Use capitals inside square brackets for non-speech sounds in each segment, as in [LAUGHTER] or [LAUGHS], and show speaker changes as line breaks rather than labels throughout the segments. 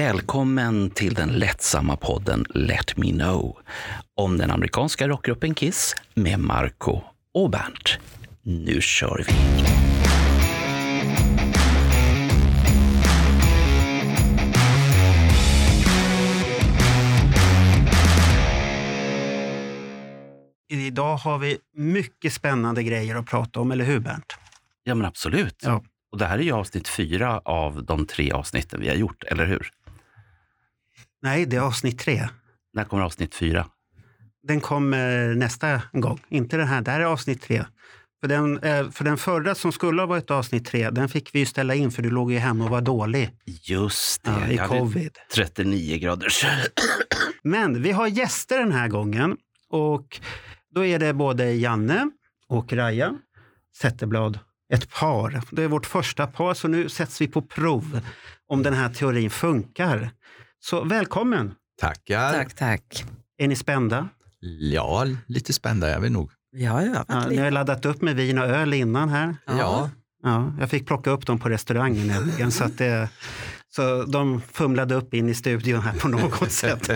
Välkommen till den lättsamma podden Let Me Know om den amerikanska rockgruppen Kiss med Marco och Bernt. Nu kör vi!
Idag har vi mycket spännande grejer att prata om, eller hur Bernt?
Ja, men absolut.
Ja.
Och det här är ju avsnitt fyra av de tre avsnitten vi har gjort, eller hur?
Nej, det är avsnitt tre.
När kommer avsnitt fyra?
Den kommer nästa gång, inte den här. Det här är avsnitt tre. För den, eh, för den förra som skulle ha varit avsnitt tre, den fick vi ju ställa in för du låg ju hemma och var dålig
Just det,
ja, i
jag hade
covid.
39 graders...
Men vi har gäster den här gången och då är det både Janne och Raja Zetterblad. Ett par. Det är vårt första par, så nu sätts vi på prov om den här teorin funkar. Så välkommen!
Tackar.
Tack, tack.
Är ni spända?
Ja, lite spända är vi nog.
Vi har övat
Ja, ni
lite.
har laddat upp med vin och öl innan här.
Ja.
Ja, jag fick plocka upp dem på restaurangen nämligen. Så, att det, så de fumlade upp in i studion här [LAUGHS] på något sätt.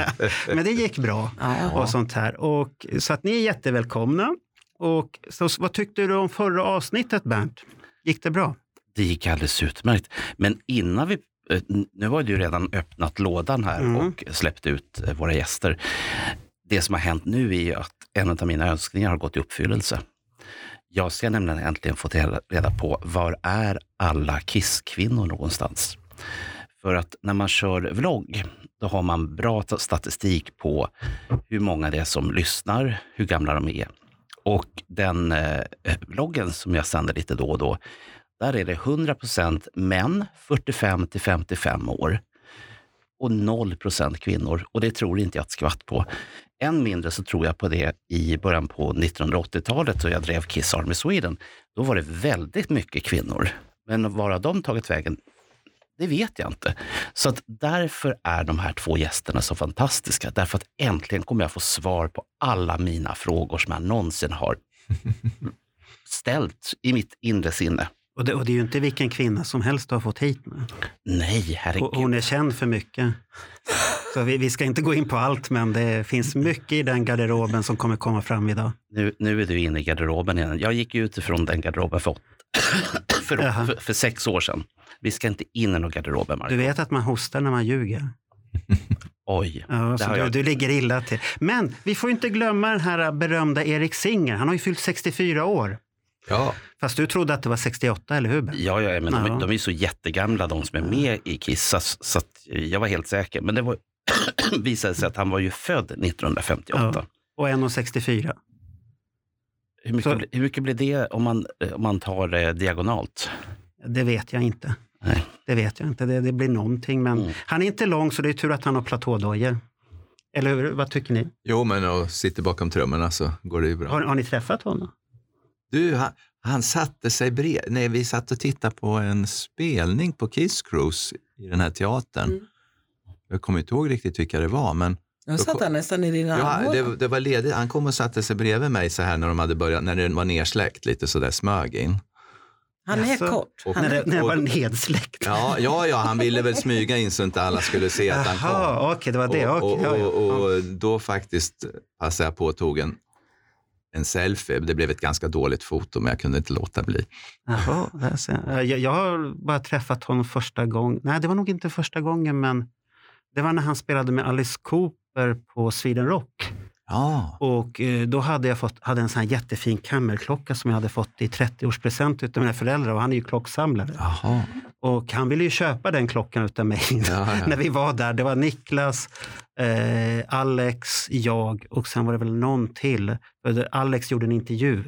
Men det gick bra.
Ja.
Och sånt här. Och, så att ni är jättevälkomna. Och, så, vad tyckte du om förra avsnittet Bernt? Gick det bra?
Det gick alldeles utmärkt. Men innan vi... eh, Nu har du redan öppnat lådan här
Mm.
och släppt ut eh, våra gäster. Det som har hänt nu är ju att en av mina önskningar har gått i uppfyllelse. Jag ska nämligen äntligen få reda- reda på var är alla Kiss-kvinnor någonstans? För att när man kör vlogg, då har man bra ta- statistik på hur många det är som lyssnar, hur gamla de är. Och den eh, vloggen som jag sänder lite då och då, där är det 100% män, 45 till 55 år. Och 0% kvinnor. Och det tror inte jag ett skvatt på. Än mindre så tror jag på det i början på 1980-talet då jag drev Kiss Army Sweden. Då var det väldigt mycket kvinnor. Men var har de tagit vägen? Det vet jag inte. Så att därför är de här två gästerna så fantastiska. Därför att äntligen kommer jag få svar på alla mina frågor som jag någonsin har ställt i mitt inre sinne.
Och det, och det är ju inte vilken kvinna som helst du har fått hit. nu.
Nej,
Hon-
herregud.
Hon är känd för mycket. Så vi, vi ska inte gå in på allt, men det finns mycket i den garderoben som kommer komma fram idag.
Nu, nu är du inne i garderoben igen. Jag gick ju utifrån den garderoben för, åt- [COUGHS] för,
Jaha.
för, för sex år sedan. Vi ska inte in i någon garderoben,
Du
Mark.
vet att man hostar när man ljuger.
Oj.
Ja, så
har
du,
jag.
du ligger illa till. Men vi får inte glömma den här berömda Erik Singer. Han har ju fyllt 64 år.
[LAUGHS] ja.
Fast du trodde att det var 68, eller hur? Ben?
Ja, ja, men
Ja.
de, de är ju så jättegamla de som är med i Kiss, så, så att jag var helt säker. Men det var, [COUGHS] visade sig att han var ju född 1958.
Ja. Och en och 64.
Hur,
Så-
mycket, bli- hur mycket blir det om man, eh, om man tar eh, diagonalt?
Det vet jag inte.
Nej.
Det vet jag inte. Det, det blir någonting. Men
Mm.
han är inte lång, så det är tur att han har platådojor. Eller hur? Vad tycker ni?
Jo, men och sitter bakom trummorna så går det ju bra.
Har, har ni träffat honom?
Du, han, han satte sig bred... Nej, vi satt och tittade på en spelning på Kiss Cruise i den här teatern.
Mm.
Jag kommer inte ihåg riktigt vilka det var, men
Nu satt han nästan i dina
ja,
armhålor.
det, det var ledigt. Han kom och satte sig bredvid mig så här när de hade börjat, när det var nersläckt lite så där smög in.
Han är
Jaså?
kort.
Och-
Han
När
är...
det, när det var nedsläckt?
Ja, ja, ja, han ville väl smyga in så inte alla skulle se att han kom.
Jaha, okej, det var det.
och,
Okej, ja, ja.
och, och, och då faktiskt passade jag på och tog en, en selfie. Det blev ett ganska dåligt foto, men jag kunde inte låta bli.
Jaha, där ser jag. Eh, jag. Jag har bara träffat honom första gången. Nej, det var nog inte första gången, men det var när han spelade med Alice Cooper på Sweden Rock.
Ja,
Och eh, då hade jag fått, hade en sån här jättefin kammerklocka som jag hade fått i 30-årspresent utav mina föräldrar och han är ju klocksamlare.
jaha.
Och han ville ju köpa den klockan utav mig [LAUGHS]
Ja, ja.
när vi var där. Det var Niklas, eh, Alex, jag och sen var det väl någon till. För Alex gjorde en intervju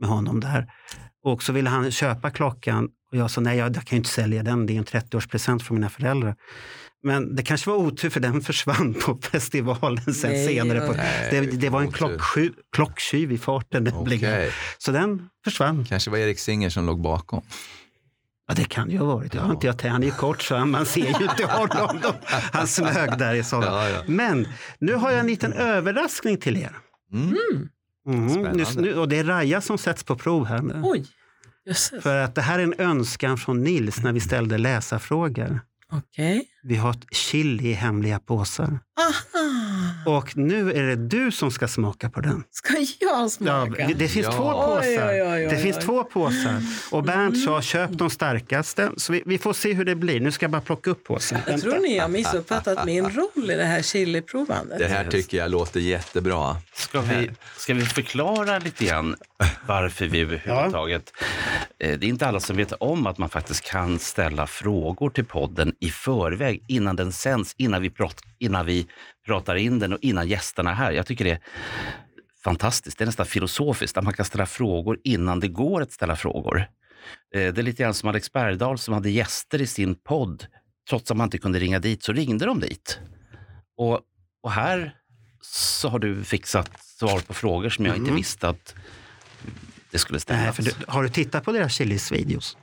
med honom där. Och så ville han köpa klockan och jag sa nej, jag, jag kan ju inte sälja den. Det är en 30-årspresent från mina föräldrar. Men det kanske var otur för den [LAUGHS] försvann på festivalen sen
Nej,
senare. På,
nej,
det, det var en
otur.
klocksky, klocktjuv i farten nämligen.
Okej.
Så den försvann.
Kanske var Erik Singer som låg bakom.
Ja, det kan ju ha varit. Jag har inte jag tänkt. Han är ju kort så han- man ser ju inte honom. Då. Han smög där i sådana.
Ja, ja.
Men nu har jag en liten överraskning till er.
Mm.
Mhm.
Spännande.
Nu, nu, och det är Raja som sätts på prov här nu.
Oj, jösses.
För att det här är en önskan från Nils när vi ställde läsarfrågor.
Okej.
Vi har ett chili i hemliga påsar.
Aha!
Och nu är det du som ska smaka på den.
Ska jag
Ja,
smaka?
det finns
Ja.
två påsar.
Oh oj,
Det finns
oj.
två påsar. Och Bernt sa
Mm.
köp de starkaste. Så vi, vi får se hur det blir. Nu ska jag bara plocka upp påsen.
Jag tror ni har missuppfattat min roll i det här chiliprovandet.
Det här tycker jag låter jättebra.
Ska vi, ska vi förklara lite grann varför vi överhuvudtaget... Eh, Det är inte alla som vet om att man faktiskt kan ställa frågor till podden i förväg, innan den sänds, innan vi, prat, innan vi pratar in den och innan gästerna är här. Jag tycker det är fantastiskt. Det är nästan filosofiskt att man kan ställa frågor innan det går att ställa frågor. Eh, Det är lite grann som Alex Bergdahl som hade gäster i sin podd. Trots att man inte kunde ringa dit så ringde de dit. Och, och här så har du fixat svar på frågor som jag inte
Mm.
visste att det skulle ställas.
Nej, för du, har du tittat på deras chilis videos?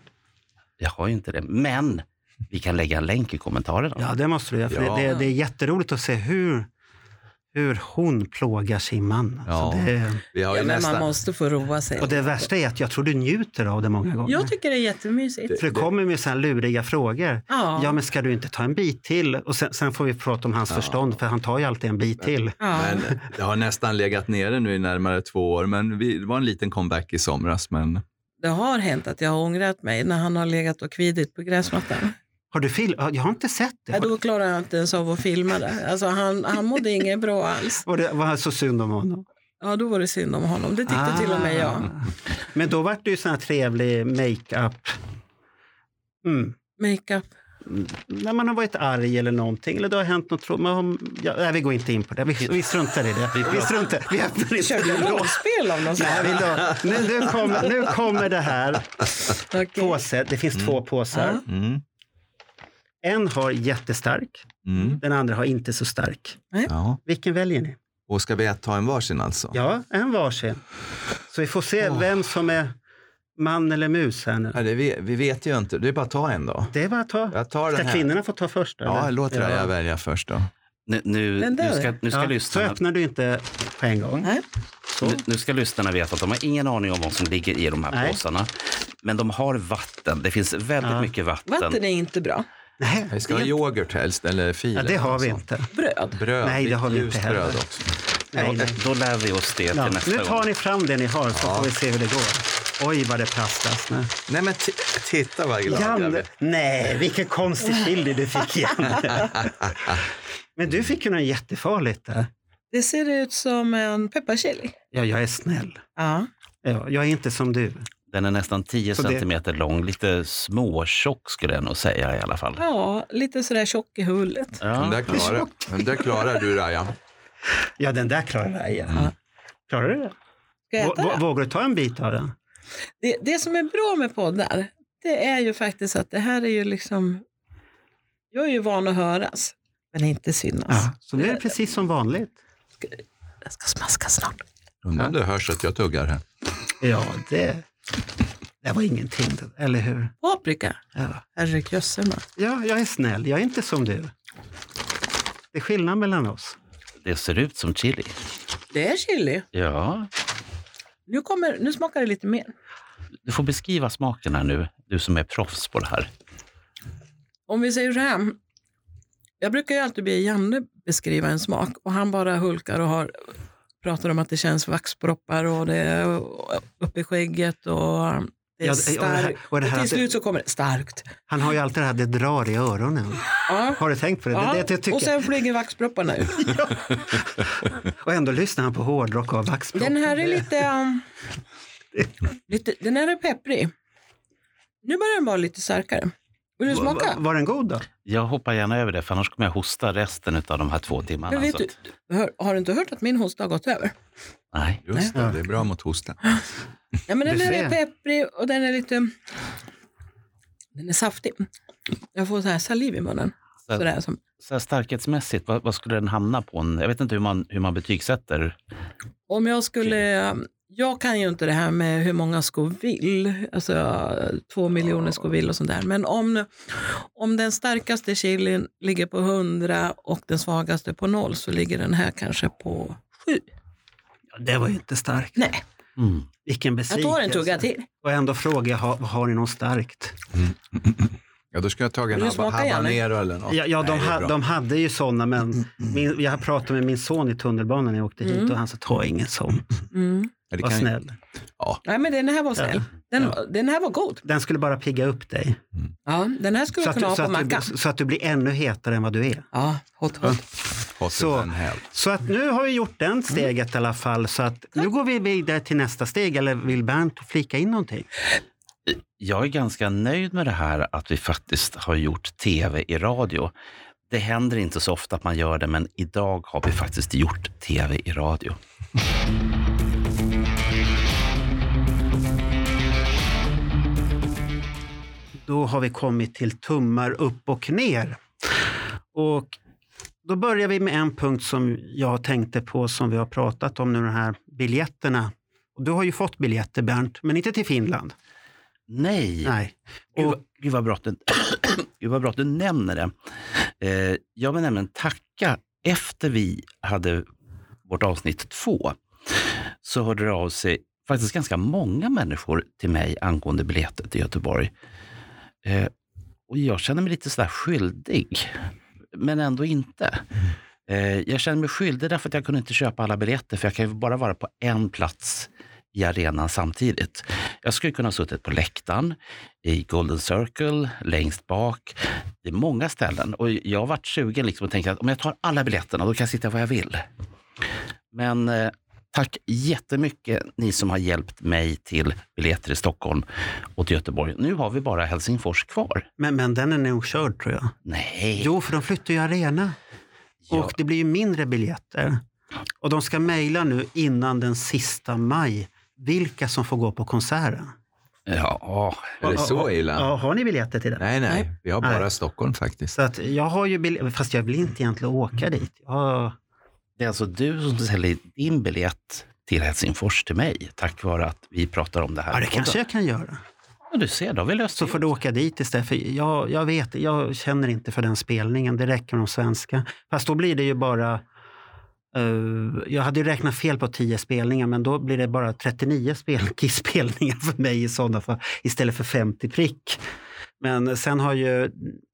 Jag har ju inte det. Men vi kan lägga en länk i kommentarerna.
Ja, det måste du göra. För
Ja.
det, det, det är jätteroligt att se hur, hur hon plågar sin man. Alltså
Ja.
det,
Vi har ju
Ja, men man
nästan...
måste få roa sig.
och det värsta är att jag tror du njuter av det många gånger.
Jag tycker det är jättemysigt.
för det kommer med så här luriga frågor.
Ja.
Ja, men ska du inte ta en bit till? Och sen, sen får vi prata om hans
Ja.
förstånd, för han tar ju alltid en bit till.
ja.
Men det har nästan legat nere nu i närmare två år, men vi, det var en liten comeback i somras. Men
Det har hänt att jag har ångrat mig när han har legat och kvidit på gräsmattan.
Har du fil- Jag har inte sett det.
Ja, då klarar jag inte ens av att filma det. Alltså, han, han mådde inget bra alls.
Var det var så synd om honom? Ah.
Ja, då var det synd om honom. Det tyckte till och med jag.
Men då var det ju sån här trevlig makeup. Mm.
Makeup.
När man har varit arg eller någonting, eller det har hänt något tråkigt. Man- Ja, nej, vi går inte in på det. Vi, vi struntar i det. Vi struntar. Vi öppnar inte
Kör vi
den då.
rollspel av något
Nej, vi
slag?
då- nu, nu, kommer, nu kommer det här.
Okej.
Påse. Det finns två påsar.
mm,
En har jättestark,
mm,
den andra har inte så stark.
ja.
Vilken väljer ni?
Och ska vi ta en varsin alltså?
Ja, en varsin. Så vi får se
Åh.
vem som är man eller mus här nu.
Ja, det, vi, vi vet ju inte. Det är bara att ta en då.
Det är bara att ta.
Jag tar den
Ska
här.
kvinnorna få ta först?
Ja,
eller?
låt det jag välja först då.
Nu, nu,
Den där.
nu ska, nu ska
Ja, Så
lyssnarna...
öppnar du inte på en gång.
Nej.
Så.
Nu, nu ska lyssnarna veta att de har ingen aning om vad som ligger i de här
Nej.
påsarna. Men de har vatten. Det finns väldigt
Ja.
mycket vatten.
Vatten är inte bra.
Nej,
Vi ska ha
det,
yoghurt helst, eller fil.
ja, det
eller
har
något
vi
sånt.
inte.
Bröd.
Bröd.
Nej, det har vi inte
Ljust
heller.
bröd också.
Nej, nej.
Då lär vi oss det till
Ja,
nästa
nu tar
gång.
ni fram det ni har så
Ja.
får vi se hur det går. Oj, vad det plastas nu.
Nej, men t- titta vad glad jag
Janne,
blir.
nej, vilken konstig chili du fick Janne. [LAUGHS] Men du fick ju något jättefarligt där.
Det ser ut som en pepparchili.
Ja, jag är snäll.
Ja.
Ja, jag är inte som du.
Den är nästan 10
Så det-
centimeter lång. Lite småtjock skulle jag nog säga i alla fall.
ja, lite sådär tjock i hullet.
Den där,
Ja.
klarar, den där klarar du, Raja.
Ja, den där klarar jag. igen.
Mm.
Ja.
Klarar du det?
Ska jag
Vå-
äta
vå-
det?
Vågar du ta en bit av den?
det? Det som är bra med poddar, det är ju faktiskt att det här är ju liksom... Jag är ju van att höras, men inte synas.
Ja, så nu är det precis som vanligt.
Jag ska smaska snart.
Undrar om det hörs att jag tuggar här.
Ja, det, det var ingenting, eller hur?
Paprika.
Ja.
Herrejösseman.
ja, jag är snäll. Jag är inte som du. Det är skillnad mellan oss.
Det ser ut som chili.
Det är chili.
Ja.
Nu, kommer, nu smakar det lite mer.
Du får beskriva smaken här nu, du som är proffs på det här.
Om vi säger så här. Jag brukar ju alltid be Janne beskriva en smak och han bara hulkar och har, pratar om att det känns vaxproppar och det är uppe i skägget och det är
Ja, och det här-
starkt.
och det här
Till
att det-
slut så kommer det starkt.
Han har ju alltid det här, det drar i öronen.
Ja.
Har du tänkt på det?
Ja,
det, det jag tycker.
och sen flyger
[LAUGHS]
vaxpropparna ut.
och ändå lyssnar han på hårdrock av Vaxplock.
Den här är lite, um, lite... Den här är pepprig. Nu börjar den vara lite starkare. Vill du
Va- va-
smaka?
Var den god då?
Jag hoppar gärna över det, för annars kommer jag hosta resten av de här två timmarna.
Men vet
så
du,
alltså.
att-
hör, har du inte hört att min hosta har gått över?
Nej.
Just
Ja.
det, det är bra mot hosta.
Ja, men den
Du
här
ser.
är pepprig och den är lite... Den är saftig. Jag får så här saliv i munnen.
Så-
Sådär, som,
Så här starkhetsmässigt, vad, vad skulle den hamna på? En, jag vet inte hur man, hur man betygsätter.
om jag skulle... Jag kan ju inte det här med hur många Scoville, alltså två miljoner Scoville och sånt där. Men om, om den starkaste chilin ligger på 100 och den svagaste på noll så ligger den här kanske på sju.
Det var ju inte starkt.
Nej,
Mm.
Vilken
jag
besvikelse.
tar en tugga till.
Och ändå frågar jag, har, har ni något starkt?
Ja, då skulle jag tagit en
Vill du
haba-
smaka gärna?
habanero eller något.
Ja, ja de,
Nej, det är
ha,
bra.
de hade ju sådana, men min, jag pratade med min son i tunnelbanan när jag åkte hit
Mm.
och han sa ta ingen sån,
Mm.
Ja, det
var
kan-
snäll.
Ja,
Nej, men den här var snäll. Den,
Ja.
den här var god.
Den skulle bara pigga upp dig.
Ja, den här skulle
Så
jag
att,
kunna
du-
ha
så,
på
att
mackan.
du, så att du blir ännu hetare än vad du är.
Ja, hot, hot.
hot
Så.
and hell.
Så att nu har vi gjort
Mm.
den steget i alla fall. Så att nu går vi vidare till nästa steg. Eller vill Bernt flika in någonting?
Jag är ganska nöjd med det här att vi faktiskt har gjort tv i radio. Det händer inte så ofta att man gör det, men idag har vi faktiskt gjort tv i radio.
Då har vi kommit till tummar upp och ner. Och då börjar vi med en punkt som jag tänkte på som vi har pratat om nu, de här biljetterna. Och Du har ju fått biljetter Bernt, men inte till Finland.
Nej!
Nej.
Gud,
Och,
vad- gud, vad bra att du, [CLEARS THROAT] gud vad bra att du nämner det. Eh, jag vill nämligen tacka, efter vi hade vårt avsnitt två, så hörde det av sig faktiskt ganska många människor till mig angående biljetter till Göteborg. Eh, och jag känner mig lite sådär skyldig, men ändå inte. Eh, jag känner mig skyldig därför att jag kunde inte köpa alla biljetter, för jag kan ju bara vara på en plats i arenan samtidigt. Jag skulle kunna ha suttit på läktaren, i Golden Circle, längst bak. Det är många ställen. Och jag har varit sugen liksom och tänkt att om jag tar alla biljetterna, då kan jag sitta var jag vill. Men eh, tack jättemycket ni som har hjälpt mig till biljetter i Stockholm och till Göteborg. Nu har vi bara Helsingfors kvar.
men, men den är nog körd tror jag.
Nej,
Jo, för de flyttar ju arena.
Ja.
Och det blir ju mindre biljetter. Och de ska mejla nu innan den sista maj vilka som får gå på konserten.
ja,
Är det så illa?
Ja, har ni biljetter till den?
Nej, nej. Vi har bara
Nej.
Stockholm faktiskt.
Så att jag har ju biljetter, fast jag vill inte egentligen åka dit. Jag har,
det är alltså du som säljer din biljett till Helsingfors till mig, tack vare att vi pratar om det här.
ja,
i
det
podden.
kanske jag kan göra.
Ja, du ser, då har vi löst
Så
det.
får du åka dit istället. För jag, jag vet, jag känner inte för den spelningen. Det räcker med de svenska. Fast då blir det ju bara... eh, jag hade ju räknat fel på 10 spelningar, men då blir det bara 39 spel, [LAUGHS] spelningar för mig i sådana fall, istället för 50 prick. Men sen har ju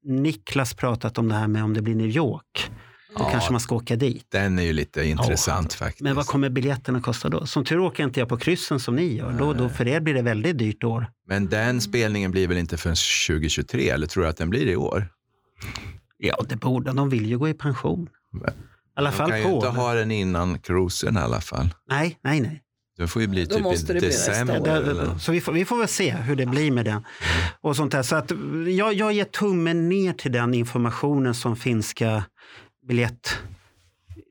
Niklas pratat om det här med om det blir New York. Då
Ja.
kanske man ska åka dit.
Den är ju lite intressant faktiskt.
Men vad kommer biljetterna kosta då? Som tur åker inte jag på kryssen som ni gör. Då, då, för er blir det väldigt dyrt i år.
Men
Mm.
den spelningen blir väl inte förrän 2023? Eller tror du att den blir i år?
Ja, det borde de. vill ju gå i pension. I alla
De
fall
kan ju
på.
inte ha den innan cruisen i alla fall.
Nej, nej, nej.
Den får ju bli
Då
typ
måste
i
det bli nästa
december.
år.
Det- det-
eller?
Så vi får, vi får väl se hur det blir med den. Och sånt där. Så att jag, jag ger tummen ner till den informationen som finska biljett...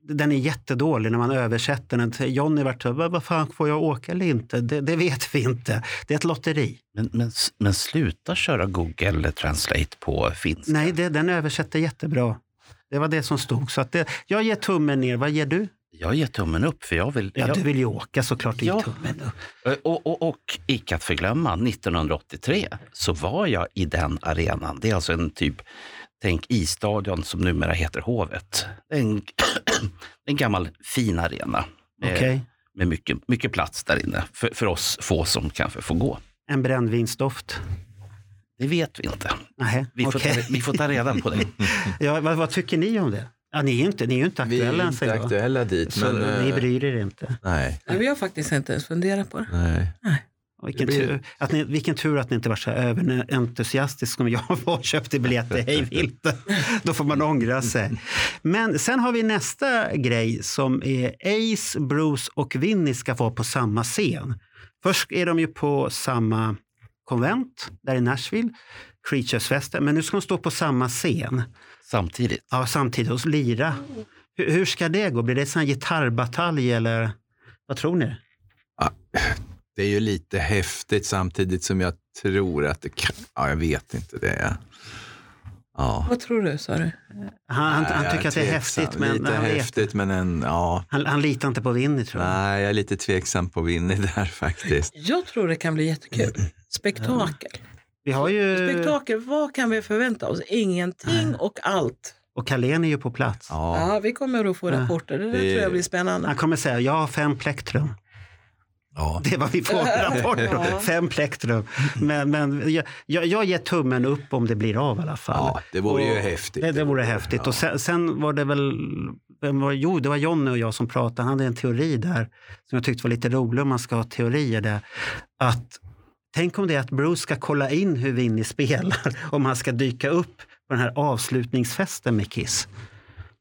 Den är jättedålig när man översätter den. till- Johnny vart så här, "Vad- vad fan får jag åka eller inte? Det, det vet vi inte. Det är ett lotteri.
Men, men, men sluta köra Google Translate på finska.
Nej, det, den översätter jättebra. Det var det som stod. Så att det, jag ger tummen ner. Vad ger du?
Jag ger tummen upp, för jag vill...
Ja,
jag,
du vill ju åka såklart. Du ger
Ja.
tummen upp.
Och, och, och icke att förglömma, 1983 så var jag i den arenan. Det är alltså en typ, tänk isstadion som numera heter Hovet. Det är En, [CLEARS THROAT] en gammal fin arena med,
Okej.
med mycket, mycket plats där inne. För, för oss få som kanske får gå.
En brännvinsdoft?
Det vet vi inte.
Nej,
Vi, får,
okej.
ta, vi får ta reda på
[LAUGHS]
det.
ja, vad, vad tycker ni om det? Ja, ni är ju inte, ni är ju inte
Vi
aktuella
är
än,
inte
säger jag.
aktuella dit.
Så
Men,
ni
eh,
bryr er inte.
nej,
Nej, Vi har faktiskt inte ens funderat på det.
nej.
Och Vilken,
det blir-
tur, att ni, vilken tur att ni inte var så här överentusiastisk som jag [LAUGHS] var och köpte biljetter hej vilt. Då får man ångra sig. Men sen har vi nästa grej som är Ace, Bruce och Vinny ska vara på samma scen. Först är de ju på samma konvent där i Nashville, Creatures-festen, men nu ska de stå på samma scen.
Samtidigt.
Ja, samtidigt hos Lira. Hur, hur ska det gå? Blir det sån här gitarrbatalj eller vad tror ni?
Det är ju lite häftigt samtidigt som jag tror att det kan... Ja, jag vet inte det. Ja.
Vad tror du, sa du?
Han, han,
Nej,
han
jag
tycker att det är
tveksam.
häftigt, men
Lite
han, vet,
häftigt, men en... Ja.
han, han litar inte på Winnie tror jag.
Nej, jag är lite tveksam på Winnie [LAUGHS] där faktiskt.
Jag tror det kan bli jättekul. Spektakel.
Vi har ju...
Spektakel, vad kan vi förvänta oss? Ingenting och allt.
Och Carlén är ju på plats.
Ja.
Ja, vi kommer att få rapporter. Det där
Det-
tror jag blir
Han
spännande.
kommer säga, jag har fem plektrum.
Ja.
Det är vad vi får i rapporten.
Ja.
Fem plektrum. Men, men jag, jag, jag ger tummen upp om det blir av i alla fall.
ja, det vore ju
Och-
häftigt.
Det, det vore häftigt. Och sen, sen var det väl... Vem var, jo, det var Jonny och jag som pratade. Han hade en teori där som jag tyckte var lite rolig om man ska ha teorier där. Att, tänk om det är att Bruce ska kolla in hur Vinnie spelar. [LAUGHS] Om han ska dyka upp på den här avslutningsfesten med Kiss.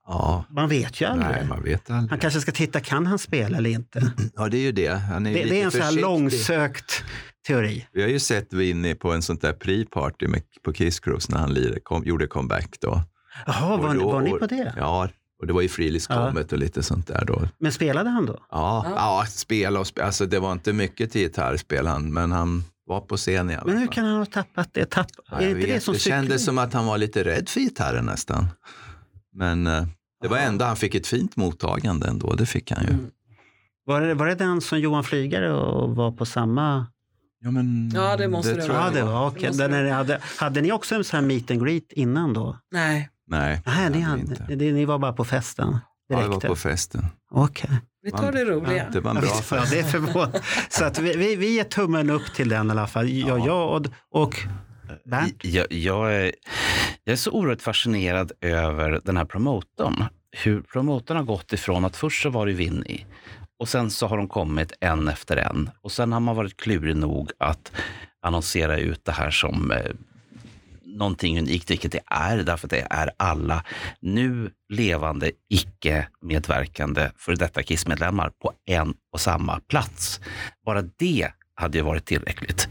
Ja.
Man vet ju aldrig.
Nej, man vet
Han
aldrig.
kanske ska titta, kan han spela eller inte?
Ja, det är ju det. Han är ju
Det,
lite
det är en sån här
försiktig.
långsökt teori.
Vi har ju sett Winnie på en sånt där pre-party med, på Kiss Cruise när han lirade, kom, gjorde comeback då.
Jaha,
Och
var,
då-
var ni
och-
på det?
Ja, och det var ju Frilis
Ja.
Comet och lite sånt där då.
Men spelade han då?
Ja, ja. spela och spela. Alltså det var inte mycket till gitarrspel han, men han var på scen i alla
Men hur
fall.
kan han ha tappat det? Tapp,
Ja,
är
jag
det inte det
vet.
som
det kändes som att han var lite rädd för gitarren nästan. Men eh, det var ändå, han fick ett fint mottagande ändå, det fick han ju.
Mm.
Var det, var det den som Johan Flygare och var på samma?
Ja, men,
Ja, det måste det
tror
Ja,
vara.
jag
det var.
Det
Okay.
måste
Den
det
är, hade, hade ni också en sån här meet and greet innan då?
Nej,
Nej,
Nej, ni,
det hade vi
hade, det, ni var bara på festen?
Ja, det
Direkt?
var på festen.
Okej.
vi tar det roliga.
Det var en
Ja,
bra
visst, ja, det är förvånande. Så att vi, vi, vi ger tummen upp till den i alla fall. Ja,
Ja.
jag och, och Bernt.
Jag, jag, är, jag är så oerhört fascinerad över den här promotorn. Hur promotorn har gått ifrån att först så var det Vinny och sen så har de kommit en efter en. Och sen har man varit klurig nog att annonsera ut det här som eh, någonting unikt, vilket det är, därför att det är alla nu levande, icke-medverkande före detta KISS-medlemmar på en och samma plats. Bara det hade ju varit tillräckligt.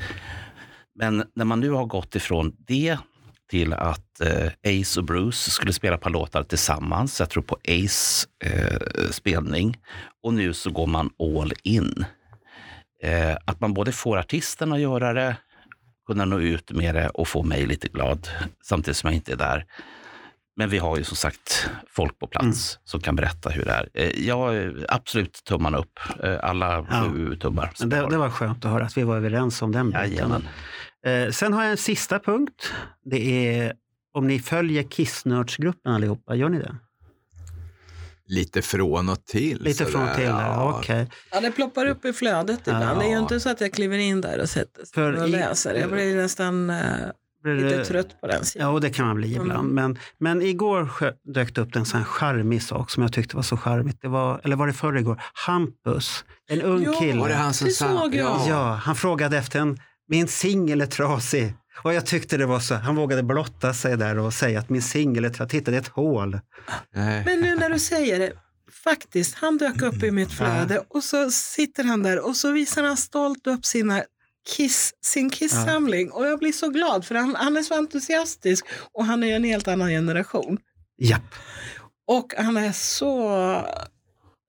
Men när man nu har gått ifrån det till att eh, Ace och Bruce skulle spela ett par låtar tillsammans, jag tror på Ace eh, spelning, och nu så går man all in. Eh, att man både får artisterna att göra det, kunna nå ut med det och få mig lite glad samtidigt som jag inte är där. Men vi har ju som sagt folk på
Mm.
plats som kan berätta hur det är. Eh, jag eh, absolut tummarna upp. Eh, alla
Ja.
sju tummar.
Men det, det var skönt att höra att vi var överens om den
Jajamän.
Eh, sen har jag en sista punkt. Det är om ni följer Kissnördsgruppen allihopa, gör ni det?
Lite från och till.
Lite
sådär.
från och till? Ja. Okej.
Ja, det ploppar upp i flödet ibland. Det är ju
Ja.
inte så att jag kliver in där och sätter
För
mig och
i-
läser. Jag blir nästan eh,
Blir
lite
det-
trött på den sidan.
Ja, och det kan man bli ibland. Men, men igår sjö- dök det upp en sån här charmig sak som jag tyckte var så charmigt. Det var, eller var det förr igår? Hampus, en ung
Ja.
kille.
Var det han som
Det
sa?
såg jag.
Ja.
Ja, han frågade efter en, min singel är trasig. Och jag tyckte det var så, han vågade blotta sig där och säga att min singel är trasig. Titta, det är ett hål.
Nej.
Men nu när du säger det, faktiskt, han dök upp i mitt flöde och så sitter han där och så visar han stolt upp sina Kiss, sin Kiss-samling och jag blir så glad för han, han är så entusiastisk och han är en helt annan generation.
Japp.
Och han är så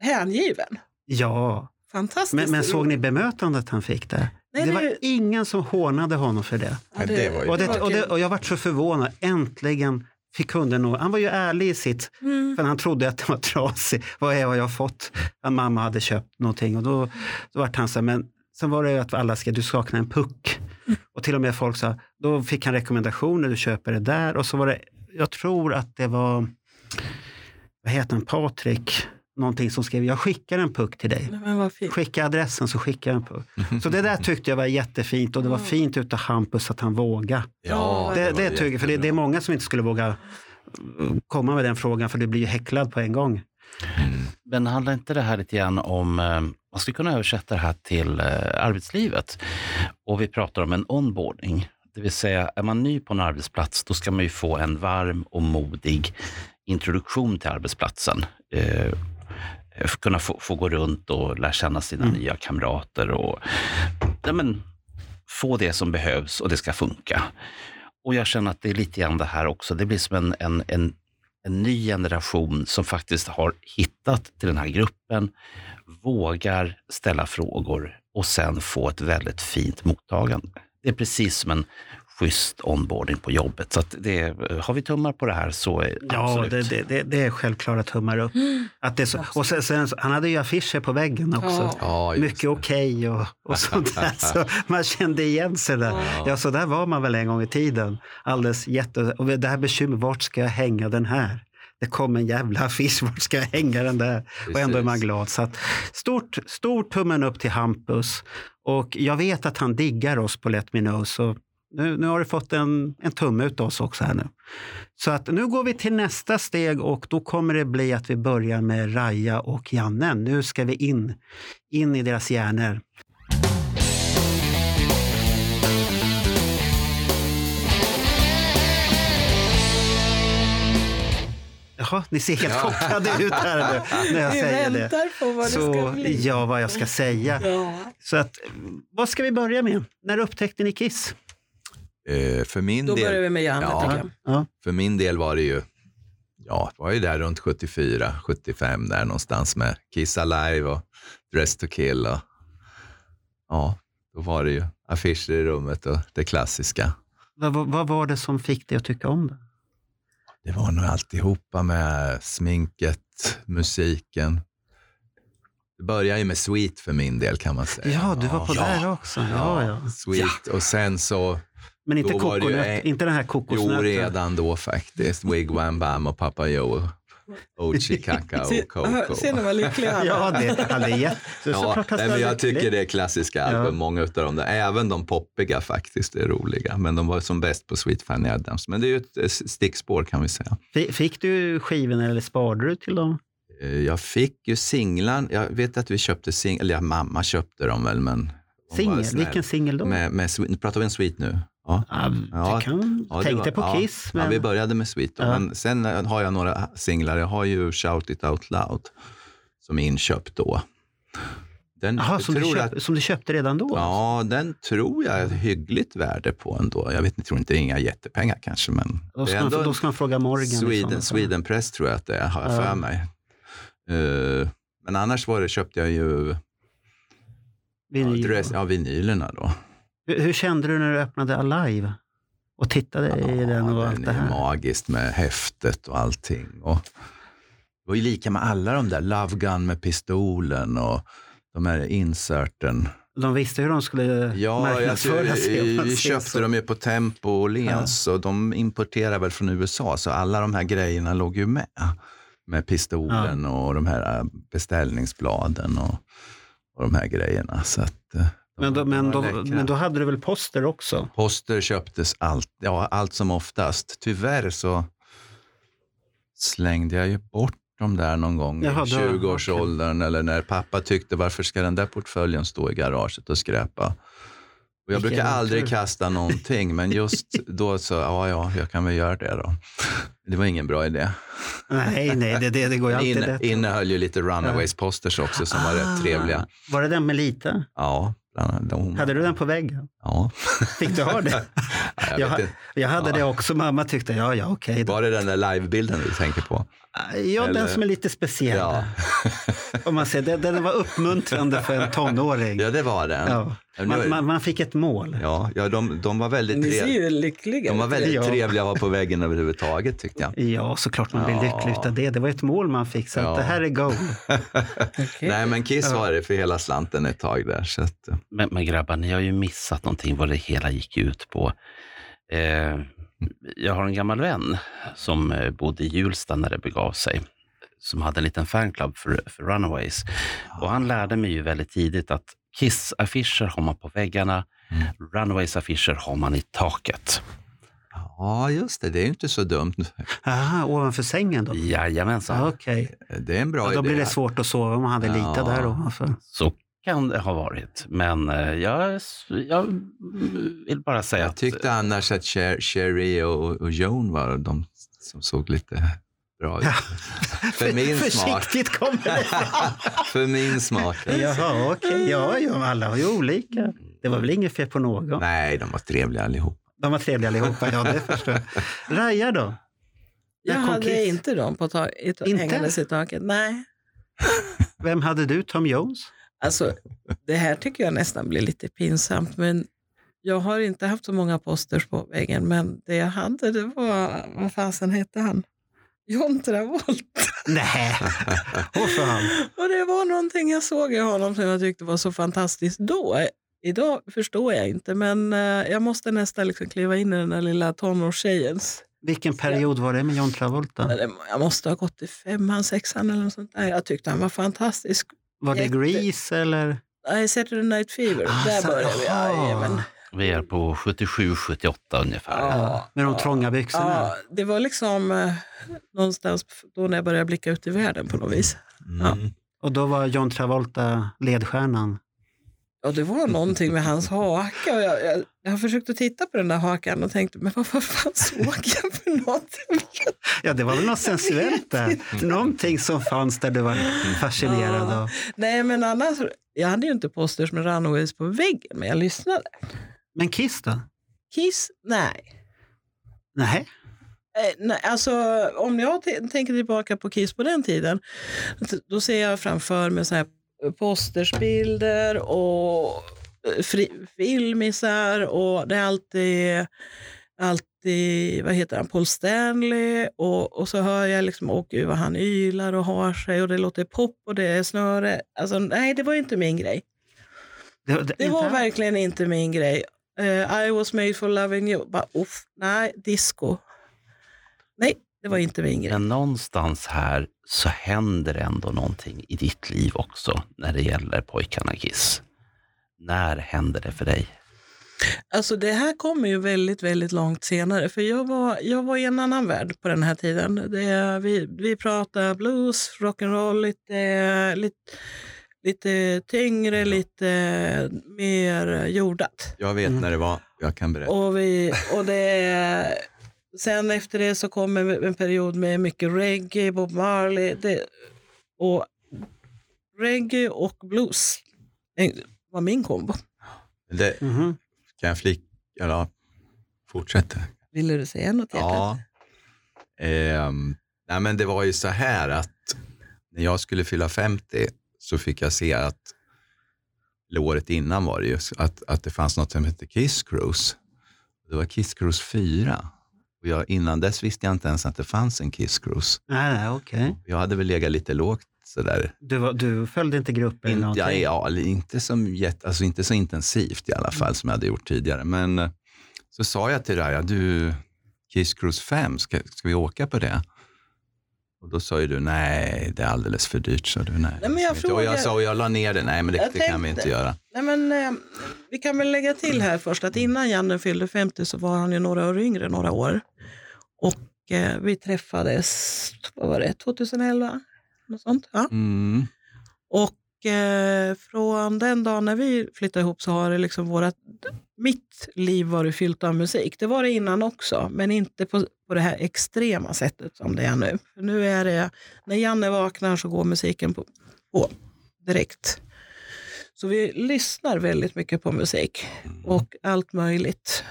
hängiven.
Ja.
Fantastiskt.
Men, men såg ni
roligt.
bemötandet han fick där? det
Nej, det-
var ingen som hånade honom för det.
Ja,
Nej, det var ju-
Och, det, och, det,
kul.
och jag vart så förvånad. Äntligen fick kunden nog... Han var ju ärlig i sitt...
Mm.
För han trodde att den var trasig. Vad är vad jag har fått? Att mamma hade köpt någonting. Och då, då vart han så här, men sen var det ju att alla ska, du saknar en puck. Och till och med folk sa, då fick han rekommendationer, du köper det där. Och så var det, jag tror att det var, vad heter han, Patrik, någonting som skrev, jag skickar en puck till dig.
Nej, Men vad fint.
Skicka adressen så skickar jag en puck. Så det där tyckte jag var jättefint och det var fint utav Hampus att han vågade.
Ja,
Det,
var
det tycker jag, för det, det är
jättebra.
många som inte skulle våga mm, komma med den frågan, för du blir ju häcklad på en gång.
Mm.
Men handlar inte det här lite grann om, eh, man skulle kunna översätta det här till eh, arbetslivet. Och vi pratar om en onboarding. Det vill säga, är man ny på en arbetsplats, då ska man ju få en varm och modig introduktion till arbetsplatsen. Eh, för att kunna få, få gå runt och lära känna sina
Mm.
nya kamrater och ja, men, få det som behövs och det ska funka. Och jag känner att det är lite grann det här också. Det blir som en, en, en en ny generation som faktiskt har hittat till den här gruppen, vågar ställa frågor och sen få ett väldigt fint mottagande. Det är precis som en schysst onboarding på jobbet. Så att det, har vi tummar på det här så är
Ja,
absolut.
det, det, det, det är självklara tummar upp. Att det är så. Och sen, sen, så- han hade ju affischer på väggen [GASPS] också.
Ja.
Ja, just
Mycket
det.
okej och, och sånt [LAUGHS] där. Så man kände igen sig där.
Ja.
Ja, så där var man väl en gång i tiden. Alldeles jätte... Och det här bekymret, vart ska jag hänga den här? det kom en jävla affisch, vart ska jag hänga den där? Och ändå är man glad. Så att, stort, stort tummen upp till Hampus. Och jag vet att han diggar oss på Let Me Know, så nu, nu har du fått en, en tumme ut oss också här nu. Så att nu går vi till nästa steg och då kommer det bli att vi börjar med Raja och Janne. Nu ska vi in, in i deras hjärnor. Jaha, ni ser helt chockade ut här nu när jag
Vi
säger det.
väntar på vad det ska
Så,
bli.
ja, vad jag ska säga.
Ja.
Så att, vad ska vi börja med? När upptäckte ni Kiss?
Eh, för min
Då
del...
börjar vi med Janne,
Ja.
tycker jag.
Ja.
För min del var det ju, ja, det var ju där runt 74, 75 där någonstans med Kiss Alive och Dress to Kill och ja, då var det ju affischer i rummet och det klassiska.
Vad, vad, vad var det som fick dig att tycka om det?
Det var nog alltihopa med sminket, musiken. Det började ju med Sweet för min del kan man säga.
Ja, du var på
Ja.
där också. Ja, ja.
Sweet och sen så,
Men inte
Då var det ju
kokonöt,
en-
inte den här
jo
kokosnöten.
redan då faktiskt, Wigwam Bam och Papa Joe,
[LAUGHS]
Ochi Kaka
Se-
och
hör-
Coco.
Ser ni vad lycklig han är?
Ja, det, han är jätte... Så
Ja,
såklart han
nej, men
ska
jag
vara lycklig.
tycker det är klassiska
Ja.
album, många av dem. Där. Även de poppiga faktiskt är roliga, men de var som bäst på Sweet Fanny Adams. Men det är ju ett eh, stickspår kan vi säga.
Fi- Fick du skivorna eller sparade du till dem?
Eh, Jag fick ju singlan, jag vet att vi köpte singlar, eller ja, mamma köpte dem väl, men... hon var
Singel?
snäll.
Vilken singel då?
Med, med Sweet, pratar vi om Sweet nu? Ja.
Ja,
Ja,
jag kan,
ja, det
tänkte
var-
på
ja.
Kiss,
Ja,
men...
vi började med Sweet då,
Ja.
men sen eh, har jag några singlar. Jag har ju Shout It Out Loud som är inköpt då. Den
Jaha, som, du
tror jag
köp, som du köpte redan då?
Ja, den tror jag är ett hyggligt värde på ändå. Jag vet, jag tror inte det är inga jättepengar kanske, men
Då
det
ska,
är
man,
ändå
då ska man fråga Morgan. liksom.
Sweden, Sweden Press tror jag att det är, har jag
Ja.
för mig. Eh, men annars var det, köpte jag ju ja,
Vinyl.
dress, ja, vinylerna då.
Hur, hur kände du när du öppnade Alive? Och tittade i den och
Ja,
allt det
är ju
här?
magiskt med häftet och allting. Och det var ju lika med alla de där, Love Gun med pistolen och de här inserten.
De visste hur de skulle
Ja, jag tror,
marknadsföra sig. om
vi,
man
vi
säger
köpte
så.
dem ju på Tempo och Åhléns och de importerar väl från USA, så alla de här grejerna låg ju med. Med pistolen och de här äh, beställningsbladen och, och de här grejerna. Så att, eh,
Men, då,
var-
men,
var
då,
läckra.
men då hade du väl poster också?
Poster köptes allt, ja, allt som oftast. Tyvärr så slängde jag ju bort dem där någon gång
Jaha, då-
i 20-årsåldern eller när pappa tyckte varför ska den där portföljen stå i garaget och skräpa. Och jag
Vilken
brukar aldrig
otur.
kasta någonting,
[LAUGHS]
men just då så, ja, ja, jag kan väl göra det då. Det var ingen bra idé.
Nej, nej, det, det, det går ju alltid
Inne,
rätt.
innehöll ju lite Runaways-posters också som var
Ah.
rätt trevliga.
Var det den med lite?
Ja, bland annat. de-
Hade du den på väggen?
Ja.
Fick du ha
[LAUGHS]
det?
Ja, jag
Jag,
vet
ha-
inte.
jag hade det också. Mamma tyckte, ja, ja, okej. då.
Var det den där livebilden du tänker på?
Ja, den
eller-
som är lite speciell.
Ja.
Om man säger, den, den var uppmuntrande för en tonåring.
Ja, det var den. Ja,
Ja.
Men nu
Man,
är-
man, man fick ett mål.
ja, de, de var väldigt,
Ni ser
tre...
ju lyckliga
de var
ut.
väldigt
Ja.
trevliga att ha på väggen överhuvudtaget tyckte jag.
Ja, såklart man blir
Ja.
lycklig utav det. Det var ett mål man fick, så
Ja.
att det här är goal.
Okej.
Nej, men Kiss var det för hela slanten ett tag där. Så att, eh,
Men, men grabbar, ni har ju missat någonting vad det hela gick ut på. Eh, jag har en gammal vän som eh, bodde i Hjulsta när det begav sig, som hade en liten fanclub för, för Runaways. Och han lärde mig ju väldigt tidigt att Kiss-affischer har man på väggarna, Runaways-affischer har man i taket.
ja, just det. Det är ju inte så dumt.
Aha, ovanför sängen då?
Jajamensan.
Ja, Okej.
Det är en bra
Ja,
idé.
då blir det svårt att sova om man hade lite
Ja.
där alltså. ovanför.
Så kan det ha varit, men eh, jag, jag vill bara säga
Jag
att...
tyckte annars att Cher- Cherry och, och Joan var de som såg lite bra ut. [LAUGHS] För min smak. [LAUGHS]
Försiktigt kommer det.
för min smak.
Jaha, okej. Ja, ja, alla var ju olika. Det var väl inget fel på någon.
Nej, de var trevliga allihop.
De var trevliga allihopa, ja det förstår jag. Raja då?
Jag
Där kom
hade
Kiss.
inte dem på ta- i ta-
Inte?
hängandes i taket. Nej.
Vem hade du? Tom Jones?
Alltså, det här tycker jag nästan blir lite pinsamt, men jag har inte haft så många posters på väggen, men det jag hade det var, vad fasen hette han? John Travolta. [LAUGHS]
[LAUGHS]
Nej, åh fan.
Och det var någonting jag såg i honom som jag tyckte var så fantastiskt då. Idag förstår jag inte, men eh, jag måste nästan liksom kliva in i den där lilla tonårstjejens
Vilken period var det med John Travolta?
Ja, det- Jag måste ha gått i femman, sexan eller något sånt där. Jag tyckte han var fantastisk.
Var det
jätte-
Grease eller?
Nej, Saturday Night Fever,
Ah,
där
så-
började vi.
aha.
Jajamän.
Vi är på 77, 78 ungefär.
Ja.
Med de trånga byxorna?
Ja, det var liksom eh, någonstans då när jag började blicka ut i världen på något vis. Ja.
Mm.
Och då var John Travolta ledstjärnan.
Ja, det var någonting med hans haka. Och jag, jag, jag försökte titta på den där hakan och tänkte, men vad, vad fan såg jag för något?
Ja, det var väl något sensuellt
[LAUGHS]
där. Någonting som fanns där du var fascinerad av.
Nej, men annars, jag hade ju inte posters med Runaways på väggen, men jag lyssnade.
Men Kiss då?
Kiss? Nej.
Nej.
Eh, nej alltså, om jag t- tänker tillbaka på Kiss på den tiden, då ser jag framför mig så här postersbilder och eh, fri- filmisar och det är alltid, alltid vad heter han, Paul Stanley och, och så hör jag liksom, åh gud vad han ylar och har sig och det låter pop och det är snöre. Alltså nej, det var ju inte min grej.
Det, det-
Det
inte-
var verkligen inte min grej. Eh, I was made for loving you. Bara, uff, nej, disco. Nej, det var inte min grej.
Men någonstans här så händer ändå någonting i ditt liv också när det gäller pojkarna Kiss. När händer det för dig?
Alltså det här kommer ju väldigt, väldigt långt senare. För jag var, jag var i en annan värld på den här tiden. Det, vi, vi pratade blues, rock'n'roll, lite, lite, lite tyngre, lite mer jordat.
Jag vet när det var, jag kan berätta.
Och, vi, och det, sen efter det så kom en, en period med mycket reggae, Bob Marley. Det, och reggae och blues eh, var min kombo.
Det,
Mhm.
kan jag flika? Ja, fortsätta.
Ville du säga något? hjärtat?
Ja. Ehm, nej men det var ju så här att när jag skulle fylla 50 så fick jag se att, eller året innan var det ju, att, att det fanns något som hette Kiss Cruise. Det var Kiss Cruise 4. Och jag, innan dess visste jag inte ens att det fanns en Kiss Cruise.
Nej, nej, okej.
Jag hade väl legat lite lågt sådär.
Du, var- du följde inte gruppen? eller
Inte,
någonting?
ja, ja, eller inte, som jätte, alltså inte så intensivt i alla
Mm.
fall som jag hade gjort tidigare. Men eh, så sa jag till Raja, du, Kiss Cruise 5, ska, ska vi åka på det? Och då sa ju du, nej, det är alldeles för dyrt. Sa du, nej, det
men
ska
jag
vi inte." och jag
frågar-
sa, och jag la ner det, nej men det,
Jag
det kan vi
tänkte-
inte göra.
Nej, men, eh, vi kan väl lägga till här först att innan Janne fyllde 50 så var han ju några år yngre, några år. Och eh, vi träffades, vad var det, 2011? Något sånt, ja.
Mm.
Och eh, från den dagen när vi flyttade ihop så har det liksom vårat, mitt liv varit fyllt av musik. Det var det innan också, men inte på, på det här extrema sättet som det är nu. För nu är det, när Janne vaknar så går musiken på, på direkt. Så vi lyssnar väldigt mycket på musik och allt möjligt.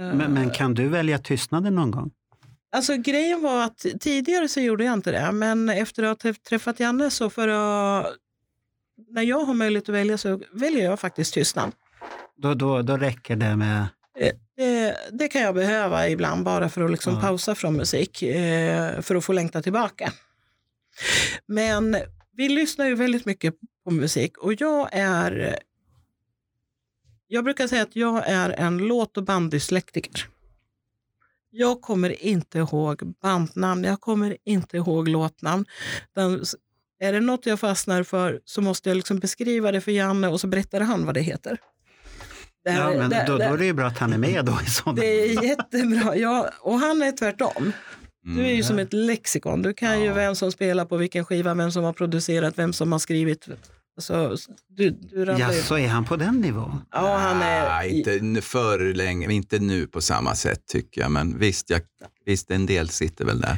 Eh,
Men, men kan du välja tystnaden någon gång?
Alltså grejen var att tidigare så gjorde jag inte det, men efter att ha träffat Janne så för att... När jag har möjlighet att välja så väljer jag faktiskt tystnad.
Då, då, då räcker det med...
Det, det kan jag behöva ibland bara för att liksom
Ja.
pausa från musik, eh, för att få längta tillbaka. Men vi lyssnar ju väldigt mycket på musik och jag är... Jag brukar säga att jag är en låt och banddyslektiker. Jag kommer inte ihåg bandnamn, jag kommer inte ihåg låtnamn. Den, är det något jag fastnar för så måste jag liksom beskriva det för Janne och så berättar han vad det heter. Det här-
Ja, men
det-
då, då
det-
är det ju bra att han är med då i sådana.
det är jättebra. Ja, och han är tvärtom. Du är ju
Mm.
som ett lexikon. Du kan ju
Ja.
vem som spelar på vilken skiva, vem som har producerat, vem som har skrivit. Alltså, du, du
Ja,
ramlar ju.
så är han på den nivån?
Ja, han är...
Nej, inte nu- för länge, inte nu på samma sätt tycker jag, men visst, jag, visst en del sitter väl där.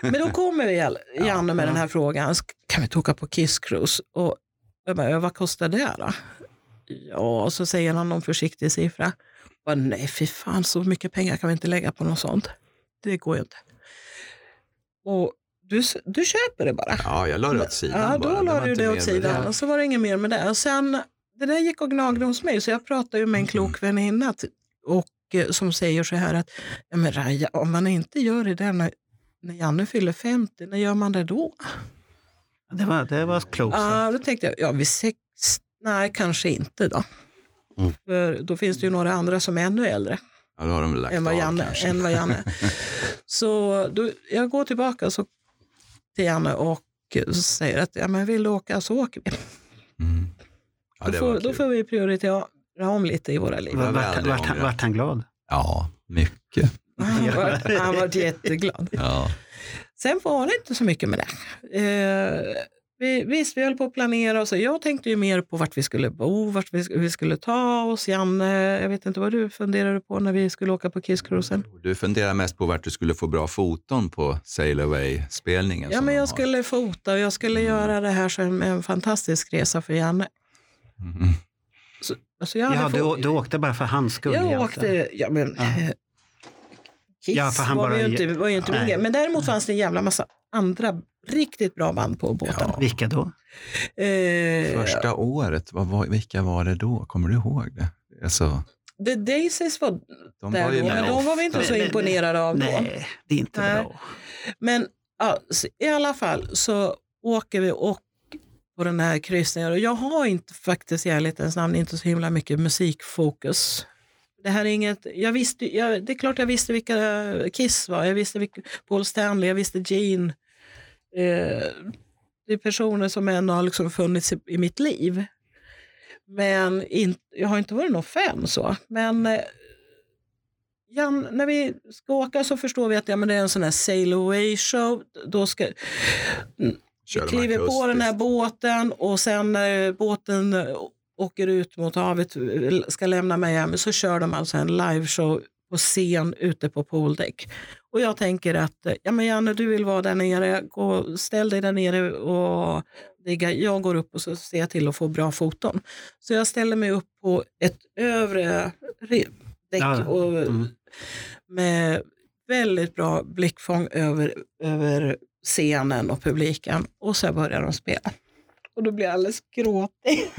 Men då kommer
[LAUGHS]
vi, all- Janne med den här frågan. "Sk- Kan vi inte åka på Kiss Cruise? Och jag bara, "Ja, vad kostar det då? Ja, och så säger han någon försiktig siffra. Jag Bara, Nej, fy fan, så mycket pengar kan vi inte lägga på något sånt. Det går ju inte. Och du, s- du köper det bara.
Ja, jag la det åt sidan bara.
Ja, då la
var
du
inte
det
mer
åt
med
sidan och så var det inget mer med det. Och sen, det där gick och gnagde hos mig, så jag pratade ju med en klok
Mm.
väninna t- och, eh, som säger så här att ja, men Raja, om man inte gör det där när, när Janne fyller 50, när gör man det då?
Det var, det var klokt. sagt.
Ja, då tänkte jag, ja vid 60, nej kanske inte då.
Mm.
Mm.
För då finns det ju några andra som är ännu äldre.
Ja, då har de väl lagt
än vad
av
Janne.
kanske.
Än
[LAUGHS]
vad Janne. så då, jag går tillbaka så, till Janne och eh, säger att ja, men vill du åka så åker vi.
Mm. Ja,
då,
det
får,
var
då
kul.
får vi prioritera om lite i
[LAUGHS]
våra liv.
var
Vart, vart,
väldigt
vart,
många.
vart han glad?
Ja, mycket.
Han var, han var jätteglad.
Ja.
Sen var det inte så mycket med det. Eh, vi, visst, vi höll på att planera. Och så. Jag tänkte ju mer på vart vi skulle bo, vart vi, sk- vi skulle ta oss. Janne, jag vet inte vad du funderade på när vi skulle åka på Kisscruisen.
Du funderar mest på vart du skulle få bra foton på Sail Away-spelningen.
Ja,
som
men
de
jag
har.
skulle fota och jag skulle
Mm.
göra det här som en fantastisk resa för Janne.
Mm.
Alltså jag
Ja,
hade
du,
fot-
du åkte bara för hans skull?
jag
egentligen.
åkte, ja men,
Ja.
eh, [LAUGHS] Kiss
Ja, för han
var,
bara-
ju inte, var ju inte min
Nej. Mm.
grej. Men däremot fanns det en jävla massa andra riktigt bra band på båten.
Vilka då?
Eh,
Första året, vad var, vilka var det då? Kommer du ihåg det? Alltså,
The Daisies var
de
där
var ju
då, men
med
de var vi
ofta.
inte så
Nej, nej,
imponerade av då.
Nej, det är inte
Nej.
bra.
Men ja, så i alla fall så åker vi och på den här kryssningen och jag har inte faktiskt i ärlighetens namn inte så himla mycket musikfokus. Det här är inget, jag visste, jag, det är klart jag visste vilka Kiss var, jag visste vilka, Paul Stanley, jag visste Gene. Eh, det är personer som ändå har liksom funnits i, i mitt liv. Men in, jag har inte varit någon fan så. Men eh, Jan, när vi ska åka så förstår vi att ja, men det är en sån här sail away show. Då ska,
Körde de
kliver på
akustiskt.
den här båten och sen när båten eh, åker ut mot havet eh, ska lämna Miami så kör de alltså en liveshow på scen ute på pooldäck. Och jag tänker att eh, ja, men Janne, du vill vara där nere, gå, ställ dig där nere och digga. jag går upp och så ser jag till att få bra foton. Så jag ställer mig upp på ett övre re-
Ja,
däck och,
mm.
med väldigt bra blickfång över, över scenen och publiken och så börjar de spela. Och då blir jag alldeles gråtig.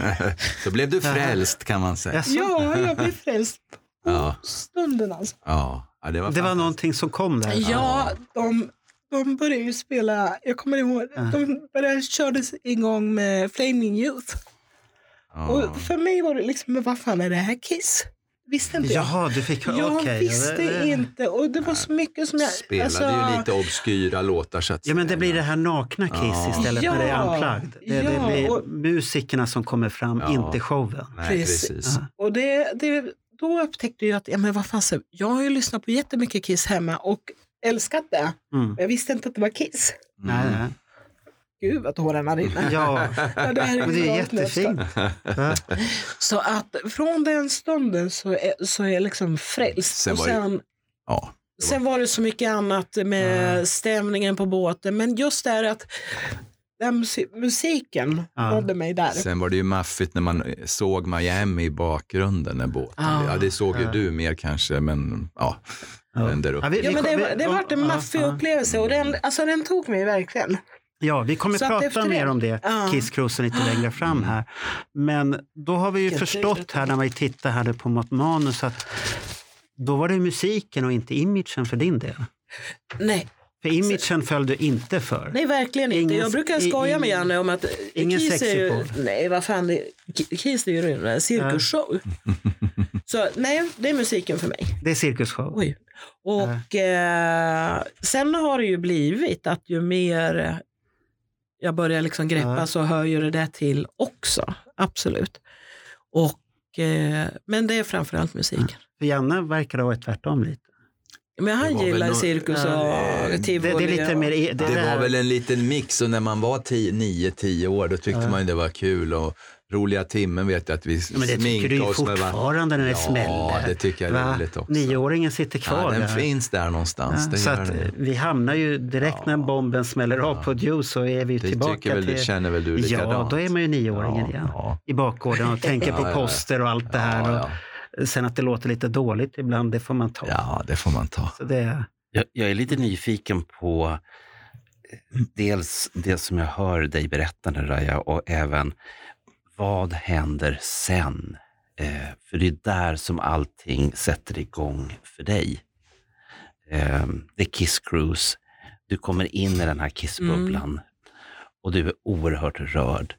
så blev du frälst kan man säga.
Jaså?
[LAUGHS] Ja, jag blir frälst på
Ja.
stunden alltså.
Ja, ja det var,
Det var
fantastiskt.
någonting som kom där.
Ja, de, de började ju spela, jag kommer ihåg,
Ja.
de började, kördes igång med Flaming Youth.
Ja.
Och för mig var det liksom, men vad fan är det här Kiss? Visste inte jag.
Jaha, du fick...
Jag
okej.
visste
Ja, det-
inte och det var så mycket som jag...
Spelade
alltså-
ju lite obskyra låtar. Så att
Ja, men det blir det här nakna Kiss
Ja.
istället när det är
Ja.
unplugged. Det,
Ja,
det
och-
blir musikerna som kommer fram,
Ja.
inte showen.
Nej,
Precis.
precis.
Ja.
Och det, det, då upptäckte jag att ja, men vad fasen, jag har ju lyssnat på jättemycket Kiss hemma och älskat det.
Mm.
Jag visste inte att det var Kiss.
Mm.
Nej, nej.
Gud vad tårarna rinner.
[LAUGHS] Ja,
Ja, det, här
men
ju
det är
galet nästan.
jättefint. Va?
Så att från den stunden så är, så är jag liksom frälst.
Sen
och
var ju-
sen,
Ja.
sen var det så mycket annat med stämningen på båten. Men just det här att den musi- musiken
Ja.
nådde mig där.
Sen var det ju maffigt när man eh, såg Miami i bakgrunden när båten.
Ah.
ja, det såg ju
Ja.
du mer kanske, men ja,
Ja.
vänder upp.
Ja, vi-
Ja,
vi
men det,
kom-
var- det
vi-
var en
ja,
maffig
ja.
upplevelse och den, alltså, den tog mig verkligen.
Ja, vi kommer
Så att efter
prata
det-
mer om det,
Ja.
Kisscruisen, lite längre fram här. Men då har vi ju
Vilken
förstått
tur.
här när vi tittar här nu på något manus att då var det musiken och inte imagen för din del.
Nej,
För imagen föll du inte för.
Nej, verkligen inte.
Ingen-
jag brukar
i-
skoja med
i-
Janne om att
ingen
Kiss är ju,
sexsymbol.
Nej, vad fan, det- Ki- Kiss är ju
[LAUGHS]
en cirkusshow. Så nej, det är musiken för mig.
Det är cirkusshow.
Oj. Och eh, sen har det ju blivit att ju mer eh, jag börjar liksom greppa
Ja.
så hör ju det där till också. Absolut. Och, eh, men det är framförallt musiken.
För Janne verkar det ha varit tvärtom lite.
Men
Det
han
var väl
gillar
nå-
cirkus och
Ja, det-
Det,
tivoli.
det är lite
och-
mer... Det,
Det var väl en liten mix och när man var 9-10 år då tyckte
Ja.
man ju det var kul och roliga timmen vet jag att vi
ja, men det tycker du
sminkade
ju
oss med varandra.
fortfarande när det
Ja,
smäller.
det tycker jag är
Va?
roligt också.
Nioåringen sitter kvar
ja, den
där.
finns där någonstans.
Ja,
det
så
gör
att
den.
eh, vi hamnar ju direkt när bomben smäller av på Juice så är vi ju
det
tillbaka
tycker väl,
till...
du känner väl du likadant?
Ja, då är man ju nioåringen igen.
Ja,
I bakgården och tänker
Ja,
på
ja,
poster och allt det här.
ja,
Och sen att det låter lite dåligt ibland, det får man ta.
ja. ja, det får man ta.
Så det,
Jag, jag är lite nyfiken på eh, dels det som jag hör dig berätta nu, Raja, och även vad händer sen? Eh, för det är där som allting sätter igång för dig. Eh, det är Kiss Cruise. Du kommer in i den här kissbubblan och du är oerhört rörd.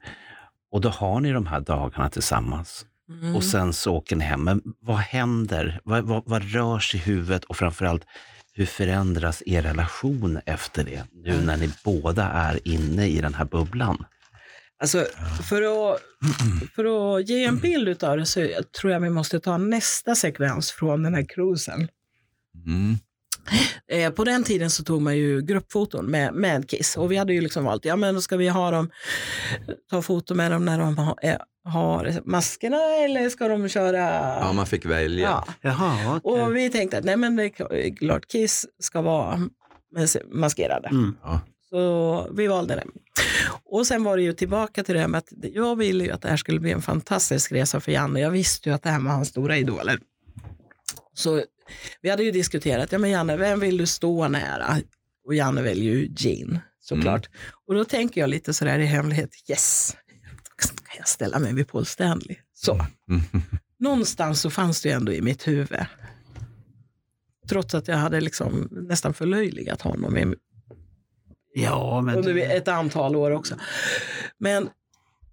Och då har ni de här dagarna tillsammans
Mm.
och sen så åker ni hem. Men vad händer? Vad, vad, vad rör sig i huvudet och framförallt hur förändras er relation efter det? Nu när ni båda är inne i den här bubblan.
Alltså, för, att, för att ge en bild av det så tror jag vi måste ta nästa sekvens från den här cruisen.
Mm.
Eh, på den tiden så tog man ju gruppfoton med, med Kiss och vi hade ju liksom valt, ja men då ska vi ha dem, ta foto med dem när de har, eh, har maskerna eller ska de köra?
Ja, man fick välja.
Ja.
Jaha, eh, okej.
Och vi tänkte att nej men det är klart Kiss ska vara maskerade.
Mm.
Ja.
Så vi valde det. Och sen var det ju tillbaka till det här med att jag ville ju att det här skulle bli en fantastisk resa för Janne. Jag visste ju att det här var hans stora idoler. Så vi hade ju diskuterat, ja men Janne, vem vill du stå nära? Och Janne väljer ju Jean såklart. Och då tänker jag lite sådär i hemlighet, yes, då kan jag ställa mig vid Paul Stanley. Så
Mm.
någonstans så fanns det ju ändå i mitt huvud. Trots att jag hade liksom nästan förlöjligat honom i,
Ja, men...
under ett antal år också. Men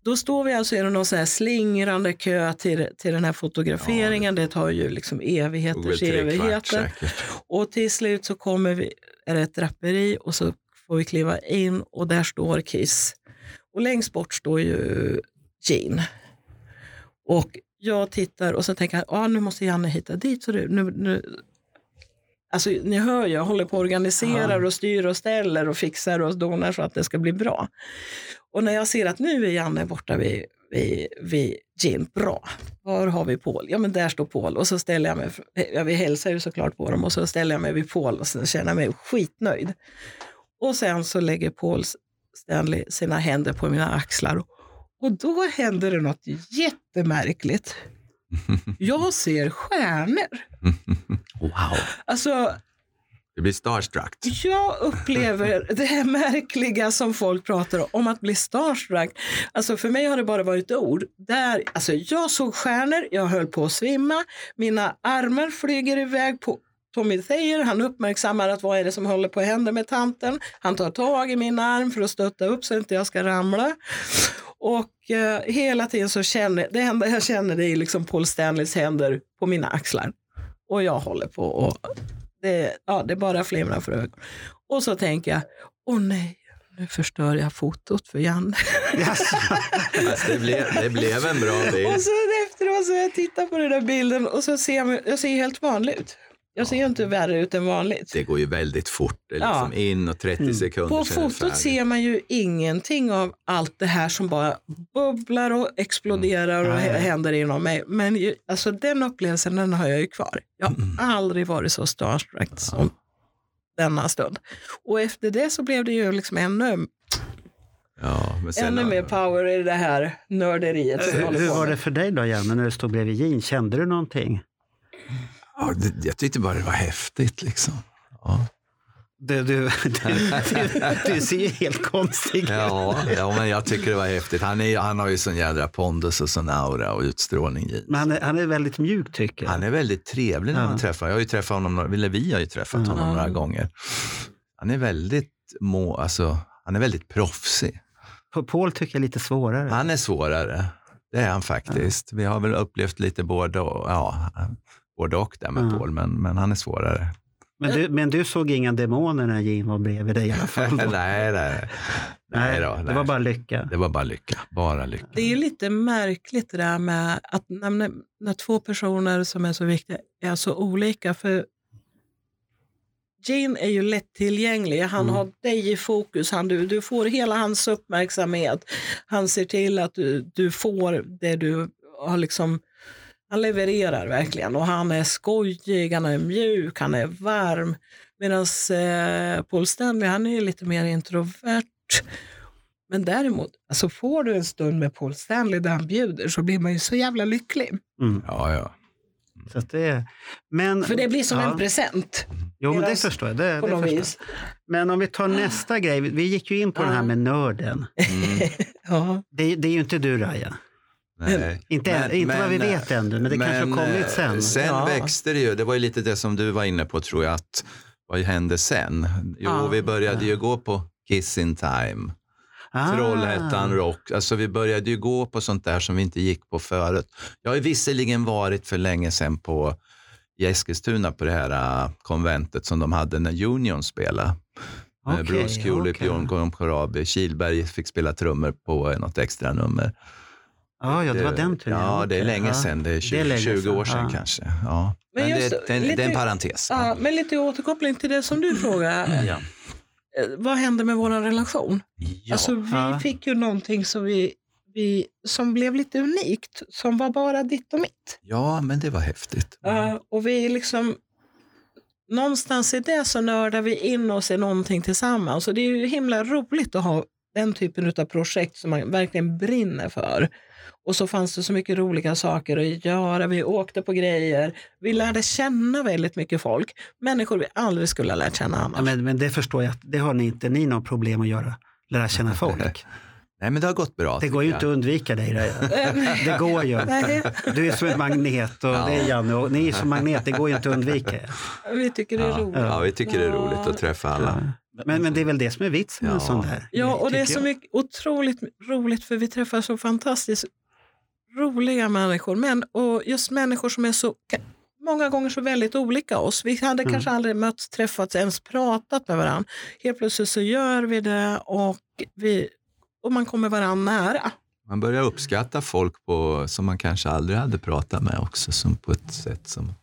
då står vi alltså i någon sån här slingrande kö till, till den här fotograferingen. det... tar ju liksom
Tog väl
evigheters
tre kvart
evigheter.
säkert.
Och till slut så kommer vi, är det ett draperi och så får vi kliva in och där står Kiss. Och längst bort står ju Jean. Och jag tittar och så tänker jag, ah, nu måste Janne hitta dit. Så du, nu, nu. Alltså ni hör ju, jag håller på och organiserar och styr och ställer och fixar och donar så att det ska bli bra. Och när jag ser att nu är Janne borta vid, vid, vid Jean, bra, var har vi Paul? Ja, men där står Paul. Och så ställer jag mig, jag vill hälsa ju såklart på dem, och så ställer jag mig vid Paul och sen känner jag mig skitnöjd. Och sen så lägger Paul Stanley sina händer på mina axlar. Och då händer det något jättemärkligt. Jag ser stjärnor.
Wow!
Alltså,
Det blir
[LAUGHS]
starstruck.
jag upplever det här märkliga som folk pratar om, om att bli starstruck. Alltså för mig har det bara varit ord. Där, alltså jag såg stjärnor, jag höll på att svimma, mina armar flyger iväg på Tommy Thayer, han uppmärksammar att vad är det som håller på att hända med tanten. Han tar tag i min arm för att stötta upp så inte jag ska ramla. Och eh, hela tiden så känner, det enda jag känner det är liksom Paul Stanleys händer på mina axlar. Och jag håller på och det, ja, det bara flimrar för ögonen. Och så tänker jag, åh nej, nu förstör jag fotot för Janne.
Jaså.
Fast det, blev, det blev en bra
[LAUGHS] Och
bild.
så efteråt så har jag tittar på den där bilden och så ser jag, jag ser helt vanlig ut. Jag ser ju inte värre ut än vanligt.
Det går ju väldigt fort. Det är
Ja. Mm.
liksom in och 30 sekunder
På
sen är det
fotot
färdigt.
ser man ju ingenting av allt det här som bara bubblar och exploderar
Mm.
och
Nej.
hä- händer inom mig. Men ju, alltså, den upplevelsen den har jag ju kvar. Jag har
Mm.
aldrig varit så starstruck som denna stund. Och efter det så blev det ju liksom ännu,
Ja, men sen
ännu
har-
mer power i det här nörderiet som jag
Hur,
håller
Eh, hur
på
var
med.
det för dig då, Hjelme, när du stod bredvid Jean? Kände du någonting?
Ja, det, jag tyckte bara det var häftigt liksom. Ja,
Du, [LAUGHS] du, du, du, du ser ju helt konstig ut.
ja, ja men jag tycker det var häftigt. Han, är, han har ju sån jädra pondus och sån aura och utstrålning. i.
Men han är, han är väldigt mjuk tycker jag.
Han är väldigt trevlig när man träffar Jag har ju träffat honom, några- eller vi har ju träffat honom
Ja.
några gånger. Han är väldigt må, alltså, han är väldigt proffsig.
På Paul tycker jag är lite svårare.
Han är svårare. Det är han faktiskt. Vi har väl upplevt lite både och, ja, både och där med
Ja.
Paul, men, men han är svårare.
Men du, men du såg inga demoner när Jean var bredvid dig i alla fall? då?
[LAUGHS] nej, nej. Nej, då, nej.
det var bara lycka.
det var bara lycka. Bara lycka.
Det är ju lite märkligt det där med att när, när- när två personer som är så viktiga är så olika. För Gene är ju lättillgänglig. Han
Mm.
har dig i fokus. Han, du, du får hela hans uppmärksamhet. Han ser till att du, du får det du har liksom... Han levererar verkligen och han är skojig, han är mjuk, han är varm. Medan eh, Paul Stanley, han är ju lite mer introvert. Men däremot, alltså får du en stund med Paul Stanley där han bjuder så blir man ju så jävla lycklig.
Mm.
Ja, ja.
Så att det, men,
För det blir som
ja.
en present
Jo, men det
deras-
förstår jag. Det,
på
Eh, det
något
förstår. jag.
vis. Ah.
Men om vi tar nästa grej. Vi gick ju in på den här
Ja.
med nörden. [LAUGHS]
Mm,
Ja.
Det, det är ju inte du, Raja.
nej.
Inte, än- inte vad vi vet ännu, men det kanske har kommit
eh,
sen.
Sen
Ja.
växte det ju. Det var ju lite det som du var inne på tror jag. Att, vad hände sen? Jo,
Ja.
vi började ju gå på Kiss in time.
Ah.
Trollhättan Rock. Alltså vi började ju gå på sånt där som vi inte gick på förut. Jag har ju visserligen varit för länge sedan på i Eskilstuna på det här äh, konventet som de hade när Union spelade. Okay,
Okej,
Bruce Kulick,
okej.
Björn Korabi, Kihlberg fick spela trummor på något extra nummer.
Ja, ja, det var den turen.
eh, Ja, det är
Okej,
länge
ja.
sedan. Det är 20,
Det är länge
20
sedan,
år sedan
ja.
kanske. Ja.
Men
Men,
just-
det, det, det är
lite-
en parentes.
Ja, men lite återkoppling till det som du frågar. Eh,
Ja.
Vad hände med vår relation?
Ja.
Alltså, vi
Ja.
fick ju någonting som, vi, vi, som blev lite unikt, som var bara ditt och mitt.
Ja, men det var häftigt.
Ja, Eh, och vi liksom... Någonstans i det så nördar vi in oss i någonting tillsammans. Och det är ju himla roligt att ha den typen av projekt som man verkligen brinner för. Och så fanns det så mycket roliga saker att göra. Vi åkte på grejer. Vi lärde känna väldigt mycket folk. Människor vi aldrig skulle ha lärt känna
Ja,
annars.
men, men det förstår jag, att det har ni inte ni något problem att göra. Lära
[LAUGHS]
känna folk.
Nej, men det har gått bra.
Det går ju inte att undvika dig. Det, det går ju inte.
Eh, Nej,
Du är som en magnet och det är Janne och ni är som magnet, det går ju inte att undvika. er.
vi tycker det är
Ja.
roligt.
Ja, vi tycker det är
Ja.
roligt att träffa alla.
Men, men det är väl det som är vitsen med en
Ja.
sån där
Ja,
grej,
och det är
tycker
så
jag.
mycket, otroligt roligt för vi träffar så fantastiskt roliga människor. Men, och just människor som är så ka- många gånger så väldigt olika oss. Vi hade
Mm.
kanske aldrig mötts, träffats, ens pratat med varandra. Helt plötsligt så gör vi det och, vi, och man kommer varandra nära.
Man börjar uppskatta folk på, som man kanske aldrig hade pratat med också, som på ett sätt som man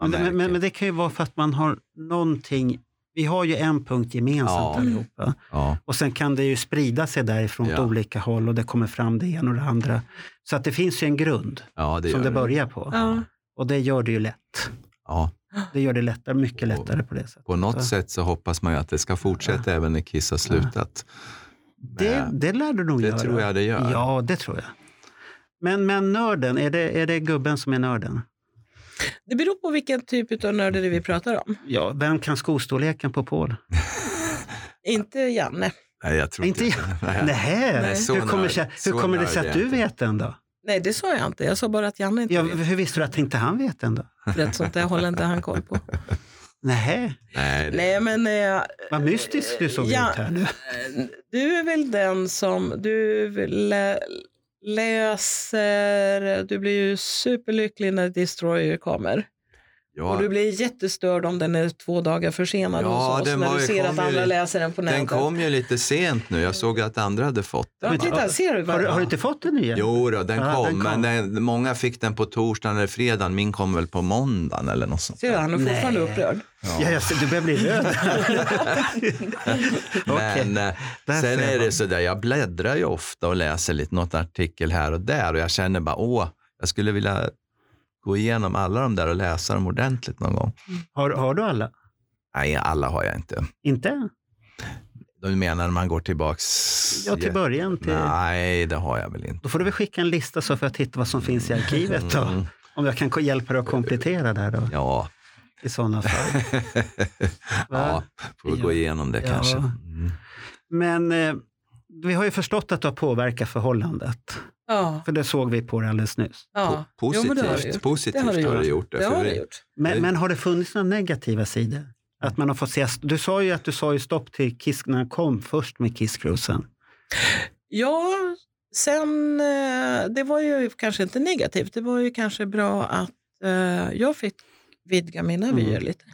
Men, men,
märker.
men, men det kan ju vara för att man har någonting, vi har ju en punkt gemensamt
Ja. Mm.
allihopa.
ja.
Och sen kan det ju sprida sig därifrån åt
Ja.
olika håll och det kommer fram det ena och det andra. Så att det finns ju en grund
ja, det
som
gör
det
det.
börjar på.
Ja.
Och det gör det ju lätt.
Ja.
Det gör det lättare, mycket
Och-
lättare på det sättet.
På något
Ja.
sätt så hoppas man ju att det ska fortsätta även när Kiss har slutat.
Det,
Men
det lär du nog
det
göra.
tror jag det gör.
Ja, det tror jag. Men, men nörden, är det, är det gubben som är nörden?
Det beror på vilken typ av nörderi vi pratar om.
Ja. Vem kan skostorleken på Paul?
Inte Janne.
Nej, jag tror
Inte jag.
Nej.
Nähä,
Nej,
så
hur kommer,
nörd-
sig- hur
så
kommer det
nörd
sig
är
att du
jag inte.
vet den då?
Nej, det sa jag inte. Jag sa bara att Janne inte
Ja,
vet.
hur visste du att inte han vet den då?
För att sånt där håller inte han koll
[LAUGHS]
på.
Nähä,
Nej, det-
Nej, men eh,
vad mystisk du såg
Ja.
ut här nu.
Du är väl den som du lä- läser, du blir ju superlycklig när Destroyer kommer. Och
ja,
du blir jättestörd om den är två dagar försenad
Ja,
hos oss
den
när
var
du
ju-
ser att
kom ju
andra
lite-
läser den på nätet.
den kom ju lite sent nu. Jag såg att andra hade fått
Ja,
den.
men titta, ser du?
Har,
Vad,
du- har du inte fått den nya?
Jo, då, den,
Ja,
kom,
den kom.
men den, många fick den på torsdagen eller fredagen. Min kom väl på måndagen eller något sånt.
ser du, han är fortfarande
Nej.
upprörd.
Ja, jag ser, du börjar bli
[LAUGHS]
röd. Okej.
Men eh,
Där
sen
ser
är
man.
det sådär, jag bläddrar ju ofta och läser lite något artikel här och där och jag känner bara, åh, jag skulle vilja gå igenom alla de där och läsa dem ordentligt någon gång.
Har, har du alla?
Nej, alla har jag inte.
Inte än?
Du menar när man går tillbaks?
Ja, till början. Till,
Nej, det har jag väl inte.
då får du väl skicka en lista så får jag titta vad som finns i arkivet. Då.
Mm,
Om jag kan ko- hjälpa dig att komplettera där då,
ja,
i sådana fall. Va?
[LAUGHS] ja, får vi gå igenom det
Ja.
kanske. Mm.
Men eh, vi har ju förstått att du har påverkat förhållandet.
Ja,
För det såg vi på det alldeles nyss.
ja.
Po-
Jo, men det har du
Mm. Positivt,
gjort.
positivt
Det har du
har du gjort det.
Det
för
har
vi-
du gjort.
Men,
Det-
men har det funnits några negativa sidor? Att man har fått se, du sa ju att du sa ju stopp till Kiss när han kom först med Kiss-cruisen.
Ja, sen, eh, det var ju kanske inte negativt. Det var ju kanske bra att eh, jag fick vidga mina
Mm.
vyer lite.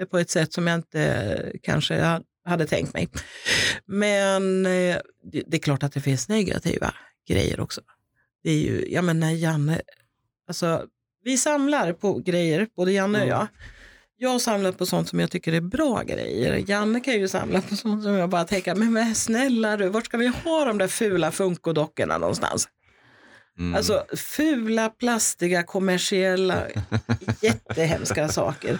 Eh, På ett sätt som jag inte eh, kanske ha- hade tänkt mig. Men eh, det, det är klart att det finns negativa grejer också. Det är ju, ja men när Janne, alltså vi samlar på grejer, både Janne och
Mm.
jag. Jag samlar på sånt som jag tycker är bra grejer. Janne kan ju samla på sånt som jag bara tänker, men, men snälla du, vart ska vi ha de där fula funkodockorna någonstans?
Mm.
Alltså fula,
[LAUGHS]
plastiga, kommersiella, jättehemska saker.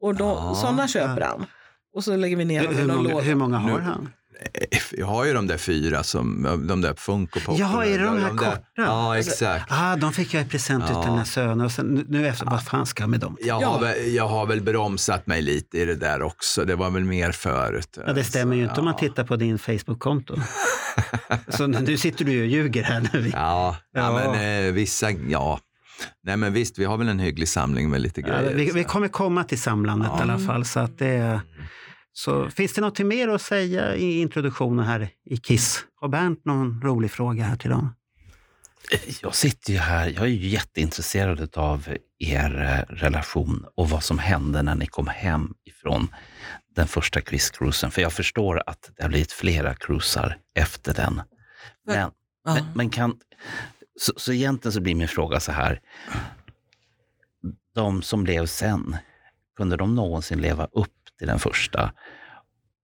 Och då,
Ja.
sådana köper han. Och så lägger vi ner
Hur,
dem i
hur,
någon
många,
låda.
hur många har
Nu-
han?
Eh, Jag har ju de där fyra, som, de där Funko Pop.
Jaha, är det de här korta?
Ja, exakt.
Ah, de fick jag i present
Ja.
till mina söner och sen, nu- nu efter, vad fan ska jag med dem?
Jag,
Ja.
har väl, jag har väl bromsat mig lite i det där också. Det var väl mer förut.
Ja, det stämmer ju inte om man tittar på din
[LAUGHS]
Facebook-konto. Så nu- nu sitter du ju och ljuger här. När vi,
Ja, ja.
Ja.
men eh, vissa, ja. Nej, men visst, vi har väl en hygglig samling med lite
ja,
grejer.
vi, vi kommer komma till samlandet
Ja. Mm.
i alla fall. Så att det, Så finns det något mer att säga i introduktionen här i Kiss? Har Bernt någon rolig fråga här till dem?
Jag sitter ju här, jag är ju jätteintresserad av er eh, relation och vad som hände när ni kom hem ifrån den första quizcruisen. För jag förstår att det har blivit flera cruisar efter den.
Men-
Men,
Ja.
men, men kan, så, så egentligen så blir min fråga så här. De som blev sen, kunde de någonsin leva upp till den första?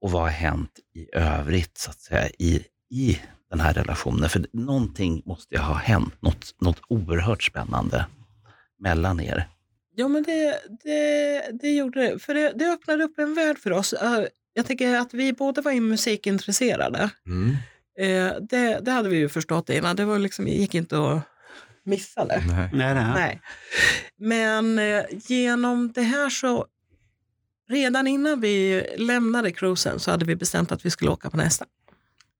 Och vad har hänt i övrigt så att säga, i, i den här relationen? För någonting måste ju ha hänt, något, något oerhört spännande mellan er.
Ja, men det, det, det gjorde det. För det, det öppnade upp en värld för oss. Eh, Jag tänker att vi båda var ju musikintresserade.
Mm.
Eh, Det, det hade vi ju förstått innan. Det var liksom, gick inte att missa det.
Nej.
Nej, det här.
Nej. Men eh, genom det här så, redan innan vi lämnade cruisen så hade vi bestämt att vi skulle åka på nästa.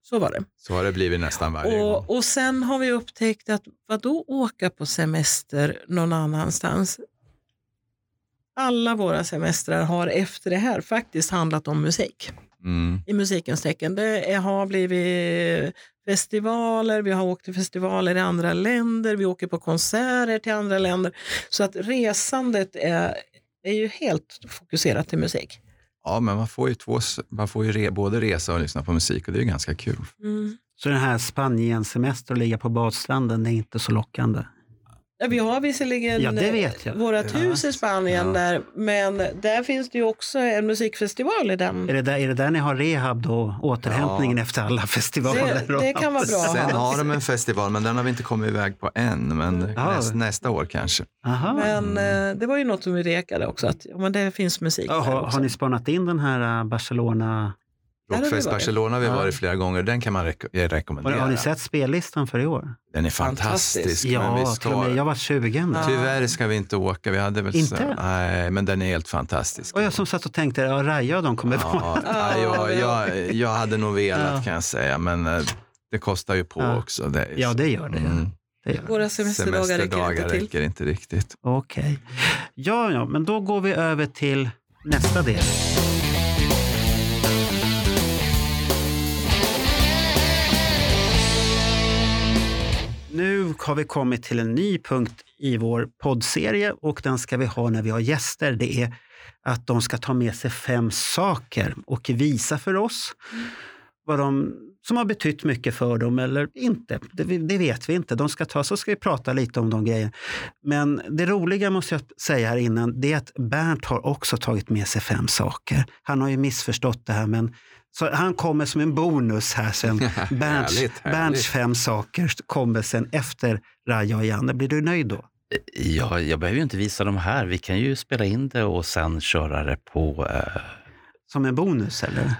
Så var det.
Så har det blivit nästan varje gång.
Och, och sen har vi upptäckt att vadå åka på semester någon annanstans? Alla våra semestrar har efter det här faktiskt handlat om musik.
Mm.
I musikens tecken. Det är, har blivit festivaler, vi har åkt till festivaler i andra länder, vi åker på konserter till andra länder. Så att resandet är, är ju helt fokuserat till musik.
Ja, men man får ju, två, s- man får ju re, både resa och lyssna på musik och det är ju ganska kul.
Så den här Spanien-semester och ligga på badstranden, det är inte så lockande.
Ja, Vi har visserligen
Ja, det vet jag.
vårat
Ja.
hus i Spanien
Ja.
där, men där finns det ju också en musikfestival i den.
Är det där, är det där ni har rehab då? Återhämtningen efter alla festivaler?
Det- det kan vara bra.
Sen har de en festival, men den har vi inte kommit iväg på än. Men
Ja.
näst, nästa år kanske.
Aha.
Men eh, det var ju något som vi rekade också, att ja, men det finns musik
Ja,
där
har,
också.
har ni spanat in den här äh, Barcelona?
Där har vi
Rockfest
varit.
Barcelona har vi
Ja.
varit flera gånger. Den kan man rek- eh,
Har,
rekommendera.
har ni sett spellistan för i år?
Den är
Fantastisk.
fantastisk. men
Ja,
vi
till och med,
ska...
jag var 20 nu.
Ja.
Tyvärr ska vi inte åka. Vi hade väl
Inte?
Så... Nej, men den är helt fantastisk.
Och jag som satt och tänkte, ja, Raja och de kommer vara.
Ja, nej, jag, jag, jag hade nog velat
Ja.
kan jag säga, men eh, det kostar ju på
Ja.
också. Det är-
[LAUGHS] Ja, det gör det.
Mm.
det gör det.
Våra semesterdagar, räcker inte till.
räcker inte riktigt.
Okej. Ja, ja, men då går vi över till nästa del. Nu har vi kommit till en ny punkt i vår poddserie och den ska vi ha när vi har gäster. Det är att de ska ta med sig fem saker och visa för oss vad de, som har betytt mycket för dem eller inte. Det, det vet vi inte. De ska ta, så ska vi prata lite om de grejerna. Men det roliga måste jag säga här innan, det är att Bernt har också tagit med sig fem saker. Han har ju missförstått det här, men så han kommer som en bonus här sen. Bernts,
Härligt, härligt.
Bernts fem saker kommer sen efter Raja och Janne. Blir du nöjd då?
Jag, jag behöver ju inte visa dem här, vi kan ju spela in det och sen köra det på... Eh,
Som en bonus eller?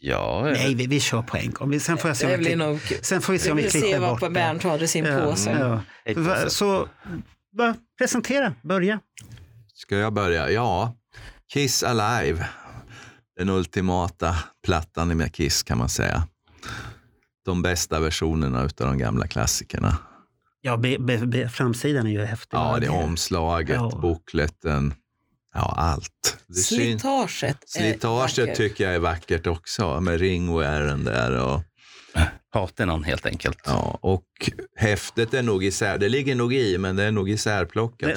ja,
Nej, vi, vi kör på en gång. Vi- Sen får, jag se om
Det
vi
blir
klipp,
nog kul.
sen får vi se
Vi
om vi
vill se
klipper
vad
bort det.
Bernt hade i sin påse.
Ja,
eh,
ja.
alltså,
Va, så va, presentera, börja.
Ska jag börja? Ja, Kiss Alive. Den ultimata plattan med Kiss kan man säga. De bästa versionerna utav de gamla klassikerna.
Ja, be, be, be, framsidan är ju häftig.
Ja,
va?
det är omslaget,
Ja.
bokletten, ja allt. Det syns-
Slitaget. är
Slitaget
vackert.
tycker jag är vackert också med ringwearen där. Och,
patinan helt enkelt.
ja, och häftet är nog isär, det ligger nog i, men det är nog isärplockat.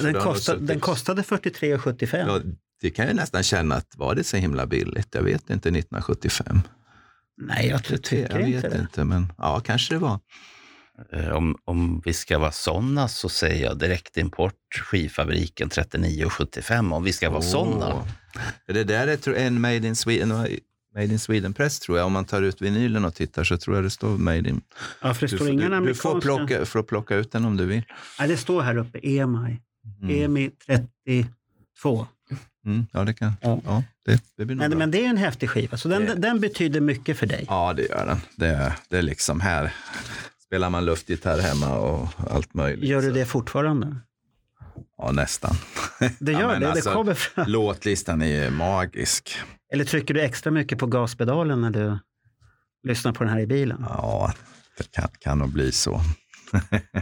Den,
så
den,
det har nog
kostade,
suttit-
den kostade 43,75.
Ja, det kan jag nästan känna, att var det så himla billigt? Jag vet inte, 1975.
Nej, jag ty- tycker
jag vet
inte det.
inte, men ja, kanske det var.
Eh, Om, om vi ska vara sådana så säger jag direktimport, skivfabriken 39,75 om vi ska vara sådana.
Åh. Det där är tror- en Made in Sweden, Made in Sweden-press tror jag. Om man tar ut vinylen och tittar så tror jag det står Made in.
Ja, för det
Du,
står
får-
ingen
du, du får,
amerikanska.
plocka, får plocka ut den om du vill.
Nej, det står här uppe, E EMI.
Mm.
EMI 32.
Mm, ja, det kan.
Ja.
Ja. det, det blir nog
Men,
bra.
men det är ju en häftig skiva, så den,
Det-
den betyder mycket för dig.
Ja, det gör den. Det, det är liksom här spelar man luftgitarr hemma och allt möjligt.
Gör du
Så-
det fortfarande?
Ja,
[LAUGHS]
nästan.
Det
Ja,
gör
men
det,
alltså-
det kommer fram.
Låtlistan är ju magisk.
Eller trycker du extra mycket på gaspedalen när du lyssnar på den här i bilen?
Ja, det kan, kan nog bli så.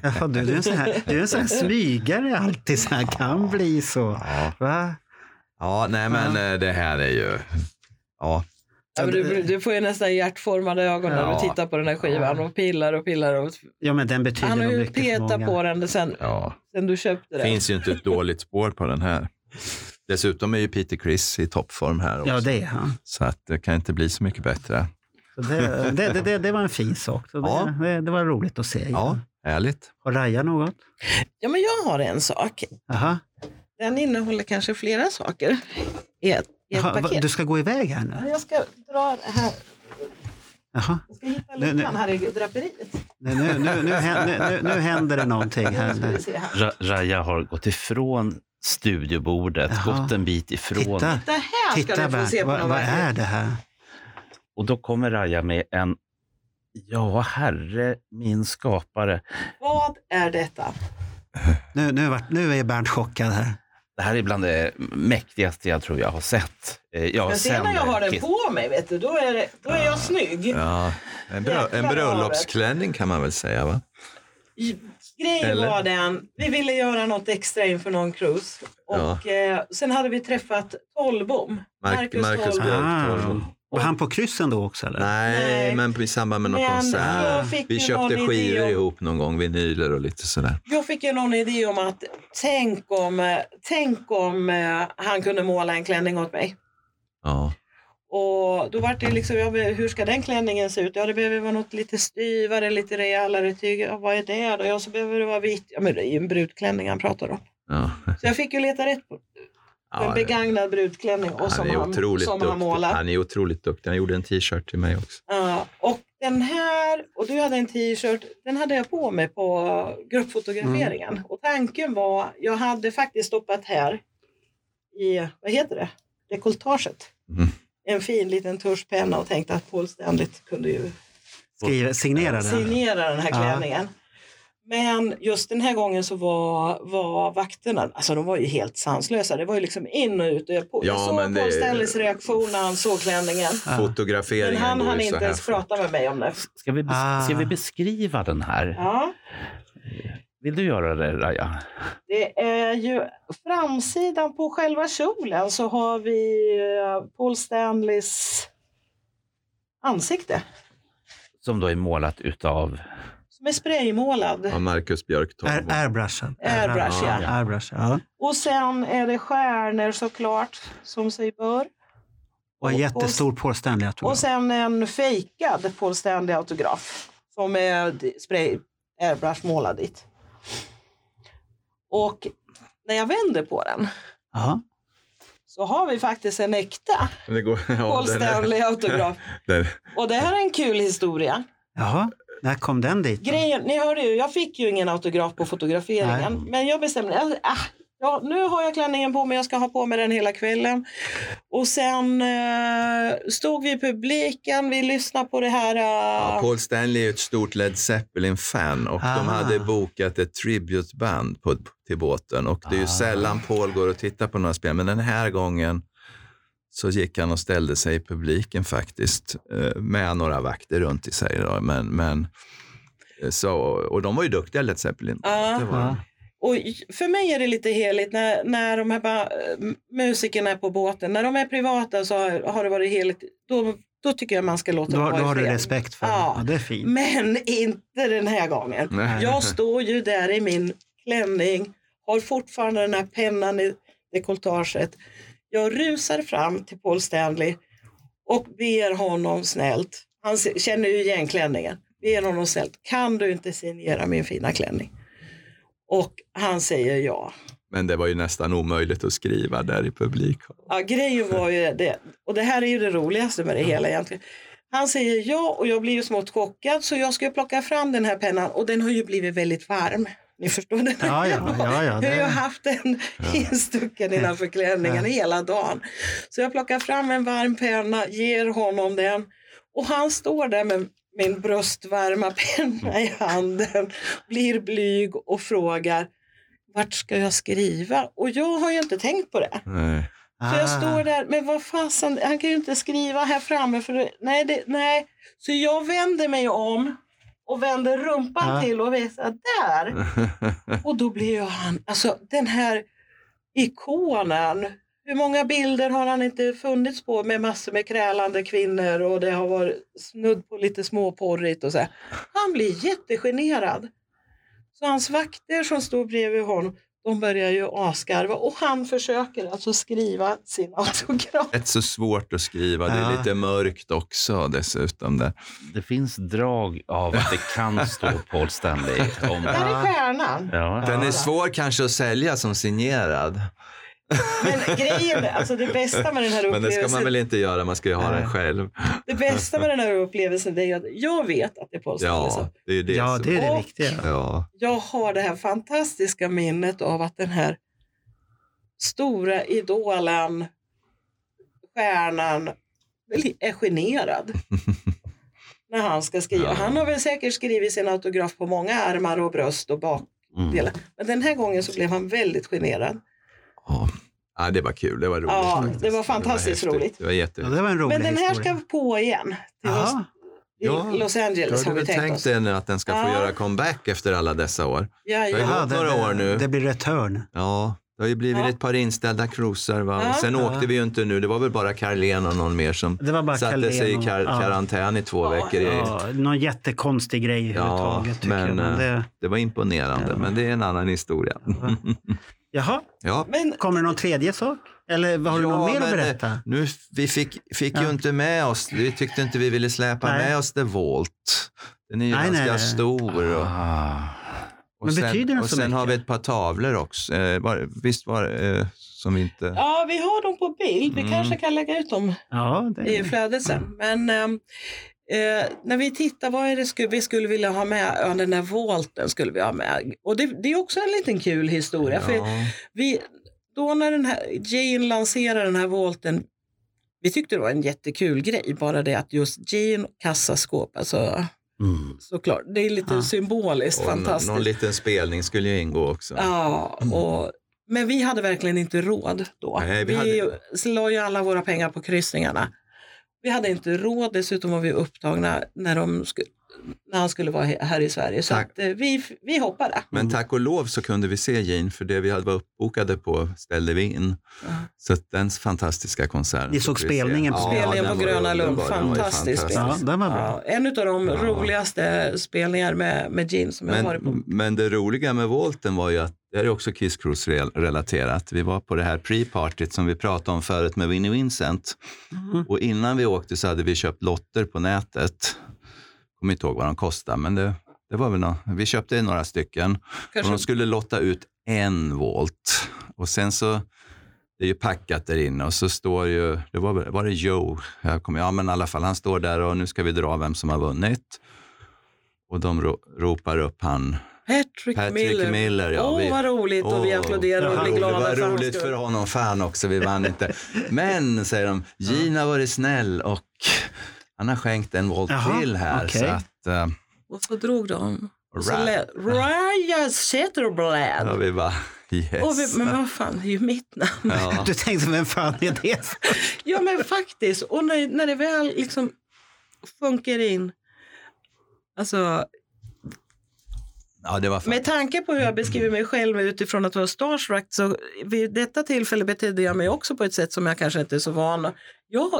Jaha, du, du är en sån här, du är en sån här smygare alltid, så här kan bli så.
Ja,
Va?
ja nej men eh, det här är ju... Ja,
Ja, men du, du får ju nästan hjärtformade ögon när
Ja.
du tittar på den här skivan och pillar och pillar. Och...
Ja, men den betyder
Han har
nog
ju
mycket för
petat
många.
på den sen,
Ja,
sen du köpte den.
finns ju inte ett dåligt spår på den här. Dessutom är ju Peter Criss i toppform här också.
Ja, det är han.
Så att det kan inte bli så mycket bättre.
Så Det, det, det, det, det var en fin sak. Så det,
Ja.
det, det var roligt att se. igen.
Ja, härligt.
Har Raja något?
Ja, men jag har en sak.
Aha.
Den innehåller kanske flera saker i ett, i ett
Jaha, va-
paket.
du ska gå iväg här nu?
Jag ska dra det här.
Jaha.
Jag ska hitta
Nu, nu.
luckan här i draperiet.
Nu, nu, nu, nu, hän- nu, nu, nu händer det någonting här.
Ska vi
nu.
se här.
Ra- Raja har gått ifrån studiobordet,
Jaha.
gått en bit ifrån.
Titta,
Det här ska
titta
du få se
Bernt.
på
Vad,
någon
vad
verkligen.
är det här?
Och då kommer Raja med en, ja herre min skapare.
Vad är detta?
Nu, nu, vart- nu är Bernt chockad här.
Det här är bland det mäktigaste jag tror jag har sett. Eh, Ja,
Men sen när jag har den
Kiss.
på mig, vet du, då är, det, då är jag snygg.
Ja, en, brö- en bröllopsklänning kan man väl säga, va?
Grejen
Eller?
var den, vi ville göra något extra inför någon cruise. Och eh, sen hade vi träffat Tollbom.
Mark- Marcus
Tollbom.
Berg.
Ah. Var han på kryssen då också? Eller?
Nej,
Nej.
men i samband med någon
Men
konsert.
jag fick
Vi
ju
köpte
någon idé
skivor
om-
ihop någon gång, vinyler och lite sådär.
Jag fick ju någon idé om att tänk om, eh, tänk om eh, han kunde måla en klänning åt mig.
Ja.
Och då var det liksom, jag, bara, hur ska den klänningen se ut? Ja, det behöver vara något lite styvare, lite rejälare tyg. Ja, vad är det då? Ja, så behöver det vara vitt. Ja, men det är ju en brudklänning han pratar om.
Ja.
Så jag fick ju leta rätt på
Ja,
en
det-
begagnad brudklänning och som, han, som han
duktig.
målar.
Han är otroligt duktig. Han gjorde en t-shirt till mig också.
Ja, Eh, och den här, och du hade en t-shirt, den hade jag på mig på gruppfotograferingen.
Mm.
Och tanken var, jag hade faktiskt stoppat här i, vad heter det, dekolletaget.
Mm.
En fin liten tuschpenna och tänkte att Paul Stanley kunde ju
Skriva, signera den.
signera den här
Ja.
klänningen. Men just den här gången så var, var vakterna, alltså de var ju helt sanslösa. Det var ju liksom in och ut. Och jag, på, jag
Ja,
såg
men
Paul
det-
Stanleys reaktion när han såg klänningen.
Ja.
Men
Fotograferingen
han
går
hann
ju så
inte
här
ens
fort.
prata med mig om det.
Ska vi, bes-
Ah.
ska vi beskriva den här?
Ja.
Vill du göra det Raja?
Det är ju framsidan på själva kjolen så har vi eh, Paul Stanleys ansikte
Som då är målat utav...
som är spraymålad.
Ja, Marcus Björk tog
Air, airbrushen.
Airbrush,
ja.
Airbrush, ja.
Och sen är det stjärnor såklart som sig bör.
Och en jättestor Paul Stanley
Och
autograf.
sen en fejkad Paul Stanley autograf som är d- spray airbrush målad dit. Och när jag vänder på den
Ja.
så har vi faktiskt en äkta
Det går, ja,
Paul
den är-
Stanley autograf.
den-
Och det här är en kul historia.
Jaha, när kom den dit? då?
Grejen, ni hörde ju, jag fick ju ingen autograf på fotograferingen.
Nej.
Men jag bestämde mig, ah, ja, nu har jag klänningen på mig, jag ska ha på mig den hela kvällen. Och sen eh, stod vi i publiken, vi lyssnade på det här. eh,
Ja, Paul Stanley är ju ett stort Led Zeppelin-fan och de
Ah.
hade bokat ett tributeband på, till båten. Och det är ju
Ah.
sällan Paul går och tittar på några spel, men den här gången så gick han och ställde sig i publiken faktiskt eh, med några vakter runt i sig. Då. Men, men, eh, så, och de var ju duktiga Led Zeppelin.
Ja.
Det var de.
Och för mig är det lite heligt när, när de här ba- musikerna är på båten. När de är privata så har, har det varit heligt. Då, då tycker jag man ska låta
Då,
dem
då
vara i
har du
fred.
respekt för
Ja.
ja. det. är fint.
Men inte den här gången.
Nej.
Jag står ju där i min klänning, har fortfarande den här pennan i dekolletaget. Jag rusar fram till Paul Stanley och ber honom snällt, han se- känner ju igen klänningen, ber honom snällt, kan du inte signera min fina klänning? Och han säger ja.
Men det var ju nästan omöjligt att skriva där i publik.
Ja, grejen var ju det, och det här är ju det roligaste med det hela egentligen. Han säger ja och jag blir ju smått chockad så jag ska ju plocka fram den här pennan och den har ju blivit väldigt varm. Ni förstår den här
Ja, ja,
pennan.
ja, ja,
[LAUGHS] Jag har ju
det,
haft den instucken innanför klänningen hela dagen. Så jag plockar fram en varm penna, ger honom den och han står där med min bröstvarma penna
Mm.
i handen, blir blyg och frågar vart ska jag skriva? Och jag har ju inte tänkt på det.
Nej.
Så jag står
ah,
där, men vad fasen, han kan ju inte skriva här framme. För det, nej, det, nej. Så jag vänder mig om och vänder rumpan
Ja.
till och visar där. Och då blir ju han, alltså den här ikonen Hur många bilder har han inte funnits på med massor med krälande kvinnor och det har varit snudd på lite småporrigt och så. här. Han blir jättegenerad. Så hans vakter som står bredvid honom, de börjar ju asgarva och han försöker alltså skriva sin autograf.
Rätt så svårt att skriva. Det
Ja.
är lite mörkt också dessutom. Där.
Det finns drag av att det kan
[LAUGHS]
stå Paul Stanley. Om,
Där är stjärnan.
ja.
Den
Ja.
är svår kanske att sälja som signerad.
Men grejen, är- alltså det bästa med den
Men det ska
här
man
upplevelsen,
väl inte göra, man ska ju ha
Nej.
den själv.
det bästa med den här upplevelsen det är ju att jag vet att det är Paul Stanley som
Ja, det är ju det.
Ja,
som-
det är det
Och-
viktiga.
ja.
jag har det här fantastiska minnet av att den här stora idolen, stjärnan,
[LAUGHS]
är generad. när han ska skriva.
Ja.
Han har väl säkert skrivit sin autograf på många armar och bröst och bakdelar.
Mm.
Men den här gången så blev han väldigt generad.
Ja. Ja, det var kul. Det var roligt
Ja,
faktiskt.
det var fantastiskt
häftigt.
roligt.
Det var
Ja,
jätteroligt.
det var en rolig
Men den här ska
historia.
på igen. Till Los,
Ja,
till
Ja.
Los
Då
Angeles
har
har
du
vi
väl
tänkt oss.
tänkt dig nu att den ska få
Ja.
göra comeback efter alla dessa år?
Ja,
Vad är
ja.
det?
Jaha,
gått några
det-
år nu.
Det blir return.
Ja, det har ju blivit
Ja.
ett par inställda cruisar. Va?
Ja.
Och sen
Ja.
åkte vi ju inte nu. Det var väl bara Carlén och någon mer som
Det var bara
satte sig i
Carlén och-
kar-
ja.
karantän i två
Ja,
veckor. I,
Ja, någon jättekonstig grej
Ja,
överhuvudtaget tycker
men, eh,
jag. Men det,
Det var imponerande,
Ja.
men det är en annan historia.
jaha,
Ja.
Men
kommer det någon tredje sak? Eller har du
Ja,
något mer att
men, eh,
berätta?
Nu, vi fick, fick
Ja.
ju inte med oss, vi tyckte inte vi ville släpa
Nej.
med oss The Vault. Den är ju
Nej,
ganska
nej, nej.
stor. Och,
Ah.
och
Men
sen,
betyder den
Och
så
sen har vi
mycket?
ett par tavlor också. Eh, var, visst var det, eh, som vi inte...
ja, vi har dem på bild. Vi
Mm.
kanske kan lägga ut dem
Ja,
i
det,
flödet sen. Men ehm, eh, när vi tittar, vad är det sku, vi skulle vilja ha med? Ja, den där volten skulle vi ha med. Och det, det är också en liten kul historia. För
Ja.
vi, då när den här, Jane lanserade den här volten, vi tyckte det var en jättekul grej, bara det att just Jane och kassaskåp, alltså
Mm.
såklart, det är lite
Ja.
symboliskt
Ah. Och någon,
fantastiskt.
någon liten spelning skulle ju ingå också.
Ja, och, men vi hade verkligen inte råd då.
Mm. Nej,
vi
vi
la ju alla våra pengar på kryssningarna. Vi hade inte råd, dessutom var vi upptagna när, de sku, när han skulle vara he- här i Sverige. Så
Tack.
att, eh, vi, f- vi hoppade.
Men tack och lov så kunde vi se Jean, för det vi hade var uppbokade på ställde vi in.
Ja.
Så att den fantastiska konserten.
Ni såg
fick vi se.
spelningen på-
Spelningen
den
på
var
Gröna
underbar.
Lund.
Den var ju
Fantastisk.
ja, den var bra.
Ja, en av de
Ja.
roligaste spelningar med, med Gene som jag har varit på.
Men, Mm. men det roliga med Volten var ju att det här är också Kiss Cruise rel- relaterat. Vi var på det här pre-partyt som vi pratade om förut med Winnie Vincent.
Mm.
Och innan vi åkte så hade vi köpt lotter på nätet. Kommer inte ihåg vad de kostade, men det, det var väl nå- Vi köpte några stycken. Och de
Kanske,
skulle lotta ut en volt. Och sen så, det är ju packat där inne och så står ju, det var, väl- var det Joe? Jag kommer, ja men i alla fall, han står där och nu ska vi dra vem som har vunnit. Och de ro, ropar upp han,
Patrick,
Patrick
Miller.
Miller. ja,
Åh,
vi,
vad roligt och vi
Åh,
applåderar och
vad
blir
det
glada
var
för hans
roligt för
skull.
honom, fan också, vi vann
[LAUGHS]
inte. Men, säger de, Gina har varit snäll och han har skänkt en volt
Jaha,
till här. Så
okej.
att, eh,
Och så drog de. Och så
right.
lät Raya Zetterblad.
Ja, vi bara, yes.
Och [LAUGHS] vi, men vad fan, det är ju mitt namn. [LAUGHS]
ja.
Du tänkte, vem fan är det?
Ja men faktiskt, och när, när det väl liksom sjunker in. Alltså,
ja, det var fan.
med tanke på hur jag beskriver mig själv utifrån att vara starstruck så vid detta tillfälle betedde jag mig också på ett sätt som jag kanske inte är så van. Jag,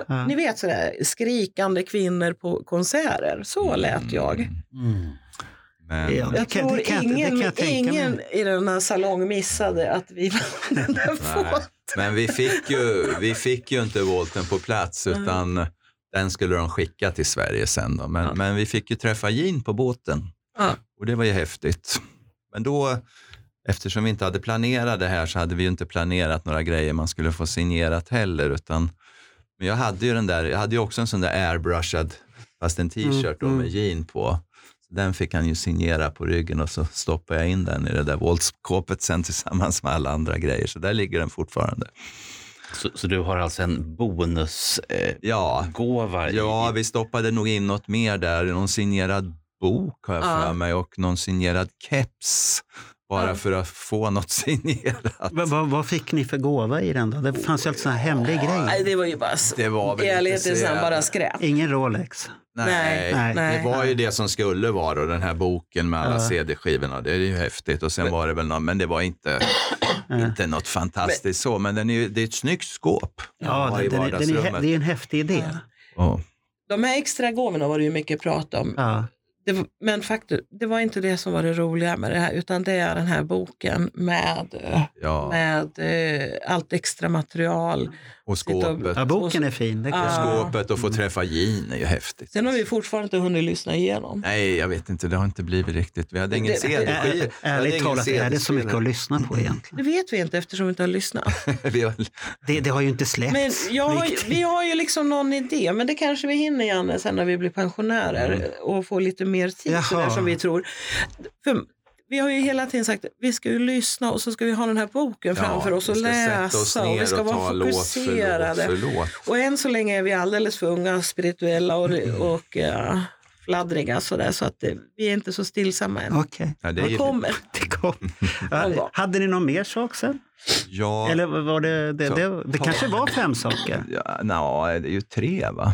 Ja.
Ni vet sådär skrikande kvinnor på konserter, så lät jag.
Mm.
Mm,
Ja.
Men,
Jag
Det kan-
tror
det kan jag inte- det
ingen,
kan jag tänka mig.
ingen i den här salong missade att vi vann den [LAUGHS] där
Nej,
fågeln.
men vi fick, ju, vi fick ju inte volten på plats utan den skulle de skicka till Sverige sen. Då. Men,
Ja.
men vi fick ju träffa Jean på båten
Ja.
och det var ju häftigt. Men då, eftersom vi inte hade planerat det här så hade vi ju inte planerat några grejer man skulle få signerat heller. Utan, men jag hade ju den där, jag hade ju också en sån där airbrushad, fast en t-shirt då
Mm,
med Jean på. Så Den fick han ju signera på ryggen och så stoppade jag in den i det där våldsskåpet sen tillsammans med alla andra grejer. Så där ligger den fortfarande.
Så, så du har alltså en bonusgåva? Eh,
Ja,
gåva i-
ja vi stoppade nog in något mer där. Någon signerad bok har jag
Ja.
för mig och någon signerad keps. Bara
Ja.
för att få något [LAUGHS] signerat.
Vad, vad, vad fick ni för gåva i den då? Det fanns ju alltså en hemlig
Nej,
grej.
det var ju bara
Det var väl
i ärlighetens
inte så
namn
jävla-
bara skräp.
Ingen Rolex.
Nej,
Nej.
Nej.
det var ju det som skulle vara då, den här boken med alla
Ja.
CD-skivorna. Det är ju häftigt. Och sen var det väl någon, men det var inte,
Eh,
Inte något fantastiskt så, men den är, ju- det är ett snyggt skåp.
Ja,
Ja, i
den, den, är- den är, hä-
vardagsrummet.
det är en häftig idé.
Ja.
Ja.
De här extra gåvorna var det ju mycket prat om.
Ja.
Det, var- men faktum, det var inte det som var det roliga med det här, utan det är den här boken med, eh,
Ja.
med eh, allt extra material.
Och skåpet.
ja, boken är fin. Det är
Ja.
Och
klart.
skåpet och få träffa Jean är ju häftigt.
Sen har vi fortfarande inte hunnit lyssna igenom.
Nej, jag vet inte. Det har inte blivit riktigt. Vi hade ingen
Det-
CD-skiva.
Ä- Ärligt talat, är det så mycket att lyssna på egentligen?
Det vet vi inte eftersom vi inte har lyssnat.
[LAUGHS] lyssna
Det, det har ju inte släppts.
Men jag har, ju-
riktigt.
vi har ju liksom någon idé, men det kanske vi hinner Janne sen när vi blir pensionärer och får lite mer tid
Jaha.
sådär som vi tror. För vi har ju hela tiden sagt vi ska ju lyssna och så ska vi ha den här boken framför oss och läsa och vi ska vara fokuserade.
Låt för låt.
Och än så länge är vi alldeles för unga, spirituella och, och eh, fladdriga sådär, så att eh, vi är inte så stillsamma än.
Okej.
Ja, det är
Det
ju-
kommer.
Det kom. Ja, Hade ni någon mer sak sen?
Ja,
Eller var det... Det,
Så.
det, det kanske var fem saker?
ja, nå, det är ju tre va?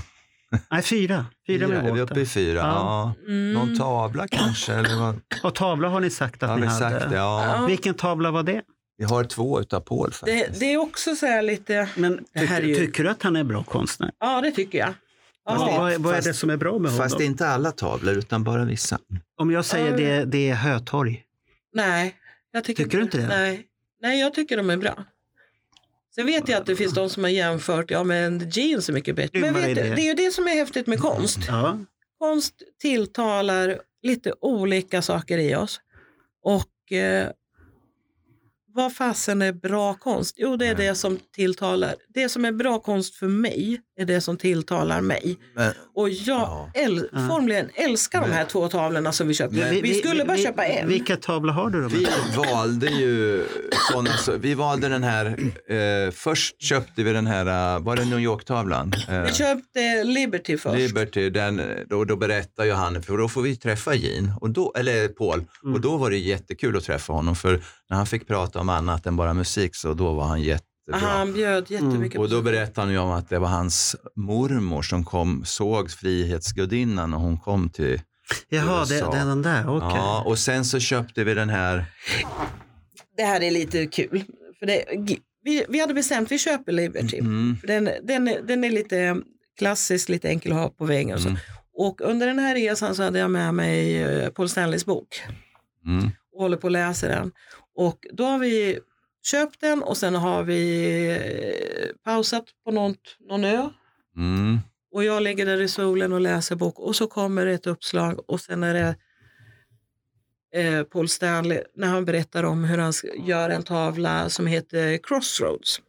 Nej, fyra. Fyra
Fyra, är
med
vi uppe i
båten.
fyra?
Ja.
Ja.
Mm.
Någon tavla kanske? Eller vad?
Och tavla har ni sagt att
Har
ni
vi
hade.
sagt det? Ja.
Mm. Ja.
Vilken tavla var det?
Vi har två utav Paul faktiskt.
Det, det är också så här lite,
Men
Det här
tycker,
är ju-
tycker du att han är bra konstnär?
ja det tycker jag.
Alltså,
Ja.
vad, vad är
fast-
det som är bra med
Fast
honom?
inte alla tavlor utan bara vissa.
Om jag säger det, det är Hötorg.
Nej. Jag tycker,
Tycker du inte det?
Nej. nej, jag tycker de är bra. Sen vet jag att det finns de som har jämfört, ja men jeans är mycket bättre. Men
Grymmare
vet du,
idé.
det är ju det som är häftigt med konst.
Ja.
Konst tilltalar lite olika saker i oss. Och eh, vad fasen är bra konst? Jo, det är det som tilltalar. Det som är bra konst för mig är det som tilltalar mig.
Men,
Och jag
Ja.
äl-
Ja.
formligen älskar de här två tavlorna som vi köpte. Vi, skulle bara
vi-
köpa en.
Vilka tavlor har du då?
vi valde ju sådana, så, vi valde den här, eh, först köpte vi den här, eh, var det New York-tavlan? Eh,
Vi köpte Liberty först.
Liberty, den, då, då berättar ju han, för då får vi träffa Jean, och då, eller Paul,
Mm.
och då var det jättekul att träffa honom för när han fick prata om annat än bara musik så då var han jättebra.
Ah, Han bjöd jättemycket
Mm. Och
på
då berättade han ju om att det var hans mormor som kom, såg Frihetsgudinnan när hon kom till
Jaha, det,
USA.
det är den där. Okej.
Ja, och sen så köpte vi den här,
Det här är lite kul. För det, vi, vi hade bestämt vi köper Liberty.
mm,
För Den, den, är- den är lite klassisk, lite enkel att ha på vägen. Och, så.
Mm.
och under den här resan så hade jag med mig eh, Paul Stanleys bok
mm,
och håller på att läsa den. Och då har vi köpt den och sen har vi eh, pausat på något, någon ö.
mm,
Och jag ligger där i solen och läser bok och så kommer det ett uppslag och sen är det eh, Paul Stanley när han berättar om hur han sk- gör en tavla som heter Crossroads.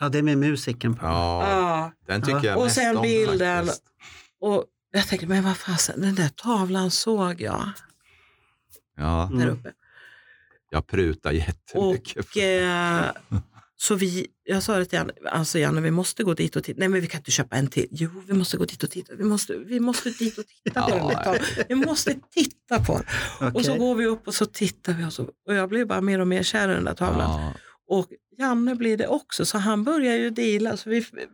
Ja, det är med musiken på.
ja,
Ah,
den tycker jag
Och
mest
sen
om
bilden.
faktiskt.
och jag tänkte, men vad fasen, den där tavlan såg jag
Ja,
där
Mm.
uppe.
jag prutar jättemycket.
Och eh, så vi, jag sa det till Janne, alltså Janne, vi måste gå dit och titta. Nej, men vi kan inte köpa en till. Jo, vi måste gå dit och titta. Vi måste, vi måste dit och titta på den där
Ja.
tavlan. Vi måste titta på den. Och så
Okej.
går vi upp och så tittar vi och, så, och jag blir bara mer och mer kär i den där tavlan.
Ja,
Och Janne blir det också, så han börjar ju deala. Så vi, vi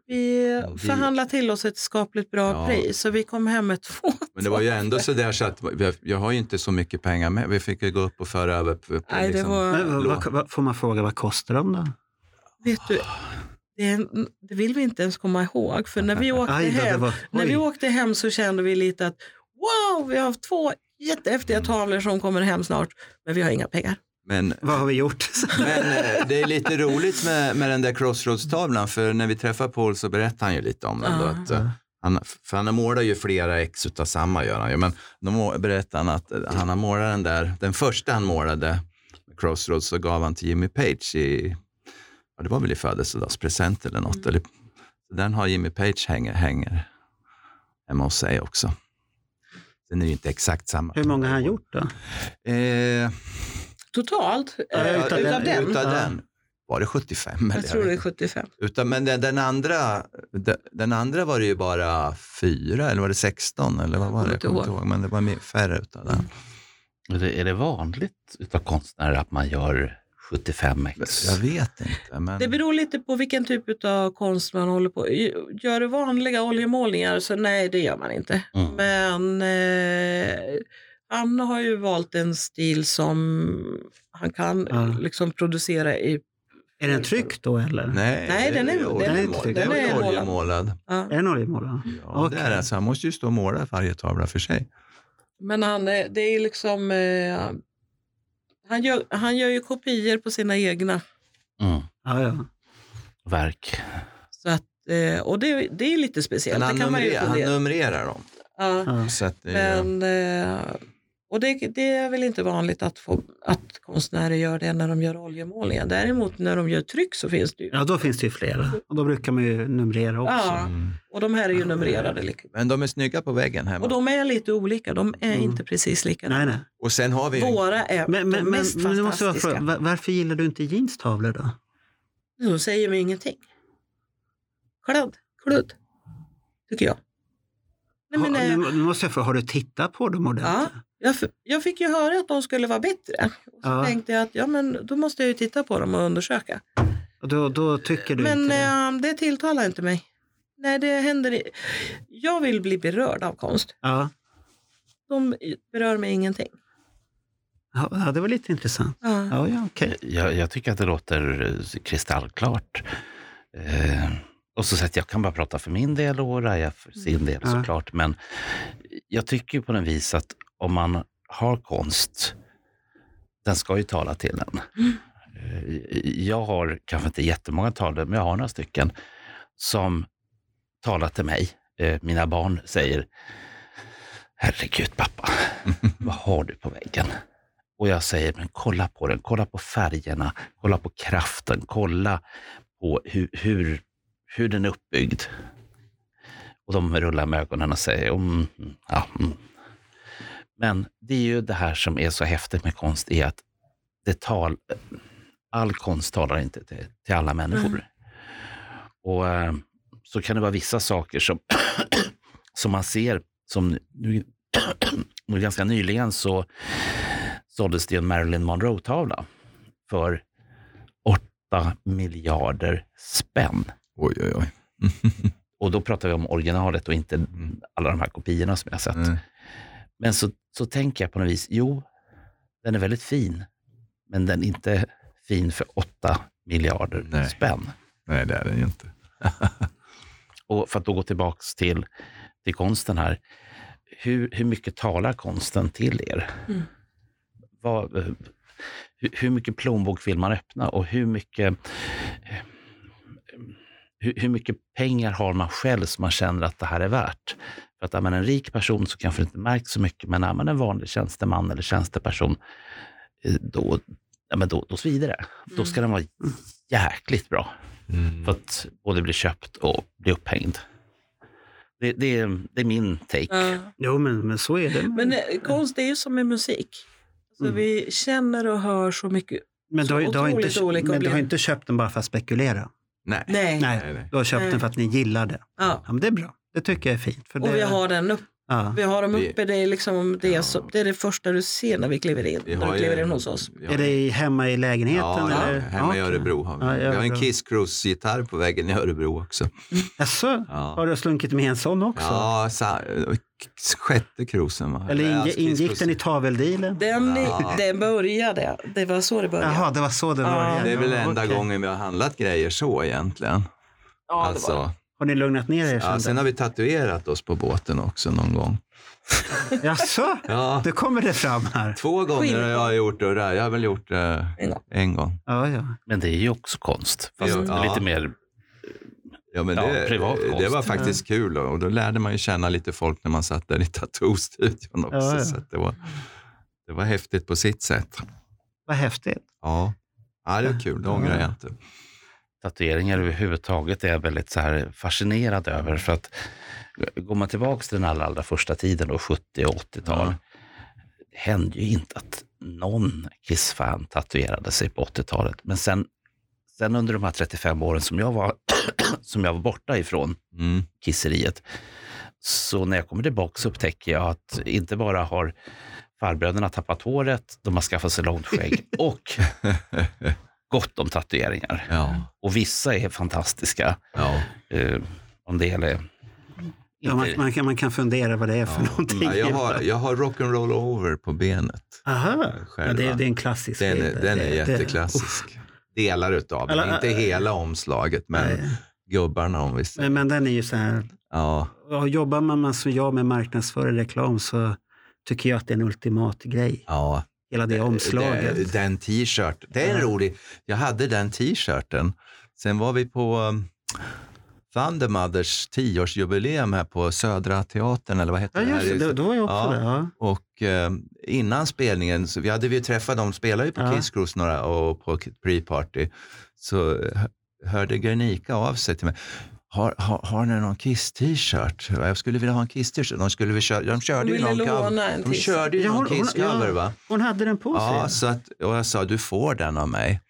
vi-
förhandlar till oss ett skapligt bra
Ja.
pris, så vi kom hem med två.
Men det var ju ändå så där så att jag, jag har ju inte så mycket pengar med. Vi fick ju gå upp och föra över. På, på,
Nej, det
liksom.
var,
Men, vad, vad, vad, får man fråga vad kostar de då?
vet du, det, är en- det vill vi inte ens komma ihåg, för när vi
[LAUGHS]
åkte
Aj då, det
hem,
var,
när vi
oj.
åkte hem så kände vi lite att wow, vi har haft två
Mm.
jättehäftiga tavlor som kommer hem snart, men vi har inga pengar.
Men,
Vad har vi gjort? [LAUGHS]
men eh, det är lite roligt med, med den där Crossroads-tavlan för när vi träffar Paul så berättar han ju lite om den. Då,
Ja.
Ah.
att, eh, han, för han målar ju flera ex utav samma gör han ju. Men då må- berättar han att eh, han har målat den där, den första han målade, Crossroads, så gav han till Jimmy Page i, ja, det var väl i födelsedagspresent eller
Mm.
något. Eller, så den har Jimmy Page hänger, hänger hemma hos sig också. Den är ju inte exakt samma.
Hur många har han gjort då?
Eh,
Totalt,
Ja,
eh,
utav
utav
den-
den,
Utav
Ja.
den. Var det 75?
jag
eller?
tror det är 75.
Utan, men den, den, andra, den, den andra var det ju bara fyra, eller var det 16? Eller vad var det?
kommer
Jag kommer
inte
inte ihåg, men det var mer, färre utav den.
Är det, är det vanligt utav konstnärer att man gör 75 ex?
Jag vet inte. Men,
Det beror lite på vilken typ av konst man håller på Gör du vanliga oljemålningar så nej, det gör man inte.
Mm.
Men eh, Anna har ju valt en stil som han kan
Ja.
liksom producera i.
Är den tryckt då eller?
Nej,
Nej, den är-
det
den är-
oljemålad.
den
Den
är
är
målad.
oljemålad.
Ja.
Är den oljemålad? va?
Ja,
Okej.
det är det. Så han måste ju stå och måla varje tavla för sig.
Men han, är- det är liksom... Eh, han, gör, han gör ju kopior på sina egna.
Mm.
Ja, ja.
Verk.
Så att, eh, och det, det är lite speciellt.
Men han,
Det kan man ju
numrerar, han
fundera.
numrerar dem.
Ja.
ja.
Så att det är,
Men, eh, och det, det är väl inte vanligt att, få, att konstnärer gör det när de gör oljemålningar. Däremot när de gör tryck så finns det ju.
Ja, då finns det ju flera. Och då brukar man ju numrera också.
Ja.
Mm.
Och de här är ju numrerade. lika-
Men de är snygga på väggen hemma.
Och
Och,
de är lite olika. De är
Mm.
inte precis likadana.
Nej, nej.
sen har vi... en-
Våra är
Men, men,
de
men,
mest
men nu måste jag
fantastiska.
fråga, va- varför gillar du inte jeans tavlor då?
De säger mig ingenting. Kladd, kludd, tycker jag. Nej, men,
Har- nu,
eh,
nu måste jag fråga, har du tittat på dem ordentligt?
jag, f- jag fick ju höra att de skulle vara bättre. Och så
Ja.
tänkte jag att ja, men då måste jag ju titta på dem och undersöka.
Och Då, då tycker du
Men
inte det?
eh, det tilltalar inte mig. Nej, det händer i... Jag vill bli berörd av konst.
Ja.
De berör mig ingenting.
Ja, ja, det var lite intressant.
Ja.
Ja, ja, okej.
Jag, jag tycker att det låter eh, kristallklart. Eh, och så att jag kan bara prata för min del och Raja för sin del
Ja.
såklart. Men jag tycker ju på den vis att om man har konst, den ska ju tala till en. Eh, Jag har kanske inte jättemånga talare, men jag har några stycken som talar till mig. Eh, Mina barn säger, herregud pappa, vad har du på väggen? Och jag säger, men kolla på den, kolla på färgerna, kolla på kraften, kolla på hur, hur, hur den är uppbyggd. Och de rullar med ögonen och säger, mm, mm, ja. Mm. Men det är ju det här som är så häftigt med konst, är att det tal, all konst talar inte till, till alla människor. Och eh, så kan det vara vissa saker som, [CLEARS THROAT] som man ser, som nu- nu, [CLEARS THROAT] nu ganska nyligen så såldes det en Marilyn Monroe-tavla för 8 miljarder spänn.
Oj, oj,
[LAUGHS]
oj.
Och då pratar vi om originalet och inte
Mm.
alla de här kopiorna som jag har sett.
Mm.
Men så, så tänker jag på något vis, jo, den är väldigt fin, men den är inte fin för 8 miljarder
Nej.
spänn.
Nej, det är den ju inte.
Och för att då gå tillbaks till, till konsten här, hur, hur mycket talar konsten till er?
Mm.
Vad, eh, hur, hur mycket plånbok vill man öppna och hur mycket, eh, hur, hur mycket pengar har man själv som man känner att det här är värt? För att är man en rik person så kanske det inte märks så mycket, men är man en vanlig tjänsteman eller tjänsteperson, eh, då, ja, men då, då svider det. Då ska den vara jäkligt bra
Mm.
för att både bli köpt och bli upphängd. Det, det, är, det är min take.
Ja.
Jo, men, men så är det.
Men eh, konst det är ju som med musik. Så
Mm.
Vi känner och hör så mycket.
men du har, ju- du har,
otroligt
inte,
olika
men du har
upplevelser.
inte köpt den bara för att spekulera?
Nej.
Nej.
Nej,
nej.
du har köpt
Nej.
den för att ni gillar det.
Ja.
Ja, men det är bra. Det tycker jag är fint. För
Och
det,
vi har, den upp,
ja.
vi har dem
Vi-
uppe. Det är, liksom det,
Ja.
som, det är det första du ser när vi kliver in,
Vi
när
har
du
ju-
kliver in hos oss.
vi har-
Är det hemma i lägenheten?
Ja, ja,
eller?
hemma i
Ja, okej.
Örebro har vi.
Ja, i
Vi har en
Örebro.
Kiss Cruise-gitarr på väggen i Örebro också.
Jaså?
Ja,
Har du slunkit med en sån också?
ja sa, sjätte cruisen va?
Eller
Ja,
inge,
Kiss
ingick
Cruise.
den i taveldealen?
Den,
Ja.
den började. Det var så det började.
Jaha, det var så det
Ja.
började.
Det är väl
Ja,
enda
okej.
gången vi har handlat grejer så egentligen.
Ja, det var det.
alltså,
Har ni lugnat ner er
ja,
sen?
sen har vi tatuerat oss på båten också någon gång.
då? Jaså?
Ja,
Nu kommer det fram här.
två gånger har jag gjort det. Jag har väl gjort det
En gång.
en gång.
Ja, ja.
Men det är ju också konst, fast
Ja.
lite mer...
Ja, men
Ja,
det,
privat konst.
det var faktiskt kul och och då lärde man ju känna lite folk när man satt där i [LAUGHS] tattoo-studion också.
Ja, ja.
Så att det, var, det var häftigt på sitt sätt.
Vad häftigt.
Ja, ja det var kul. Det ångrar jag inte.
Tatueringar överhuvudtaget är jag väldigt så här fascinerad över. För att går man tillbaka till den allra, allra första tiden, då, 70 och 80-tal,
Ja.
det hände ju inte att någon Kiss-fan tatuerade sig på 80-talet. Men sen, sen under de här 35 åren som jag var, [CLEARS THROAT] som jag var borta ifrån,
Mm.
kisseriet. Så när jag kommer tillbaka så upptäcker jag att inte bara har farbröderna tappat håret, de har skaffat sig långt skägg och gott om tatueringar.
Ja,
Och vissa är fantastiska.
ja.
Eh, om det gäller
Ja, man, man, kan, man kan fundera vad det är för
Ja.
någonting.
Ja, jag har, jag har rock'n'roll over på benet.
Aha. Ja, det,
Själva.
är- det är en klassisk
Den är,
bild.
den är
Det- det-
jätteklassisk. Delar utav den,
Eller,
inte
äh,
hela omslaget, men
Nej.
gubbarna om vi säger.
Men, men den är ju så här,
Ja,
ja, jobbar man som jag med marknadsföring reklam så tycker jag att det är en ultimat grej.
ja.
Hela det omslaget.
Det- Eh, Den t-shirt. Det är en
Ja.
rolig. Jag hade den t-shirten. Sen var vi på um, Vandermothers tioårsjubileum här på Södra Teatern, eller vad heter
ja,
det? här?
just det. Då, då var jag också
Ja.
där. Ja.
Och eh, innan spelningen, så vi hade vi ju träffat dem, spelar ju på
Ja.
Kiss Cruise några och på k- pre-party, så uh, hö- hörde Guernica av sig till mig. Har, har, har ni någon Kiss-t-shirt? Jag skulle vilja ha en Kiss-t-shirt. De, skulle väl köra, de körde ju
ville
någon cover.
låna en
De
till.
körde ju
Ja,
någon
hon- hon-
Kiss-cover
ja.
va?
Hon hade den på sig.
Ja, så att, och jag sa du får den av mig.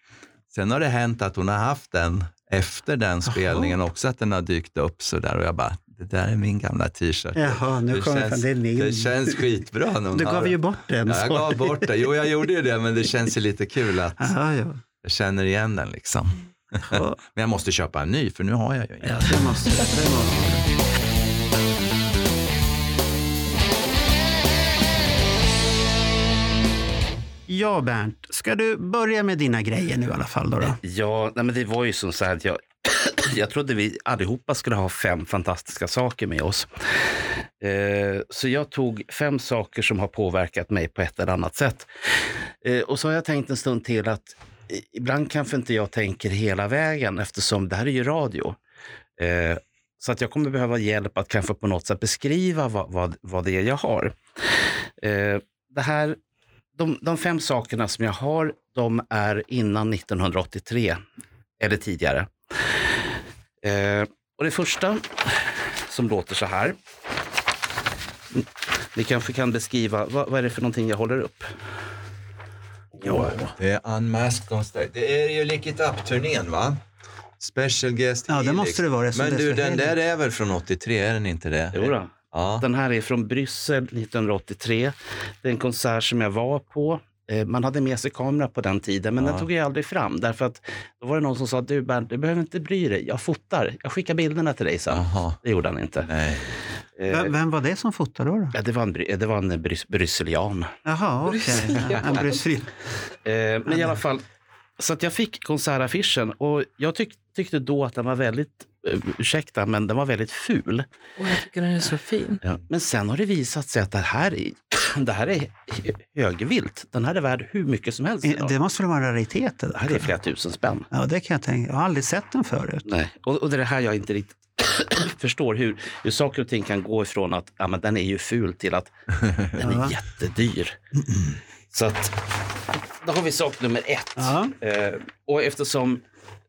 Sen har det hänt att hon har haft den efter den spelningen också, att den har dykt upp sådär och jag bara, det där är min gamla t-shirt.
Jaha, nu
Det
kommer jag fram.
känns-
Det är min.
Det känns skitbra. när hon
du
har
gav
den.
ju bort den.
Ja, jag gav bort det. Jo, jag gjorde ju det, men det känns ju lite kul att
Aha, ja.
jag känner igen den liksom. [LAUGHS]
Ja,
Men jag måste köpa en ny, för nu har jag ju ingen.
det måste, det måste. Ja, Bernt. Ska du börja med dina grejer nu i alla fall? Då, då?
Ja, nej, men det var ju som så här att jag, [CLEARS THROAT] jag trodde vi allihopa skulle ha fem fantastiska saker med oss. Eh, så jag tog fem saker som har påverkat mig på ett eller annat sätt. Eh, och så har jag tänkt en stund till att i- ibland kanske inte jag tänker hela vägen eftersom det här är ju radio. Eh, så att jag kommer behöva hjälp att kanske på något sätt beskriva vad, vad, vad det är jag har. Eh, det här de, de fem sakerna som jag har, de är innan 1983 eller tidigare. Eh, och det första som låter så här. Ni kanske kan beskriva, vad, vad är det för någonting jag håller upp? Ja.
Det är Unmasked on stage. Det är ju Lick It Up-turnén, va? Special Guest
Ja, det
Helix.
måste det vara, eftersom
Men
det är
du,
så
den
Helix.
där är väl från 83, är den inte det?
Jo då.
Ja.
Den här är från Bryssel 1983. Det är en konsert som jag var på. Eh, Man hade med sig kamera på den tiden, men
Ja.
den tog jag aldrig fram. Därför att då var det någon som sa, du Bernt, du behöver inte bry dig. Jag fotar. Jag skickar bilderna till dig sen.
Jaha.
Det gjorde han inte.
Nej.
Eh,
Vem, vem var det som fotade då? då?
Ja, det var en, bry- eh, det var en brys- brysselian.
Jaha, okej. Ja, en Bryssel.
Eh, men i alla fall, så att jag fick konsertaffischen och jag tyck, tyckte då att den var väldigt, eh, ursäkta, men den var väldigt ful.
Och jag tycker den är så fin.
Men sen har det visat sig att det här är, [CLEARS THROAT] det här är högvilt. Den här är värd hur mycket som helst idag.
Eh, Det
Det,
måste väl vara en raritet? Det
här är
där.
flera tusen spänn.
Ja, det kan jag tänka. Jag har aldrig sett den förut.
Nej. Och, och det är det här jag inte riktigt [CLEARS THROAT] förstår hur, hur saker och ting kan gå ifrån att ja, men den är ju ful till att den är
Ja.
jättedyr. Så att, då har vi sak nummer ett.
Ja.
Eh, och eftersom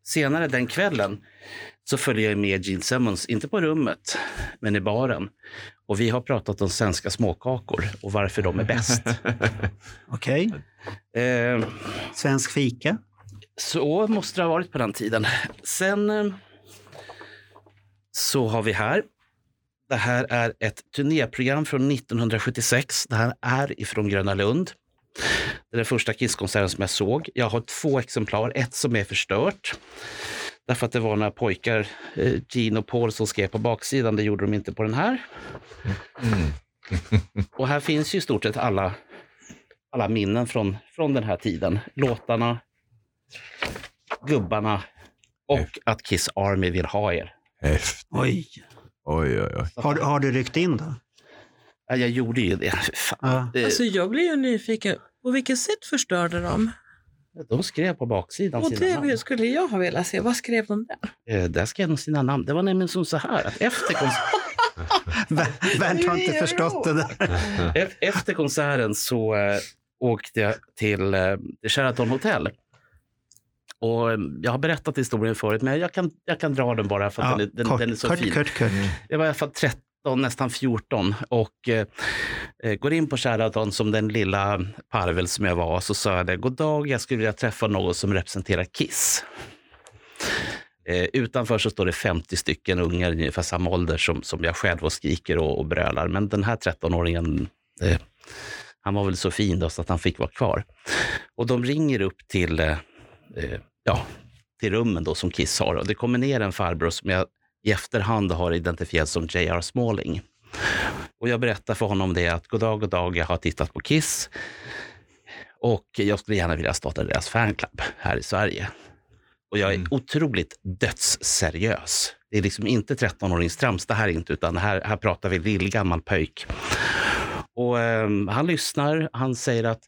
senare den kvällen så följer jag med Gene Simmons, inte på rummet, men i baren. Och vi har pratat om svenska småkakor och varför de är bäst.
Okej.
Eh,
Svensk fika.
så måste det ha varit på den tiden. Sen eh, så har vi här. Det här är ett turnéprogram från 1976. Det här är ifrån Gröna Lund. Det är den första Kisskonserten som jag såg. Jag har två exemplar, ett som är förstört. Därför att det var några pojkar, eh, Gene och Paul, som skrev på baksidan. Det gjorde de inte på den här. och här finns ju i stort sett alla, alla minnen från, från den här tiden. Låtarna, gubbarna och att Kiss Army vill ha er.
Häftigt.
Oj.
Oj, oj, oj.
Har, du- har du ryckt in då?
Ja, Jag gjorde ju det. Fan.
Ja.
Eh,
Alltså jag blir ju nyfiken. På vilket sätt förstörde de?
De skrev på baksidan
Och
sina namn.
det skulle jag ha velat se. Vad skrev de där?
Eh, Där skrev de sina namn. Det var nämligen som så här att efter,
[LAUGHS]
kons-
Ber- Bernt har inte
Det är
förstått det där.
e- efter konserten så eh, åkte jag till eh, Sheraton Hotel. Och eh, jag har berättat historien förut, men jag kan, jag kan dra den bara för att den, är- den, den är så
kort,
fin.
kort, kort.
Jag var i alla fall 13, nästan 14 och eh, eh, går in på Sheraton som den lilla parvel som jag var. Så sa jag det, god dag, jag skulle vilja träffa någon som representerar Kiss. Eh, utanför så står det 50 stycken ungar i ungefär samma ålder som, som jag själv och skriker och, och brölar. Men den här 13-åringen, eh, han var väl så fin då så att han fick vara kvar. Och de ringer upp till, eh, eh, ja, till rummen då som Kiss har. Och det kommer ner en farbror som jag i efterhand har identifierats som J.R. Smalling. Och jag berättar för honom det att goddag, goddag, jag har tittat på Kiss och jag skulle gärna vilja starta deras fanclub här i Sverige. Och jag är
Mm.
otroligt dödsseriös. Det är liksom inte 13-åringstrams det här är inte, utan här, här pratar vi lillgammal pöjk. Och ehm, han lyssnar, han säger att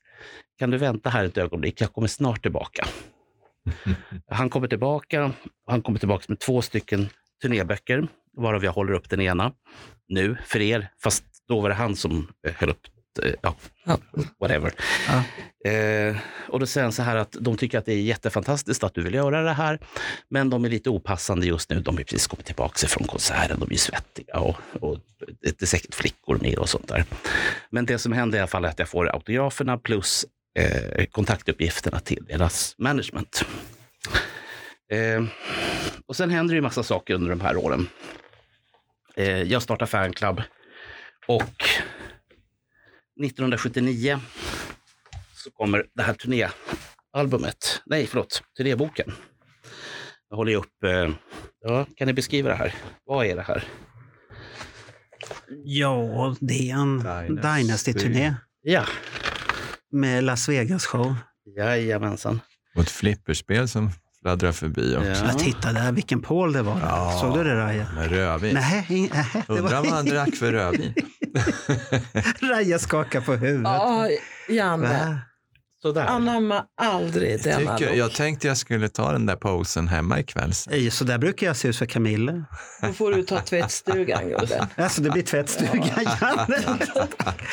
kan du vänta här ett ögonblick, jag kommer snart tillbaka. Han kommer tillbaka, han kommer tillbaka med två stycken turnéböcker, varav jag håller upp den ena nu för er, fast då var det han som eh, höll upp, eh, ja,
Ja.
whatever.
Ja.
Eh, och då säger han så här att de tycker att det är jättefantastiskt att du vill göra det här, men de är lite opassande just nu. De har precis kommit tillbaka från konserten, de är ju svettiga och, och det är säkert flickor med och sånt där. Men det som händer i alla fall är att jag får autograferna plus eh, kontaktuppgifterna till deras management. Eh, och sen händer det ju massa saker under de här åren. Eh, jag startar fanclub och 1979 så kommer det här turnéalbumet. Nej, förlåt, turnéboken. Jag håller ju upp. Eh, ja, kan ni beskriva det här? Vad är det här?
Ja, det är en
Dynasty.
Dynasty-turné
Ja,
med Las Vegas-show.
jajamensan.
Och ett flipperspel som fladdrar förbi också.
Ja.
Ja. Titta där, vilken pål det var.
Ja.
Såg du det Raja?
Med rödvin.
Nej, nej, det
Undrar vad han
var...
drack för rödvin.
[LAUGHS] Raja skakar på huvudet.
Ja, Janne.
Va?
Sådär.
Anamma aldrig
Jag,
denna
tycker,
look.
jag tänkte jag skulle ta den där posen hemma ikväll. sen.
Ej, Så där brukar jag se ut för Camilla.
Då får du ta tvättstugan, gubben.
Alltså det blir tvättstuga, [LAUGHS] Janne.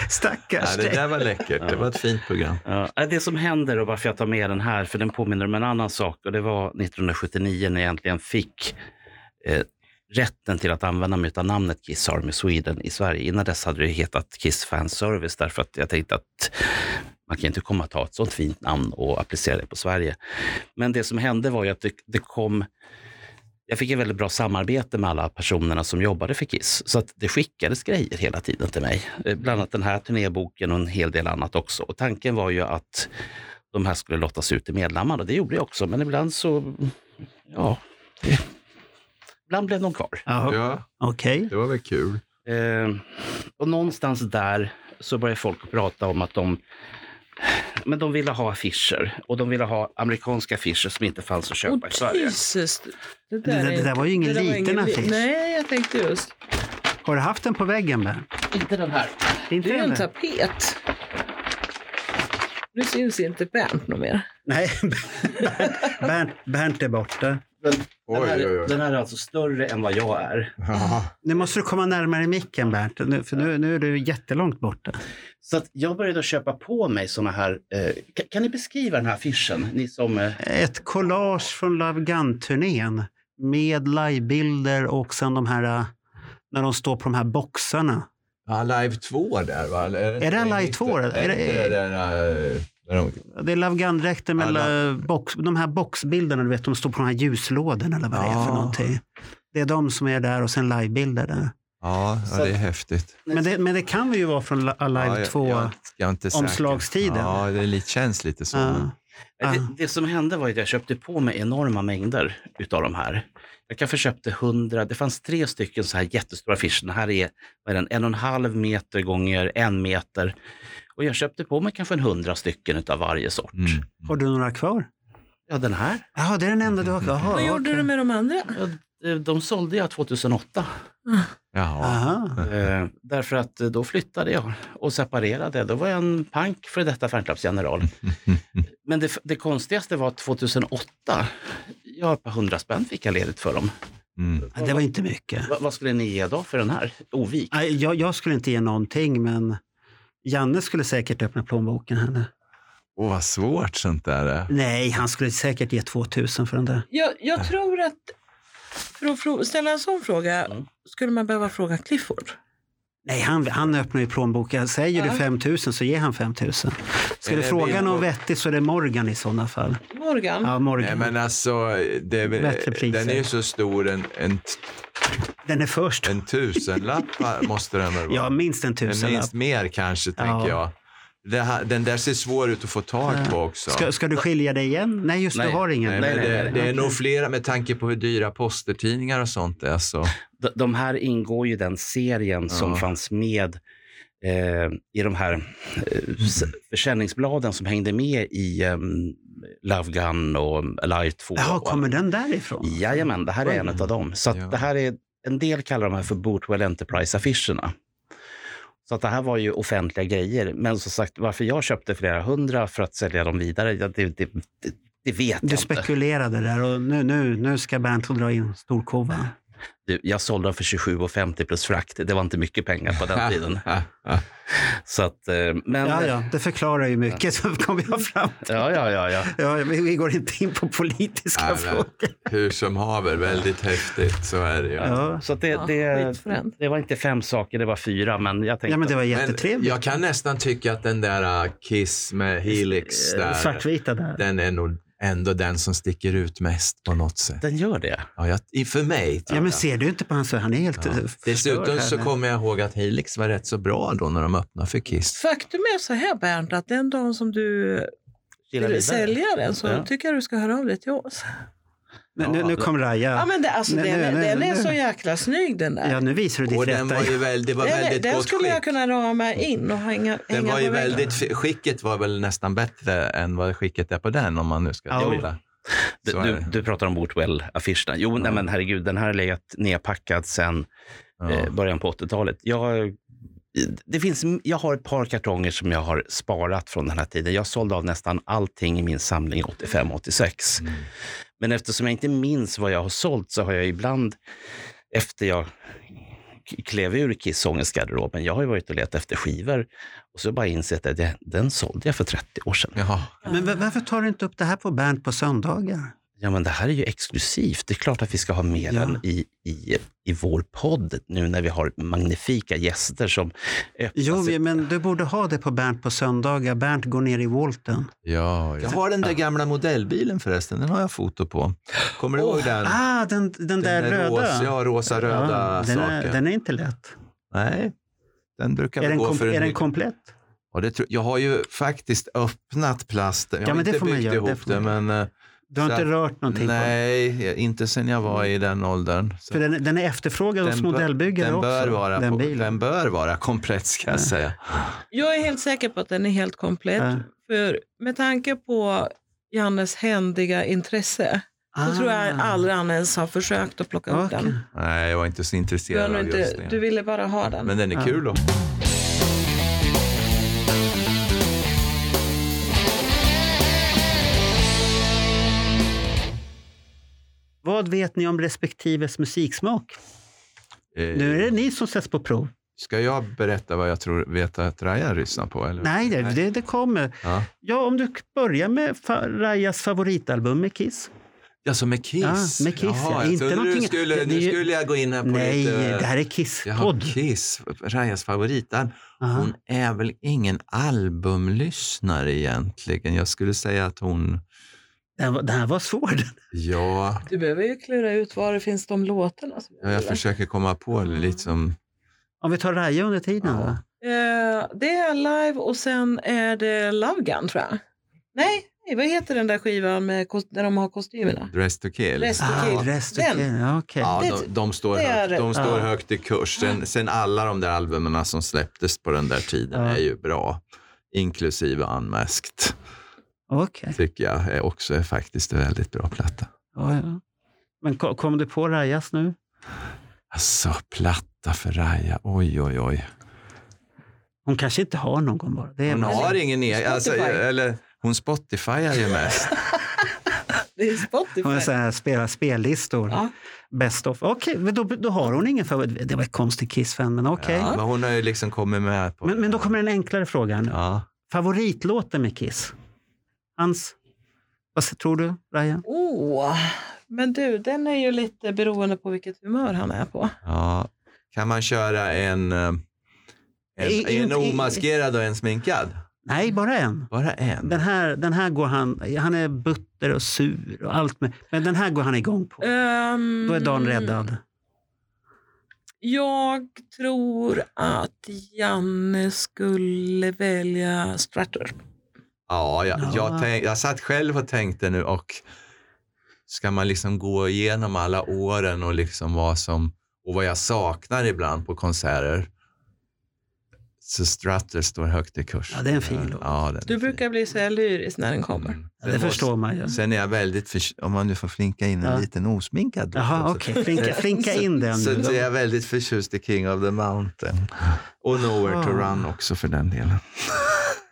Stackars
Ja, det
dig.
där var läckert. Det var ett fint program.
Ja, det som händer och varför jag tar med den här, för den påminner om en annan sak och det var 1979 när jag äntligen fick eh, rätten till att använda mig av namnet Kiss Army Sweden i Sverige. Innan dess hade det hetat Kiss Fan Service därför att jag tänkte att man kan inte komma att ta ett sånt fint namn och applicera det på Sverige. Men det som hände var ju att det, det kom jag fick ett väldigt bra samarbete med alla personerna som jobbade för Kiss. Så att det skickades grejer hela tiden till mig. Eh, Bland annat den här turnéboken och en hel del annat också. Och tanken var ju att de här skulle lottas ut till medlemmarna. Det gjorde jag också, men ibland så... Ja. [LAUGHS] Ibland blev de kvar.
Ja,
Ja,
Okej.
det var väl kul.
Eh, och någonstans där så började folk prata om att de, men de ville ha affischer. Och de ville ha amerikanska affischer som inte fanns att
Och
köpa i Sverige.
Jesus, det där,
Det där-
är
det där var ju ingen
det där var
liten
li-
affisch.
Nej, jag tänkte just.
Har du haft den på väggen? Ben?
Inte den här.
Inte
Det är ju en
den?
tapet. Nu syns inte Bernt något mer.
Nej, [LAUGHS] Bernt, Bernt är borta.
Den här,
Oj, oj, oj.
den här är alltså större än vad jag är.
Ja.
Nu måste du komma närmare micken, Bernt, nu, för nu, nu är du jättelångt borta.
Så att jag började köpa på mig såna här... Eh, kan, kan ni beskriva den här affischen? Ni som... Eh,
Ett collage från Love Gun-turnén med livebilder och sen de här eh, när de står på de här boxarna.
Ja, live 2 där va? Eller
Är det
inte
Live 2?
Är det,
Är det-
inte det där, eh, när de,
Det är Love Gun-dräkten med
Alla-
eh, box, de här boxbilderna, du vet, de står på de här ljuslådorna eller vad det är för
Ja.
någonting. Det är de som är där och sen livebilder där.
ja, ja, det är häftigt.
Men det, men det kan ju vara från
ja,
Alive
jag-
2.
jag- jag är inte säker.
omslagstiden.
Ja, det är lite, känns lite så.
Ja.
det,
Ah.
det som hände var att jag köpte på mig enorma mängder utav de här. Jag kanske köpte hundra. Det fanns tre stycken så här jättestora affischer. Den här är, vad är den, en och en halv meter gånger en meter. Och jag köpte på mig kanske en hundra stycken utav varje sort.
Mm.
Har du några kvar?
Ja, den här.
Jaha, det är den enda du har kvar? Jaha,
Vad gjorde
okej.
du med de andra?
eh, De sålde jag 2008.
Jaha.
Aha.
Eh, därför att eh, då flyttade jag och separerade. Då var jag en pank för detta fanclubsgeneral. Men det, det konstigaste var att 2008, jag har ett par hundra spänn fick jag ledigt för dem.
Mm.
Ja, Det var inte mycket.
Va, vad skulle ni ge då för den här? Ovik?
Nej, Jag, jag skulle inte ge någonting, men Janne skulle säkert öppna plånboken. Henne.
Åh, vad svårt sånt där är.
Nej, han skulle säkert ge 2000 för den där.
Jag, jag tror att, för att frå- ställa en sån fråga,
Mm.
skulle man behöva fråga Clifford.
Nej, han, han öppnar ju plånboken. Säger
Ja.
du 5000 så ger han 5000. Ska
Är
du
det
fråga
bild på-
någon vettig så är det Morgan i sådana fall.
Mm. Morgan,
Ja,
Nej,
Morgan.
men alltså, det är,
Bättre
väl-
priser.
den är ju så stor. En, en,
Den är först.
en tusenlapp måste den väl vara?
Ja, minst en
En
tusenlapp.
minst mer kanske, tänker
Ja.
jag. Det här, den där ser svår ut att få tag på också.
Ska, ska du skilja dig igen? Nej, just
Nej,
du har ingen.
Nej,
Nej,
men
nej,
det,
nej.
det är nog flera med tanke på hur dyra postertidningar och sånt är. Så.
De, de här ingår ju i den serien som
Ja.
fanns med eh, i de här eh, s- försäljningsbladen som hängde med i eh, Love Gun och Alive 2.
Jaha,
och
kommer den därifrån?
Jajamän, det här är en av dem. Så att
Ja.
det här är, en del kallar de här för Bootwell Enterprise-affischerna. Så att det här var ju offentliga grejer. Men som sagt, varför jag köpte flera hundra för att sälja dem vidare, ja, det, det, det, det vet
Du
jag inte.
spekulerade där och nu, nu, nu ska Bernt dra in storkovan.
Du, jag sålde dem för 27,50 plus frakt. Det var inte mycket pengar på den tiden. Så att, eh, men,
Ja, ja, det förklarar ju mycket som kom jag fram till.
ja, ja, ja, ja.
Ja, vi vi går inte in på politiska
Nej, men-
frågor.
[LAUGHS] hur som haver, väldigt häftigt. Så är det ju.
Ja.
Så att det,
Ja,
det,
skitfränt.
det var inte fem saker, det var fyra. Men jag tänkte,
ja, men det var
Men
jättetrevligt.
jag kan nästan tycka att den där äh, Kiss med Helix
Eh,
där,
Svartvita där.
den är nog ändå den som sticker ut mest på något sätt.
den gör det.
Ja, jag, i- för mig. tror
Ja, men
jag.
ser du inte på hans... Han är helt
Ja.
ja.
Dessutom så kommer jag ihåg att Helix var rätt så bra då när de öppnade för Kiss.
Faktum är så här Bernt, att den dagen som du
Gillar
vill
vidare.
sälja den så
Ja.
tycker jag du ska höra av dig till oss.
Men nu, nu kom Raja.
Ja, men det, alltså,
Nej,
den,
nej, nej,
den är
nej.
så jäkla snygg den där.
Ja, nu visar du ditt
Och den
rätta.
var ju väl, det var
den
väldigt
den
gott
skulle
skick.
jag kunna rama in och hänga,
Den
hänga
var ju
på väggen.
väldigt, skicket var väl nästan bättre än vad skicket är på den om man nu ska
Ja.
titta.
Du,
Så är
du,
det.
du pratar om Bootwell-affischerna. Jo, nej, men herregud, den här har legat nedpackad sedan
Ja.
eh, början på 80-talet. Jag, det finns, jag har ett par kartonger som jag har sparat från den här tiden. Jag sålde av nästan allting i min samling 85-86.
Mm.
Men eftersom jag inte minns vad jag har sålt så har jag ibland, efter jag k- klev ur Kiss garderoben, jag har ju varit och letat efter skivor och så bara insett att jag, den sålde jag för 30 år sedan.
Jaha.
Men va- varför tar du inte upp det här på Bernt på söndagar?
Ja, men det här är ju exklusivt. Det är klart att vi ska ha med
Ja.
den i, i, i vår podd nu när vi har magnifika gäster som öppnar
Jo,
Alltså-
sig.
men du borde ha det på Bernt på söndagar. Bernt går ner i Walton.
Ja, jag har den där gamla modellbilen förresten. Den har jag foto på. Kommer du
Åh,
ihåg den?
Ah, den, den, där,
Den
röda.
Rosa, ja, rosa röda
Ja, den,
saken.
är, den är inte lätt.
Nej, den brukar
Är
väl
den,
gå
kom,
för en
är den
hygg-
komplett?
ja, det tror, Jag har ju faktiskt öppnat plasten. Jag
Ja,
har
men det
inte
får man
byggt
göra, det
ihop
får
det,
man
men eh,
Du har
Så
inte
att-
rört någonting på den? Mm.
nej, eh, inte sen jag var i den åldern. Så
För den, den är efterfrågad hos
bör-
modellbyggare
den
också.
bör vara
den
på,
bilen.
den bör vara komplett ska jag säga.
Jag är helt säker på att den är helt komplett.
Ja.
För med tanke på Jannes händiga intresse
Ah.
så tror jag aldrig han ens har försökt att plocka upp
Okej.
den.
Nej, jag var inte så
Du, har
intresserad
nog
av just
inte,
det.
du ville bara ha den.
Men den är
Ja.
kul då.
Vad vet ni om respektives musiksmak?
Eh, Mm.
Nu är det ni som sätts på prov.
Ska jag berätta vad jag tror vet att Raja lyssnar på? Eller?
Nej, det, det, det kommer.
Ja.
Ja, om du börjar med fa- Rajas favoritalbum med Kiss.
Alltså med Kiss?
Ja, med Kiss, ja.
Jaha, jag
Inte
trodde
någonting-
du skulle,
det- det är
nu
ju-
skulle jag gå in här på
Nej,
lite...
det här är
Jaha,
Kiss-podd.
Kiss, Rajas favoritalbum.
Ah.
Aha.
Hon är väl ingen albumlyssnare egentligen. Jag skulle säga att hon...
Den, var- den här var svår.
Ja,
Du behöver ju klura ut var det finns de låtarna. Som
jag försöker komma på
Mm.
det lite som...
Om vi tar Raja under tiden.
Ja.
va?
Eh, det är Live och sen är det Love Gun tror jag. Nej, nej, vad heter den där skivan med, kost- där de har kostymerna?
Dress to kill.
Dress to
Ja.
Ah,
Kill.
rest
Den.
okej. Ja, okej.
Ja,
Det-
de, de står,
det är
högt, de
rätt.
står
Ja.
högt i kurs. Sen, sen alla de där albumen som släpptes på den där tiden
Ja.
är ju bra. Inklusive Unmasked,
Okej.
tycker jag är också är faktiskt en väldigt bra platta.
Ja, ja. Men ko- kom du på Rajas nu?
Alltså, platta för Raja. Oj, oj, oj.
Hon kanske inte har någon bara. Det är
Hon har ingen egen... Alltså,
Spotify.
eller, hon Spotifyar ju mest.
Det är
Hon är
Spotify.
så här, spelar spellistor.
Ja.
Best of. Okej, men då, då har hon ingen favorit. Det var ett konstigt Kiss-fan, men okej.
Ja, men hon har ju liksom kommit med på
Men, men då kommer den enklare frågan.
Ja.
Favoritlåten med Kiss? Hans? Vad s- tror du, Raja?
Oh, men du, den är ju lite beroende på vilket humör han är på.
ja. Kan man köra en, eh, en,
I-
en
inte-
omaskerad och en sminkad?
Nej, bara en.
Bara en?
Den här, den här går han... Han är butter och sur och allt. Med, men den här går han igång på.
Ehm,
Då är dagen räddad.
Jag tror att Janne skulle välja Strutter.
Ja, jag,
Ja.
Jag, tänk, jag satt själv och tänkte nu och ska man liksom gå igenom alla åren och liksom vad som och vad jag saknar ibland på konserter. Så Strutter står högt i kurs. Mm.
Ja, det är en fin låt.
Ja, den är
Du
fin.
brukar bli så här lyrisk när den kommer.
Mm.
Ja, det
Sen-
förstår man ju.
Sen är jag väldigt, förs- om man nu får flinka in en
Ja.
liten osminkad låt
Jaha,
också.
okej. Flinka, flinka in den
Så
nu.
att jag är väldigt förtjust i King of the Mountain. Och Nowhere to
Ah.
Run också för den delen.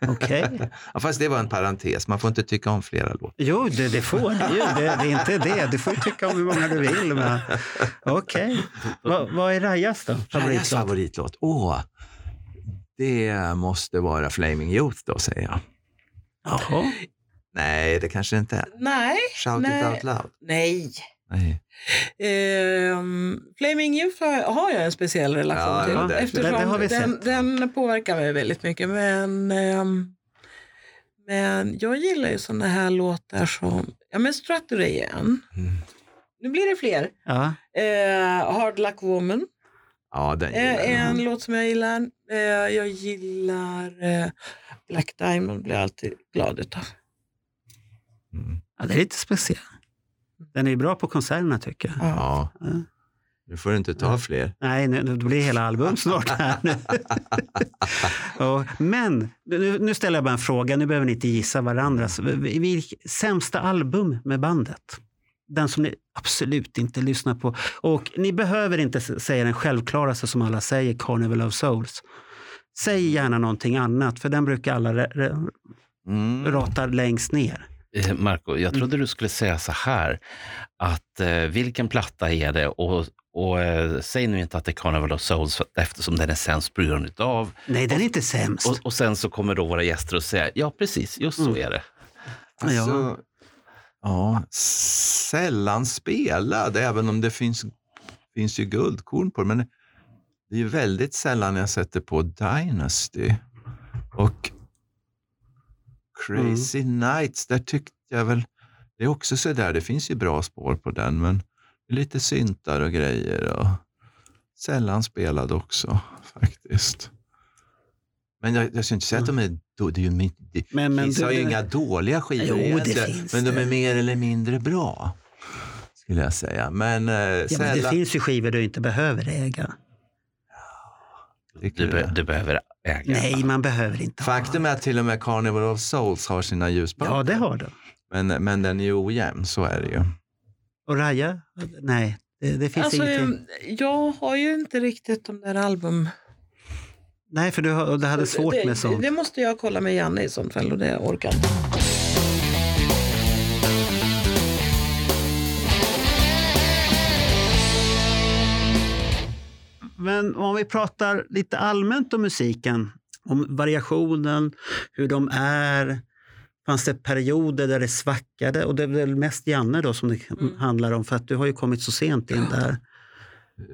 Okej.
Ja, fast det var en parentes, man får inte tycka om flera låtar.
Jo, det, det får du ju. Det, det är inte det. Du får ju tycka om hur många du vill. Men... Okej.
[LAUGHS]
Vad- Vad är Rajas då?
Rajas
Favoritlåt?
favoritlåt? Åh, det måste vara Flaming Youth då, säger jag.
Jaha.
Nej, det kanske inte är.
Nej.
Shout
Nej.
it out loud.
Nej.
Nej.
Ehm, Flaming Youth har, har jag en speciell relation
Ja,
till.
ja, det-
eftersom
det- det har vi
den,
sett.
den påverkar mig väldigt mycket. Men, ehm, men jag gillar ju sådana här låtar som, ja men Strutter igen.
Mm.
Nu blir det fler.
Ja.
Eh, Hard Luck Woman.
Ja, den gillar
Eh,
jag.
en låt som jag gillar. Eh, jag gillar eh, Black Diamond blir jag alltid glad utav.
Mm.
ja, det är lite speciell. Den är ju bra på konserterna tycker jag.
Ja.
Ja.
Nu får du inte ta fler.
Nej, nu, nu blir det hela album snart här.
[LAUGHS]
nu. Ja, Men nu, nu ställer jag bara en fråga. Nu behöver ni inte gissa varandra. Så, vi- vi- Sämsta album med bandet? Den som ni absolut inte lyssnar på. Och ni behöver inte s- säga den självklaraste som alla säger, Carnival of Souls. Säg gärna någonting annat, för den brukar alla re- re-
Mm.
rata längst ner.
Eh, Marco, jag trodde
Mm.
du skulle säga så här, att eh, vilken platta är det? Och, och eh, säg nu inte att det är Carnival of Souls för- eftersom den är sämst på grund utav.
Nej, den är inte sämst.
Och, och sen så kommer då våra gäster och säga, ja precis, just så
Mm.
är det.
Alltså, ja, sällan spelad, även om det finns, finns ju guldkorn på det. Men det är ju väldigt sällan jag sätter på Dynasty. Och Crazy Nights, där tyckte jag väl... Det är också sådär, det finns ju bra spår på den, men det är lite syntar och grejer. Och sällan spelad också, faktiskt. Men jag, jag skulle inte säga att de är... då- Det är ju mitt, det,
Men- men
Kiss
du-
har ju
du-
inga dåliga skivor
Jo, det
egentligen,
finns
men de
det.
är mer eller mindre bra. Skulle jag säga. Men, eh,
ja, men det
sällan-
finns ju skivor du inte behöver äga.
Tycker
Du, be,
jag.
du behöver äga.
Nej, man behöver inte ha.
Faktum är att till och med Carnival of Souls har sina ljuspunkter.
Ja, det har du.
men, men den är ju ojämn, så är det ju.
Och Raja? Nej, det, det finns
Alltså,
ingenting.
jag har ju inte riktigt de där album...
Nej, för du, har- och du hade svårt
det,
med sånt.
Det måste jag kolla med Janne i sånt fall och det orkar jag inte.
Men om vi pratar lite allmänt om musiken, om variationen, hur de är. Fanns det perioder där det svackade? Och det är väl mest Janne då som det
Mm.
handlar om, för att du har ju kommit så sent in där.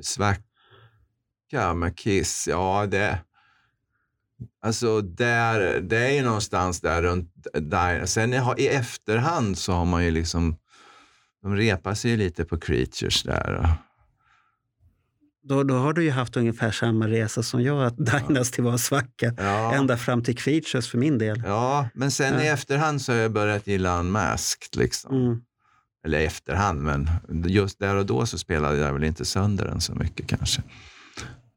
Svacka med Kiss, ja det... Alltså där, det är ju någonstans där runt där. Sen i, i efterhand så har man ju liksom... De repar sig ju lite på Creatures där. Och,
Då, då har du ju haft ungefär samma resa som jag, att Dynasty var en svacka.
ja.
Ända fram till Creatures för min del.
Ja, men sen i
Ja.
efterhand så har jag börjat gilla Unmasked. Liksom.
Mm.
Eller i efterhand, men just där och då så spelade jag väl inte sönder den så mycket kanske.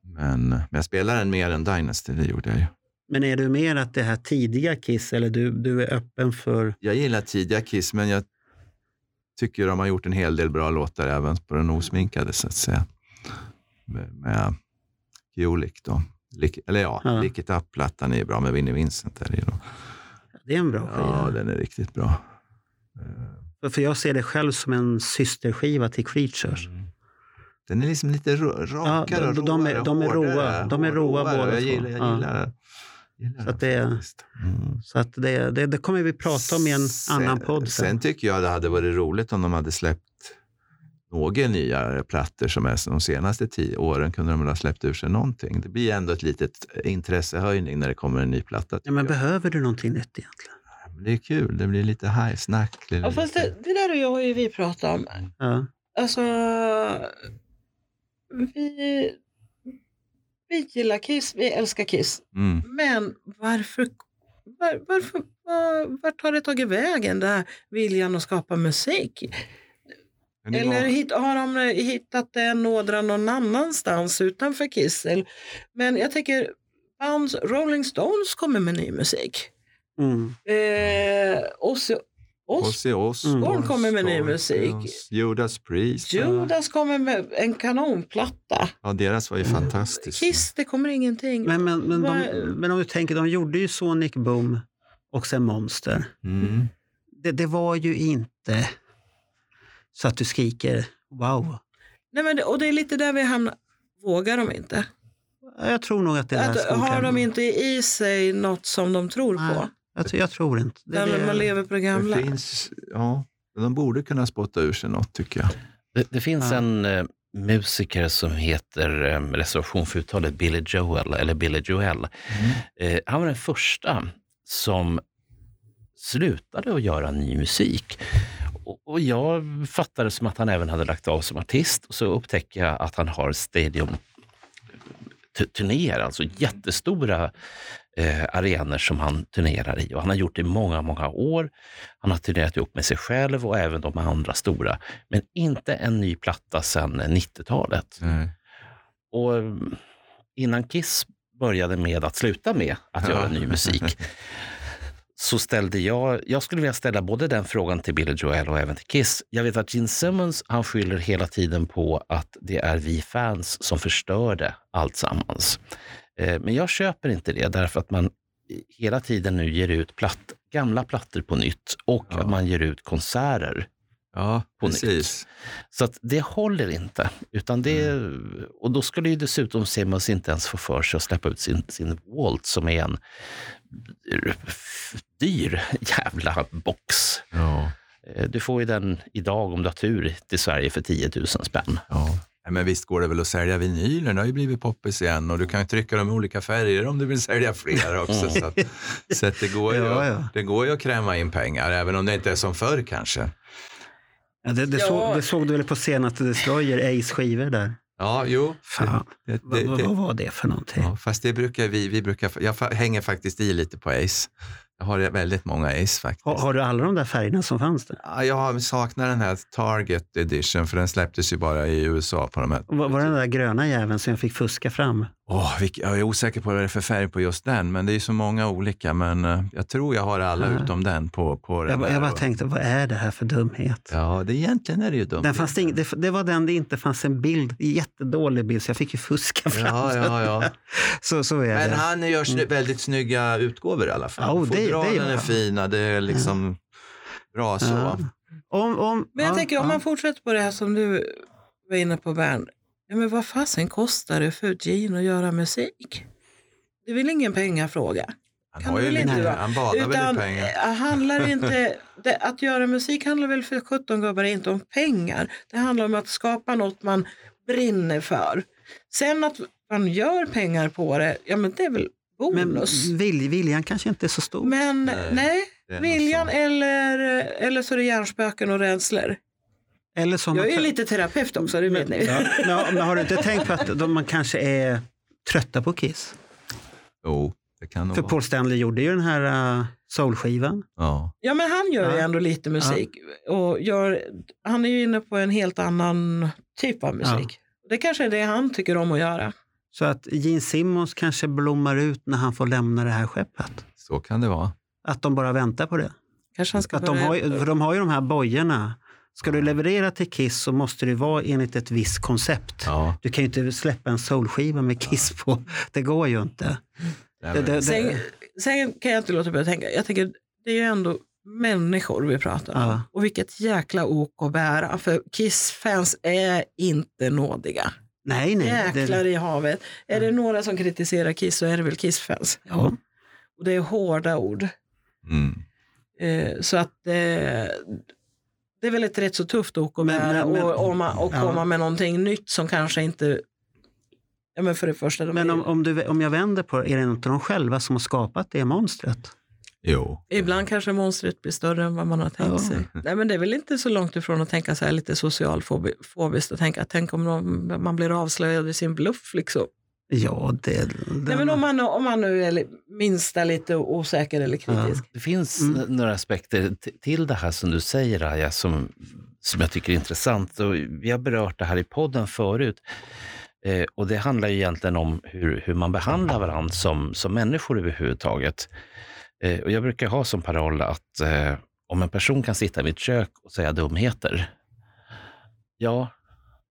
Men, men jag spelade den mer än Dynasty, det gjorde jag ju.
Men är du mer att det här tidiga Kiss, eller du, du är öppen för...
Jag gillar tidiga Kiss, men jag tycker de har gjort en hel del bra låtar även på den osminkade, så att säga. Med, med Kulik då. Lick, eller ja,
Ja.
Lick It Up-plattan är ju bra med Vinnie Vincent. Där i då.
Det är en bra skiva.
Ja, den är riktigt bra.
För- För jag ser det själv som en systerskiva till Creatures.
Mm. Den är liksom lite rå- rakare
Ja,
och
de- de är-
råare,
de är roa.
hårdare,
De är roa
hårdare.
båda
Jag
två.
gillar, jag
Ja.
gillar, det. gillar
Så att det är-
faktiskt. Mm.
Så att det, det, det kommer vi prata om i en annan podd
Sen,
sen.
sen tycker jag det hade varit roligt om de hade släppt några nyare plattor som är de senaste tio åren kunde de väl ha släppt ur sig någonting. Det blir ändå ett litet intressehöjning när det kommer en ny platta.
ja, men
tycker
behöver du någonting nytt egentligen?
jag. Men det är kul, det blir lite hajsnack.
Ja, fast det, det där och jag har ju vi pratat om.
Ja.
Alltså, vi, vi gillar Kiss, vi älskar Kiss.
Mm.
Men varför, var, varför var, vart har det tagit vägen, den här viljan att skapa musik?
Men det
Eller
var-
hit, har de hittat en ådra någon annanstans utanför Kissel? Men jag tänker, bands, Rolling Stones kommer med ny musik.
Mm.
Eh, Ozzy Osbourne,
Ozzy Osbourne
Osbourne kommer med ny musik.
Judas Priest.
Judas kommer med en kanonplatta.
Ja, deras var ju
Mm.
fantastisk.
Kiss, det kommer ingenting.
Men, men, men, de,
Vad-
men om du tänker, de gjorde ju Sonic Boom och sen Monster.
Mm.
Det, det var ju inte så att du skriker wow.
Nej, men det, och det är lite där vi hamnar. Vågar de inte?
Jag tror nog att det är där
Att,
skon
har de
klämmer.
inte i sig något som de tror
Nej,
på?
jag, tror- jag tror inte. Det,
Där man
det,
lever på det
Det
gamla.
finns, ja, de borde kunna spotta ur sig något tycker jag.
Det, det finns
Ja.
en eh, musiker som heter, eh, reservation för uttalet, Billy Joel, eller Billy Joel.
Mm.
Eh, han var den första som slutade att göra ny musik. Och, och jag fattade som att han även hade lagt av som artist och så upptäcker jag att han har stadium tu- turnéer, alltså jättestora eh, arenor som han turnerar i. Och han har gjort det i många, många år. Han har turnerat ihop med sig själv och även de andra stora. Men inte en ny platta sedan 90-talet.
Nej.
Och mm, innan Kiss började med att sluta med att
Ja.
göra ny
[LAUGHS]
musik så ställde jag, jag skulle vilja ställa både den frågan till Billy Joel och även till Kiss. Jag vet att Gene Simmons, han skyller hela tiden på att det är vi fans som förstörde alltsammans. Eh, Men jag köper inte det därför att man hela tiden nu ger ut platt, gamla plattor på nytt och
Ja.
att man ger ut konserter
Ja,
På nytt.
precis.
så att det håller inte. Utan det, Och då skulle ju dessutom Simmons inte ens få för sig att släppa ut sin, sin Walt som är en dyr jävla box.
Ja,
Eh, Du får ju den idag om du har tur till Sverige för 10 000 spänn.
ja. Nej, Men visst går det väl att sälja vinyler? Det har ju blivit poppis igen och du kan ju trycka dem i olika färger om du vill
[LAUGHS]
sälja fler också.
Mm.
Så, att, så att det, går ju,
Ja, ja.
det går ju att kräma in pengar, även om det inte är som förr kanske.
ja, det, det,
Ja.
såg, det såg du väl på senaste Destroyer, Ace skivor där.
Ja, jo.
Fan,
Det,
vad,
det,
vad,
det,
vad var det för någonting?
ja, fast det brukar vi, vi brukar, jag fa- hänger faktiskt i lite på Ace. Jag har väldigt många Ace faktiskt.
Har, har du alla de där färgerna som fanns där?
Ja, Jag saknar den här Target Edition, för den släpptes ju bara i USA på de här.
Var, var det den där gröna jäveln som jag fick fuska fram?
Åh, vilk- jag är osäker på vad det är för färg på just den, men det är ju så många olika. Men eh, jag tror jag har alla
Ja.
utom den på, på den
Ah. Jag, bara-
där
jag bara
och-
tänkte, vad är det här för dumhet?
Ja, det, egentligen är det ju dumt.
Den fanns det, ing- det, det var den det inte fanns en bild, jättedålig bild, så jag fick ju fuska fram.
Ja, ja, ja.
Så, så är
Men
[LAUGHS] det. Mm.
han gör sny- väldigt snygga utgåvor i alla fall.
Ja, och det- det gör
Fodralen är
han.
fina, det är liksom bra så.
Ja. Om, om,
Men jag
ja,
tänker om
ja.
man fortsätter på det här som du var inne på Bernt. Ja, men vad fasen kostar det för Gene att göra musik? Det är väl ingen pengafråga?
Han,
Kan
har
det
ju
väl
lite,
inte vara.
han badar väl i pengar.
eh, handlar inte, det, att göra musik handlar väl för 17 gubbar inte om pengar. Det handlar om att skapa något man brinner för. Sen att man gör pengar på det, ja men det är väl
Men
bonus.
vilj, viljan kanske inte är så stor.
Men,
Nej,
nej,
det är nog
viljan
så.
eller, eller så är det hjärnspöken och rädslor.
Eller som
Jag
man
är ju
kan-
lite terapeut också, det vet ni.
Ja, men, men har du inte tänkt på att de, man kanske är trötta på Kiss?
Jo, det kan nog
För
vara.
Paul Stanley gjorde ju den här uh, soulskivan.
Ja.
Ja, men han gör ju
Ja.
ändå lite musik. Och gör, han är ju inne på en helt annan typ av musik. Det kanske är det han tycker om att göra.
Så att Gene Simmons kanske blommar ut när han får lämna det här skeppet.
Så kan det vara.
Att de bara väntar på det.
Kanske han ska
Att de,
börja-
har, ju- för de har ju de här bojorna. Ska du leverera till Kiss så måste det vara enligt ett visst koncept.
Ja.
Du kan ju inte släppa en soulskiva med Kiss på. Det går ju inte. Det,
Nej, men-
det,
sen,
det,
sen kan jag inte låta bli att tänka, jag tänker, det är ju ändå människor vi pratar om.
Ja.
Och vilket jäkla ok att bära, för Kiss-fans är inte nådiga.
nej, nej.
Jäklar
Det,
i havet. Är det några som kritiserar Kiss så är det väl Kiss-fans.
ja.
Och det är hårda ord.
Mm.
Eh, så att eh, det är väl ett rätt så tufft ok att
Men-
bära
men- men-
och, och, man, och
Ja.
komma med någonting nytt som kanske inte... Ja, men för det första, de
Men
är-
om, om, du, om jag vänder på det, är det inte de själva som har skapat det monstret?
Jo.
ibland kanske monstret blir större än vad man har tänkt
Ja.
sig. Nej, men det är väl inte så långt ifrån att tänka så här lite socialfobiskt och tänka att tänk om de- man blir avslöjad i sin bluff. Liksom.
Ja, det...
Nej, men om, man, om man nu är li- minsta lite osäker eller kritisk.
Det finns
Mm.
n- några aspekter t- till det här som du säger, Raja, som, som jag tycker är intressant. Och vi har berört det här i podden förut. Eh, och det handlar ju egentligen om hur, hur man behandlar varandra som, som människor överhuvudtaget. Eh, och jag brukar ha som paroll att eh, om en person kan sitta i mitt kök och säga dumheter, ja,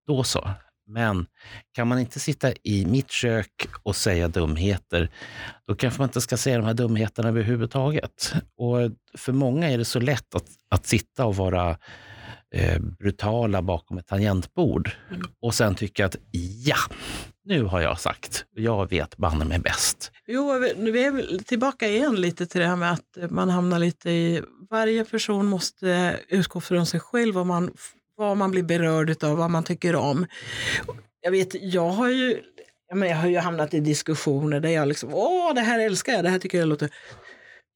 då så. Men kan man inte sitta i mitt kök och säga dumheter, då kanske man inte ska säga de här dumheterna överhuvudtaget. Och för många är det så lätt att, att sitta och vara eh, brutala bakom ett tangentbord och sen tycka att ja, nu har jag sagt, jag vet banne mig bäst.
Jo, vi- nu är vi tillbaka igen lite till det här med att man hamnar lite i... Varje person måste utgå från sig själv vad man, vad man blir berörd av, vad man tycker om. Jag vet, jag har ju, ja, men jag har ju hamnat i diskussioner där jag liksom, åh, det här älskar jag, det här tycker jag låter...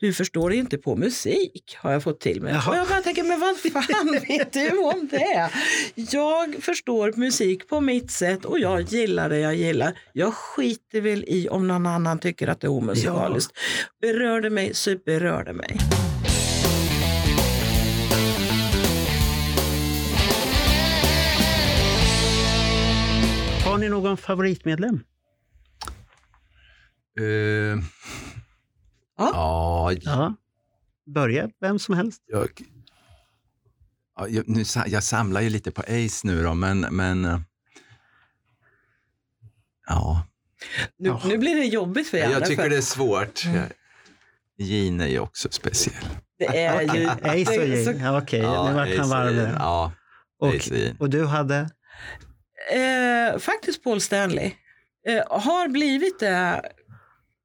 Du förstår inte på musik, har jag fått till mig.
Jaha.
Och jag bara tänker, men vad [LAUGHS] fan vet du om det? Jag förstår musik på mitt sätt och jag gillar det jag gillar. Jag skiter väl i om någon annan tycker att det är omusikaliskt. Berör det mig så berör det mig.
Har ni någon favoritmedlem?
Eh,
Ja.
ja,
Ja. Börja vem som helst.
jag, ja, jag, nu, sa- jag samlar ju lite på Ace nu då, men, men eh, ja,
Nu,
Ja.
nu blir det jobbigt för er.
jag tycker
för Mm.
det är svårt. Jag- Gene är ju också speciell.
det är [LAUGHS] ju...
Ace och
det- så-
Jane. Ja, Okej, nu vart
Ace
han
och
varm.
Gene,
där.
Ja, Ace och
Och,
Gene.
och du hade?
eh, faktiskt Paul Stanley. Eh, har blivit det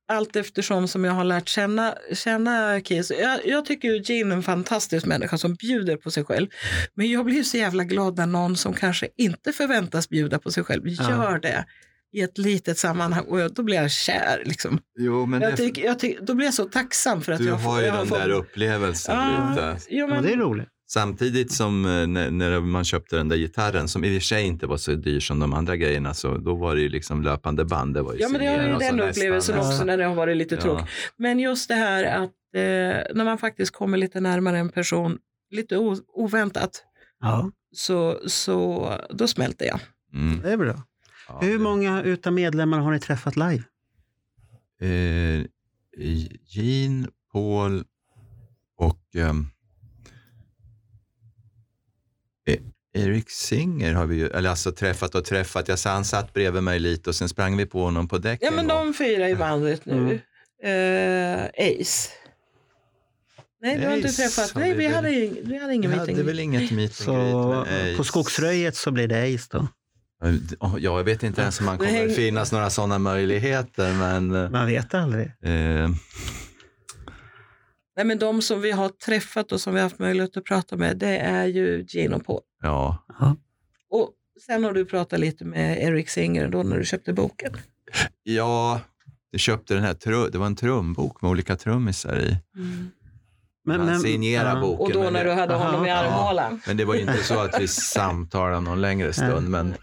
allt eftersom som jag har lärt känna, känna Kiss. Jag, jag tycker ju Gene är en fantastisk människa som bjuder på sig själv. Men jag blir ju så jävla glad när någon som kanske inte förväntas bjuda på sig själv
Ja.
gör det i ett litet sammanhang och jag, då blir jag kär. Liksom.
Jo, men
Jag
det-
tycker- jag tycker- då blir jag så tacksam för att
du
jag
har ju
jag Ah.
den
fått-
där upplevelsen
Ja,
lite.
Jo,
Ja,
men,
det är roligt.
Samtidigt som eh, när, när man köpte den där gitarren, som i och för sig inte var så dyr som de andra grejerna, så då var det ju liksom löpande band. Det var ju
Ja, men det
CD
har ju
och så
den
nästan,
upplevelsen
nästan.
också när det har varit lite tråkigt. Men just det här att eh, när man faktiskt kommer lite närmare en person, lite o- oväntat,
Ja,
så, så då smälter jag.
Ja. Mm.
det är bra.
Ja,
Hur
det-
många utav medlemmarna har ni träffat live?
Eh, Gene, Paul och ehm, E- Eric Singer har vi ju, eller alltså träffat och träffat. Jag sa, han satt bredvid mig lite och sen sprang vi på honom på däck
Ja,
en
men
gång.
de fyra i bandet nu.
Mm.
Eh, Ace. Nej, du har inte
Ace
träffat.
har
Nej,
vi
vi
väl-
hade, ing- vi hade
Vi
ingen
hade
meeting.
väl inget meet
Så
and greet eh, med Ace.
på Skogsröjet så blir det Ace då.
Ja, Jag vet inte ens om man
Det
kommer
häng-
finnas några sådana möjligheter, men...
Man vet aldrig.
Eh,
Nej, men de som vi har träffat och som vi har haft möjlighet att prata med, det är ju Gene och Paul.
ja.
Och sen har du pratat lite med Eric Singer då när du köpte boken.
ja, jag köpte den här, tru- det var en trumbok med olika trummisar i. han signerade
ja.
Mm. boken.
Och då
men
när
det-
du hade
Aha.
honom i
Ja.
armhålan.
Men det var ju inte så att vi samtalade någon längre stund. Men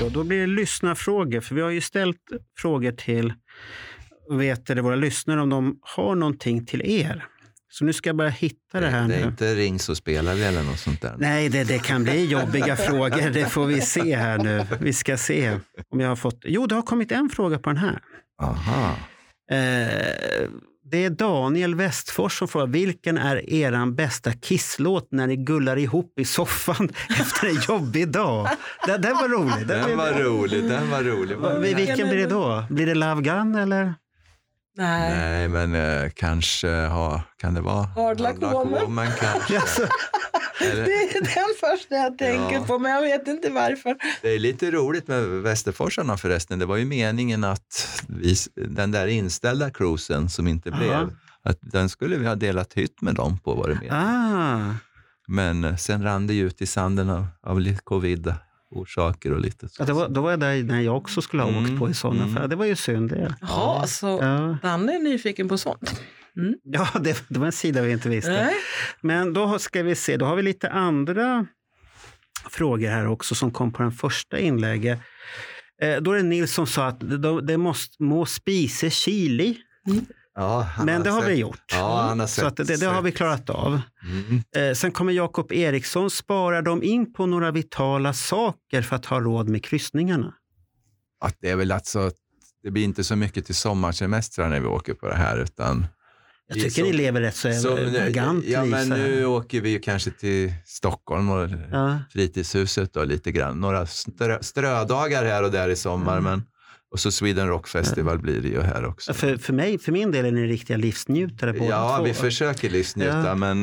Ja, då blir det lyssnarfrågor, för vi har ju ställt frågor till vet det, våra lyssnare om de har någonting till er. Så nu ska jag börja hitta det här
det är
nu.
inte ring så spelar vi eller något sånt där.
Nej, det, det kan bli jobbiga frågor. Det får vi se här nu. Vi ska se om jag har fått... Jo, det har kommit en fråga på den här.
Aha.
Eh, det är Daniel Westfors som frågar, vilken är eran bästa kisslåt när ni gullar ihop i soffan [LAUGHS] efter en jobbig dag? Den, den var rolig. Den
Den var rolig, den var rolig.
var, vilken blir det då? Blir det Love Gun eller?
Nej.
Nej, men eh, kanske ha, kan det vara?
Hard Luck Woman.
kanske.
Alltså,
Eller-
[LAUGHS] Det är den första jag tänker
Ja.
på, men jag vet inte varför.
Det är lite roligt med Västerforsarna förresten. Det var ju meningen att vi, den där inställda cruisen som inte
Aha.
blev, att den skulle vi ha delat hytt med dem på var det meningen.
ah,
Men eh, sen rann det ju ut i sanden av, av lite covid-orsaker och lite så.
ja, det var, då var jag där när jag också skulle ha åkt
Mm,
på i sådana
mm.
fall. Det var ju synd det.
Jaha, så
Ja.
Danne är alltså, nyfiken på sånt. Eh, Mm.
Ja, [LAUGHS] det, det var en sida vi inte visste.
Nej.
Men då ska vi se, då har vi lite andra frågor här också som kom på den första inlägget. Eh, Då är det Nils som sa att de- det måste må spise chili,
Ja, han
men det har
sett-
vi gjort.
Ja, han har
Så att det, det har vi klarat av.
Mm.
Eh, Sen kommer Jakob Eriksson, sparar de in på några vitala saker för att ha råd med kryssningarna?
Att det är väl alltså, det blir inte så mycket till sommarsemestrar när vi åker på det här, utan
Jag
Det är
tycker
så-
ni lever rätt så eh,
Som-
elegant,
Ja, men
Lisa.
nu åker vi ju kanske till Stockholm och
Ja.
fritidshuset då, lite grann. Några strö, strödagar här och där i sommar.
Mm.
Men, och så Sweden Rock Festival blir det ju här också.
För, för, mig, för min del är ni riktiga livsnjutare båda
ja,
två.
vi försöker livsnjuta,
Ja.
men,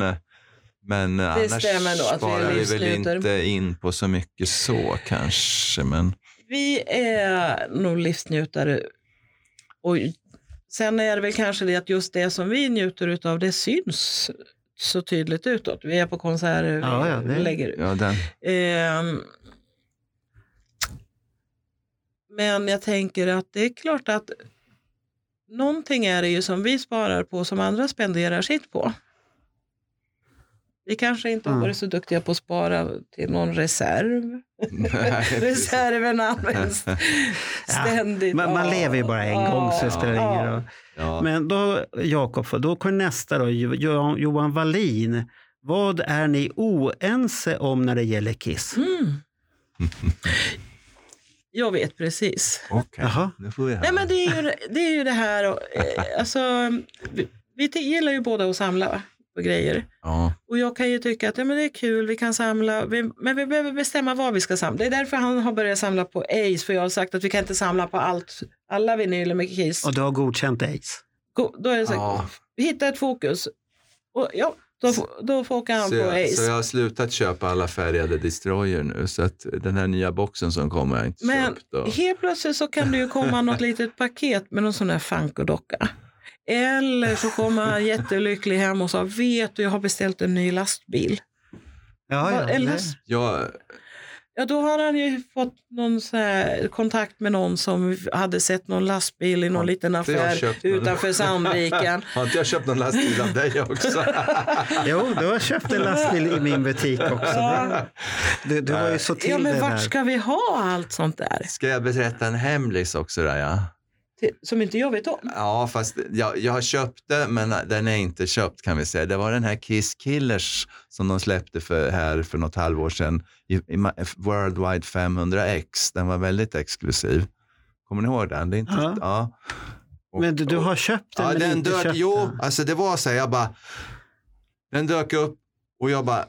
men annars
stämmer nog att vi
sparar vi, väl
livsnjuter.
inte in på så mycket så kanske. Men,
Vi är nog livsnjutare. Och sen är det väl kanske det att just det som vi njuter utav det syns så tydligt utåt. Vi är på konserter,
Ja, ja,
vi
det-
lägger ut.
ja, den,
[LAUGHS] Ehm, men jag tänker att det är klart att någonting är det ju som vi sparar på som andra spenderar sitt på. Vi kanske inte har
Mm.
varit så duktiga på att spara till någon
[LAUGHS]
reserv. Reserven används ständigt.
Man, man
Ja.
lever ju bara en
Ja.
gång, så det spelar
Ja.
ingen roll.
ja.
Men då, Jakob, då kommer nästa då, Jo- Jo- Johan Wallin. Vad är ni oense om när det gäller Kiss?
Mm. Jag vet precis.
Okej,
Jaha.
nu får vi höra.
Nej, men det, är ju, det är ju det här, och, eh, alltså, vi, vi t- gillar ju båda att samla på grejer.
ja.
Och jag kan ju tycka att ja, men det är kul, vi kan samla, vi, men vi behöver bestämma vad vi ska samla. Det är därför han har börjat samla på Ace, för jag har sagt att vi kan inte samla på allt, alla vinyler med Kiss.
Och du har godkänt Ace?
Go- Då är det så här,
Ja.
hitta ett fokus. Och, ja, då, f- då fokar
Så
han på
jag,
Ace.
så jag har slutat köpa alla färgade destroyer nu, så att den här nya boxen som kommer har jag inte
Men
köpt. Och,
Helt plötsligt så kan det
[LAUGHS]
ju komma något litet paket med någon sån där Funko-docka. Eller så kommer han jättelycklig hem och sa, vet du, jag har beställt en ny lastbil.
Ah,
Ja,
Va-
ja,
Eller,
nej.
jag,
ja, då har han ju fått någon så här kontakt med någon som hade sett någon lastbil i någon
Har
liten
inte jag
affär
köpt någon?
utanför
[LAUGHS]
Sandviken.
har inte jag köpt någon lastbil av dig också?
Jo, du har köpt en lastbil i min butik också.
Ja.
Du, du var ju så till
ja, men
det
vart
där.
ska vi ha allt sånt där?
Ska jag berätta en hemlis också? Där, ja?
Till- Som inte jag vet om.
ja, fast jag, jag har köpt det, men den är inte köpt kan vi säga. Det var den här Kiss Killers som de släppte för, här för något halvår sedan. I, i Ma- eh, Worldwide 500X. Den var väldigt exklusiv. Kommer ni ihåg den? Det är inte,
Ja.
ja. Och-
Men du, du har köpt den,
Ja,
men
den
inte
dök,
köpt
jo,
den.
alltså det var så här, jag bara, den dök upp och jag bara,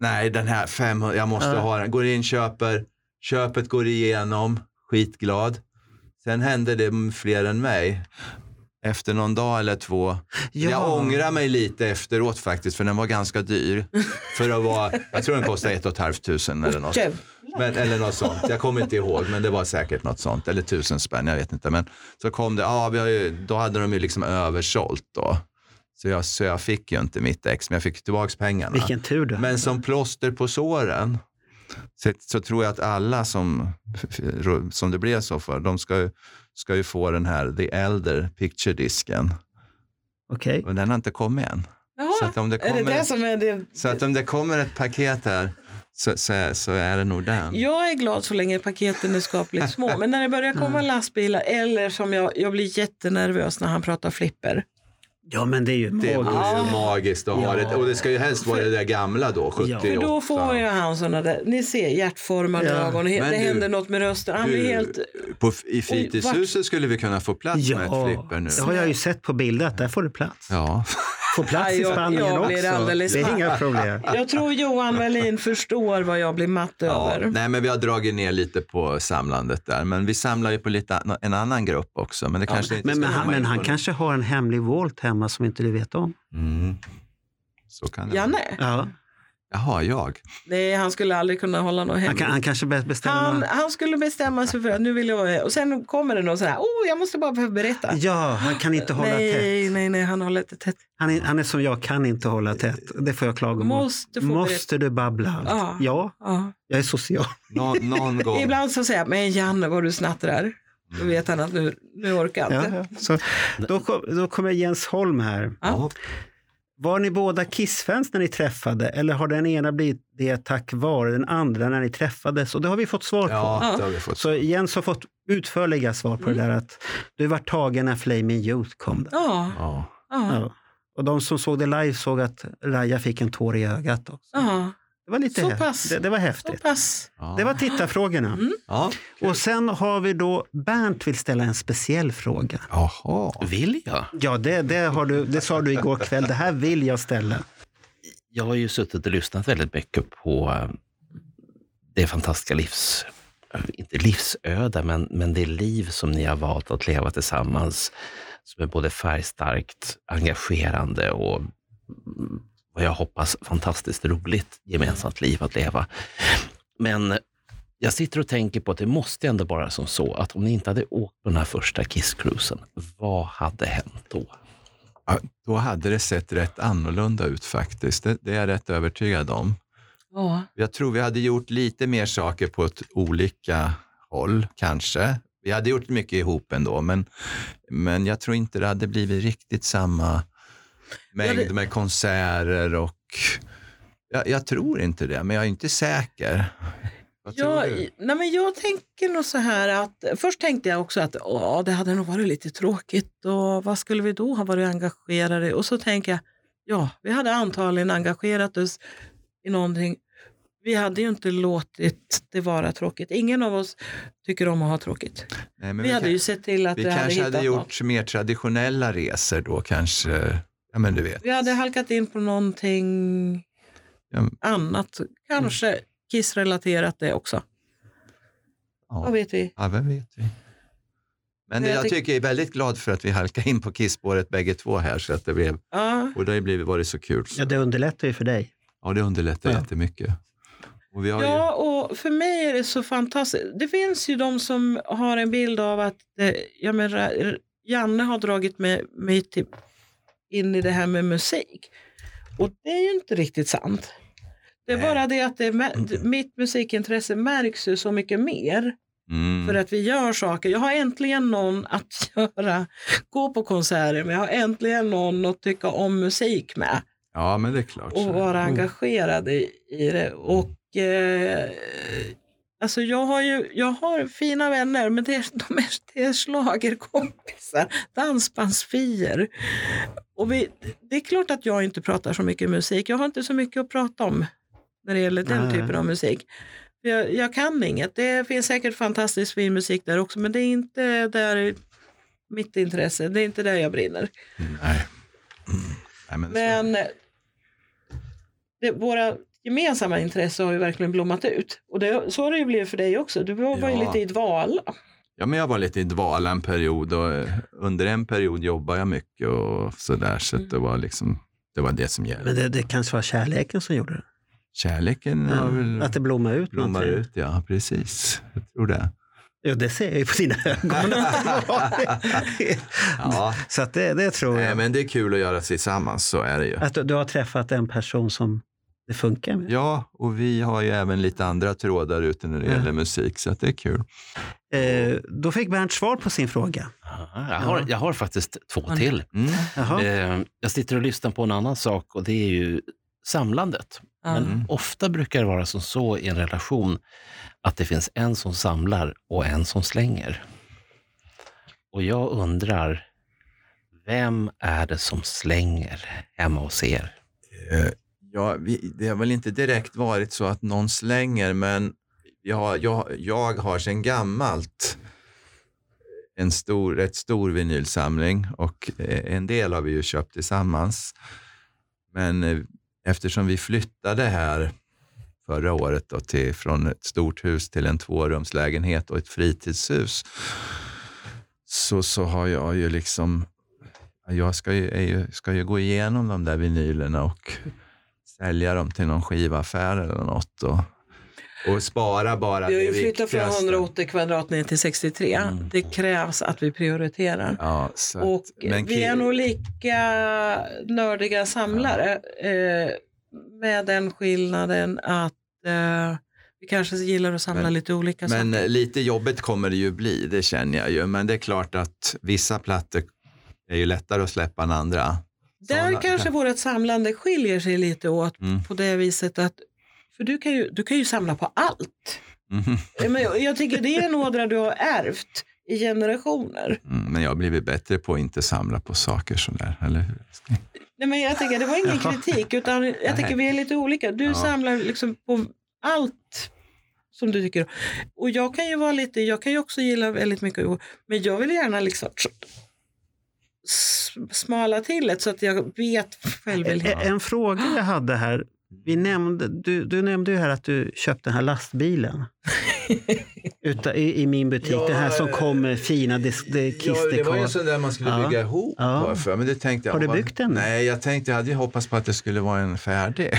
nej den här 500, jag måste
Ja.
ha den. Går in, köper, köpet går igenom, skitglad. Sen hände det fler än mig. Efter någon dag eller två.
Ja.
Jag ångrar mig lite efteråt faktiskt, för den var ganska dyr. För att vara, jag tror den kostade ett och ett halvt tusen eller något.
Jävlar.
Men, eller något sånt. Jag kommer inte ihåg, men det var säkert något sånt. Eller tusen spänn, jag vet inte. Men så kom det, ja, vi har ju, då hade de ju liksom översålt då. Så jag, så jag fick ju inte mitt ex, men jag fick tillbaka pengarna.
Vilken tur du
Men som plåster på såren så, så tror jag att alla som, som det blev så för, de ska ju, ska ju få den här The Elder Picture-disken.
Okej.
Och den har inte kommit än. Så
Jaha,
att om det
Ah, är det
kommer,
det som är det?
så att om det kommer ett paket här så, så, så är det nog den.
Jag är glad så länge paketen är skapligt små. Men när det börjar komma lastbilar eller som jag, jag blir jättenervös när han pratar flipper.
Ja, men det är ju
Det vore
magiskt.
ju
Ja.
magiskt att ha det. Och det ska ju helst vara det där gamla då, 78.
För då får ju han sådana där, ni ser hjärtformade
Ja.
ögon, det
Men du-
händer något med rösten. Han blir
du-
helt,
På, I fritidshuset skulle vi kunna få plats med ett
Ja,
flipper nu.
det har jag ju sett på bilder att där får du plats.
Ja.
Får plats
Ja,
i
jag-
Spanien
jag
också.
blir alldeles
det är
matt.
inga problem.
jag tror Johan Wallin förstår vad jag blir matt
ja.
över.
Nej, men vi har dragit ner lite på samlandet där. Men vi samlar ju på lite, en annan grupp också. Men det kanske inte
Men,
ska
men, han,
komma in
men
på
han
nu.
kanske har en hemlig Walt hemma som inte du vet om.
Mm. Så kan det vara.
Janne?
Ja.
Jaha, jag.
Nej, han skulle aldrig kunna hålla något
Han,
hemligt.
kan, han kanske bäst bestämmer.
Han, han skulle bestämma sig för att nu vill jag, och sen kommer det någon sån här, oh jag måste bara behöva berätta.
Ja, han kan inte hålla tätt.
Nej, nej, nej, han håller inte tätt.
Han är, han är som jag, kan inte hålla tätt. Det får jag klaga om.
Måste få berätta.
Måste du babbla allt?
Ja.
Ja,
Ja.
jag är social.
[LAUGHS]
Nå, någon gång.
Ibland så säger jag, men Janne vad du snattrar. Då
Mm.
vet han att nu, nu orkar jag inte.
Ja, ja. Så, då, kom, då kommer Jens Holm här.
Ja.
Var ni båda Kiss-fans när ni träffade eller har den ena blivit det tack vare den andra när ni träffades? Och det har vi fått svar på.
Ja,
Ja.
det har vi fått.
Så Jens har fått utförliga svar på det där
Mm.
att du var tagen när Flaming Youth kom. Där.
Ja,
Ja.
ja,
Ja. Och de som såg det live såg att Raja fick en tår i ögat också.
ja.
Det var lite
Så
häftigt.
pass.
Det, det var
Så
häftigt.
pass. Mm.
Ja.
Det var tittarfrågorna.
ja.
Och sen har vi då Bernt vill ställa en speciell fråga.
Jaha.
Vill jag?
Ja, det, det, har du, det sa du igår kväll. Det här vill jag ställa.
Jag har ju suttit och lyssnat väldigt mycket på eh, det fantastiska livs... eh, Inte livsöde, men, men det liv som ni har valt att leva tillsammans. Som är både färgstarkt, engagerande och mm, vad jag hoppas fantastiskt roligt gemensamt liv att leva. Men jag sitter och tänker på att det måste ändå vara som så att om ni inte hade åkt på den här första Kiss-cruisen, vad hade hänt då?
Ja, då hade det sett rätt annorlunda ut faktiskt. Det, det är jag rätt övertygad om.
Ja.
Jag tror vi hade gjort lite mer saker på ett olika håll kanske. Vi hade gjort mycket ihop ändå, men, men jag tror inte det hade blivit riktigt samma mängd
Ja, det-
med konserter och... Jag, jag tror inte det, men jag är inte säker. Vad tror
Jag,
du?
nej men jag tänker nog så här att först tänkte jag också att åh, det hade nog varit lite tråkigt och vad skulle vi då ha varit engagerade i? Och så tänker jag, ja, vi hade antagligen engagerat oss i någonting. Vi hade ju inte låtit det vara tråkigt. Ingen av oss tycker om att ha tråkigt.
Nej, men
vi, hade
kan-
ju sett till att
Vi
vi hade
kanske
hittat
hade
något.
gjort mer traditionella resor då kanske. Ja, men du vet.
Vi hade halkat in på någonting
Ja, men-
annat. Kanske kissrelaterat det också. Vad
Ja,
vet vi?
ja vem vet vi. Men
Men jag
jag,
tyck-
tycker jag är väldigt glad för att vi halkade in på kisspåret bägge två här. Så att det blev,
Ja,
och det har ju blivit, varit så kul. Så.
Ja, det underlättar ju för dig.
Ja, det underlättar
Ja.
jättemycket. Och vi har ju,
Ja, och för mig är det så fantastiskt. Det finns ju de som har en bild av att eh, ja, men, Ra- Janne har dragit med mig till, in i det här med musik. Och det är ju inte riktigt sant. Det är
Nej.
bara det att det är, mä- mitt musikintresse märks ju så mycket mer för
mm,
att vi gör saker. Jag har äntligen någon att [LAUGHS] göra, gå på konserter med. Jag har äntligen någon att tycka om musik med
ja, men det är klart. Mm.
och
Så.
vara engagerad i, i det. Och, eh, alltså jag, har ju, jag har fina vänner, men det är, [LAUGHS] de är, det är schlagerkompisar, dansbandsfier. Och vi, det är klart att jag inte pratar så mycket musik. Jag har inte så mycket att prata om när det gäller den
Nej.
typen av musik. För Jag, jag kan inget. Det finns säkert fantastiskt fin musik där också, men det är inte där mitt intresse. Det är inte där jag brinner.
Nej. Mm. Nej, men, så-
Men det, våra gemensamma intressen har ju verkligen blommat ut. Och det, så har det ju blivit för dig också. Du var var ju
Ja.
lite i dvala.
Ja, men jag var lite i dvala en period och eh, under en period jobbade jag mycket och sådär. Så att det var liksom, det var det som
Men
gällde.
det, det kanske var kärleken som gjorde det.
Kärleken har väl...
Att det blommar ut
blommar
någonting.
ut, ja precis. Jag tror det.
Ja, det ser jag ju på dina
[LAUGHS]
ögon. [LAUGHS]
Ja.
så att det, det tror
Nej,
jag.
men det är kul att göra tillsammans, så är det ju.
Att du, du har träffat en person som det funkar med.
Ja, och vi har ju även lite andra trådar ute när det
Ja.
gäller musik, så att det är kul.
Eh, då fick Bernt svar på sin fråga.
Jag har, jag har faktiskt två
Mm.
till.
Mm.
Jaha.
Eh, Jag sitter och lyssnar på en annan sak och det är ju samlandet.
Ja.
Men ofta brukar det vara som så i en relation att det finns en som samlar och en som slänger. Och jag undrar, vem är det som slänger hemma hos er?
Eh, Ja, vi, det har väl inte direkt varit så att någon slänger, men jag, jag, jag har sedan gammalt en stor, rätt stor vinylsamling och eh, en del har vi ju köpt tillsammans. Men eh, eftersom vi flyttade här förra året då till, från ett stort hus till en tvårumslägenhet och ett fritidshus så, så har jag ju liksom jag ska ju, är ju, ska ju gå igenom de där vinylerna och sälja dem till någon skivaffär eller något. Och, och spara bara
Vi har ju
det
flyttat från
viktigaste.
180 kvadrat ner till 63.
Mm.
Det krävs att vi prioriterar.
Ja, så att-
Och
men
vi
ki-
är nog lika nördiga samlare. Eh, med den skillnaden att eh, Vi kanske gillar att samla
Men-
lite olika
Men
saker.
eh, lite jobbigt kommer det ju bli, det känner jag ju. Men det är klart att vissa plattor är ju lättare att släppa än andra. Mm,
Där
sådana-
kanske vårt samlande skiljer sig lite åt
Mm.
på det viset att för du kan, ju, du kan ju samla på allt.
Mhm.
Eh, Men jag, jag tycker det är en ådra du har ärvt i generationer.
Mm, men jag har blivit bättre på att inte samla på saker sådär, eller hur?
Nej, men jag tycker, det var ingen
Ja.
kritik, utan jag tycker vi är lite olika. Du
Ja.
samlar liksom på allt som du tycker om. Och jag kan ju vara lite, jag kan ju också gilla väldigt mycket, men jag vill gärna liksom s- smala till det så att jag vet själv.
E-
väldigt-
En fråga jag hade här. Vi nämnde, du, du nämnde ju här att du köpte den här
[LAUGHS]
lastbilen. Utan, i, I min butik,
Ja,
det här som
eh,
kom med fina dis- de- kistdekor.
sån där man skulle
Ja. bygga
ihop.
Ja. var
För, men det tänkte jag,
Har du byggt den?
Nej, jag tänkte, jag hade ju hoppats på att det skulle vara en färdig.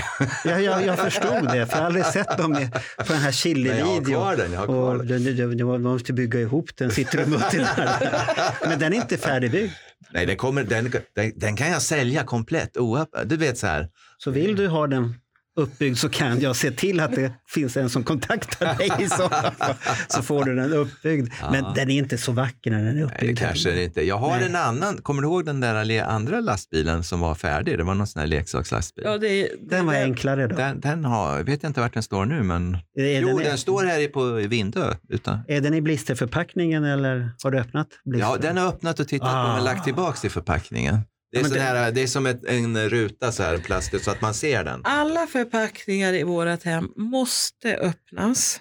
Jag, jag, jag förstod det, för jag har aldrig sett dem i- på den här
Men jag har
chili-videon.
kvar den. Jag har kvar
Och
den.
du, du, du, du måste bygga ihop den, sitter du och
[LAUGHS]
muttrar. Men den är inte färdigbyggd.
Nej, den, kommer, den, den, den kan jag sälja komplett. Oapp, du vet så här.
Så
Mm.
vill du ha den uppbyggd så kan jag se till att det finns en som kontaktar dig i sådana fall. Så får du den uppbyggd. Men
Ja.
den är inte så vacker när den är uppbyggd.
Nej, det kanske det inte. Jag har
Nej.
en annan. Kommer du ihåg den där le- andra lastbilen som var färdig? Det var någon sån här leksakslastbil.
Ja, det,
Den var enklare då.
Den, den har, jag vet inte vart den står nu, men...
Är,
jo,
den,
den, står här i- på Vindö. Utan...
är den i blisterförpackningen eller har du öppnat blister?
Ja, den har öppnat och tittat på men lagt tillbaka i förpackningen. Det är,
Ja, men
sån
det-
här, det är som ett, en ruta så här, plastigt, så att man ser den.
Alla förpackningar i vårt hem måste öppnas.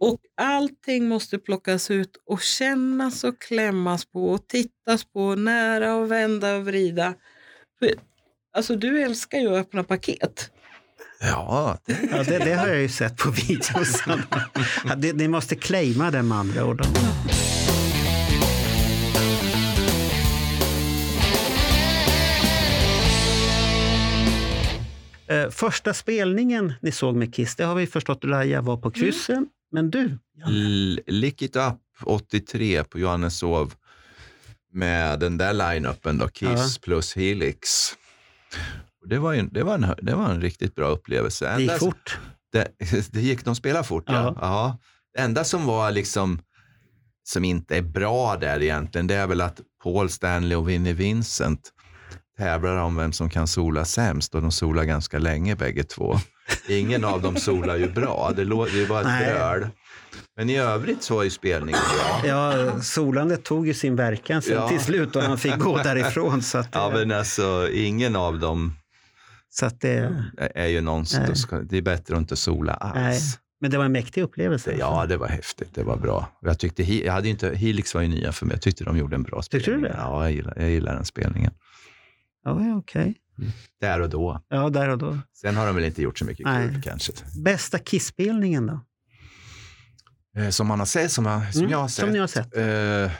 Och allting måste plockas ut och kännas och klämmas på och tittas på nära och vända och vrida. För- Alltså du älskar ju att öppna paket.
Ja, det,
Ja, det, det har jag ju sett på videos. Ja, det- Ni måste claima den med andra ord. Eh, Första spelningen ni såg med Kiss, det har vi förstått Laila var på kryssen. Men du, Janne,
L- Lick It Up 83 på Johanneshov med den där line-upen då, Kiss
Ja.
plus Helix. Och Det var, ju, det, var en, det var en riktigt bra upplevelse.
det gick
Enda-
fort.
Det, [LAUGHS] det gick, de spelar fort, ja.
Ja.
ja. Det enda som var liksom, som inte är bra där egentligen, det är väl att Paul Stanley och Vinnie Vincent tävlar om vem som kan sola sämst och de solar ganska länge bägge två. Ingen av dem solar ju bra, det, lå- det var ett
Nej.
bröl. Men i övrigt så var ju spelningen bra.
Ja, solandet tog ju sin verkan sen
Ja.
till slut och han fick gå därifrån. Så att,
Ja, men alltså ingen av dem
så att det,
är ju någon som,
Nej.
det är bättre att inte sola
Nej.
alls.
men det var en mäktig upplevelse.
Ja, det var häftigt. Det var bra. Och Jag tyckte, He- jag hade ju inte, Helix var ju nya för mig. Jag tyckte de gjorde en bra spelning.
Tyckte du det?
Ja, jag gillar, jag gillar den spelningen.
Ja, ja, okej.
Där och då.
Ja, där och då.
Sen har de väl inte gjort så mycket
Nej.
kul kanske.
Bästa Kiss-spelningen då?
Eh, Som man har sett, som, jag- som
Mm,
jag har sett.
Som ni har sett.
Eh,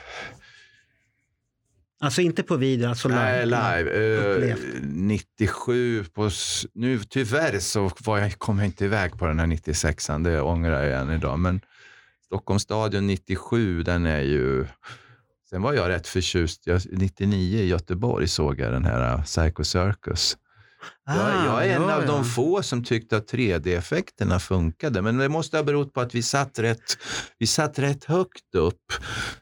Alltså inte på video, alltså live.
nej, live. Eh,
Upplevt.
97 på... s- Nu, tyvärr så var jag, kom jag inte iväg på den här 96an. Det ångrar jag än idag. Men Stockholms stadion 97, den är ju... Sen var jag rätt förtjust. Jag, 99 i Göteborg såg jag den här eh, Psycho Circus. jag, jag är en
Ah, ja,
av
ja.
de få som tyckte att 3D-effekterna funkade, men det måste ha berott på att vi satt rätt, vi satt rätt högt upp.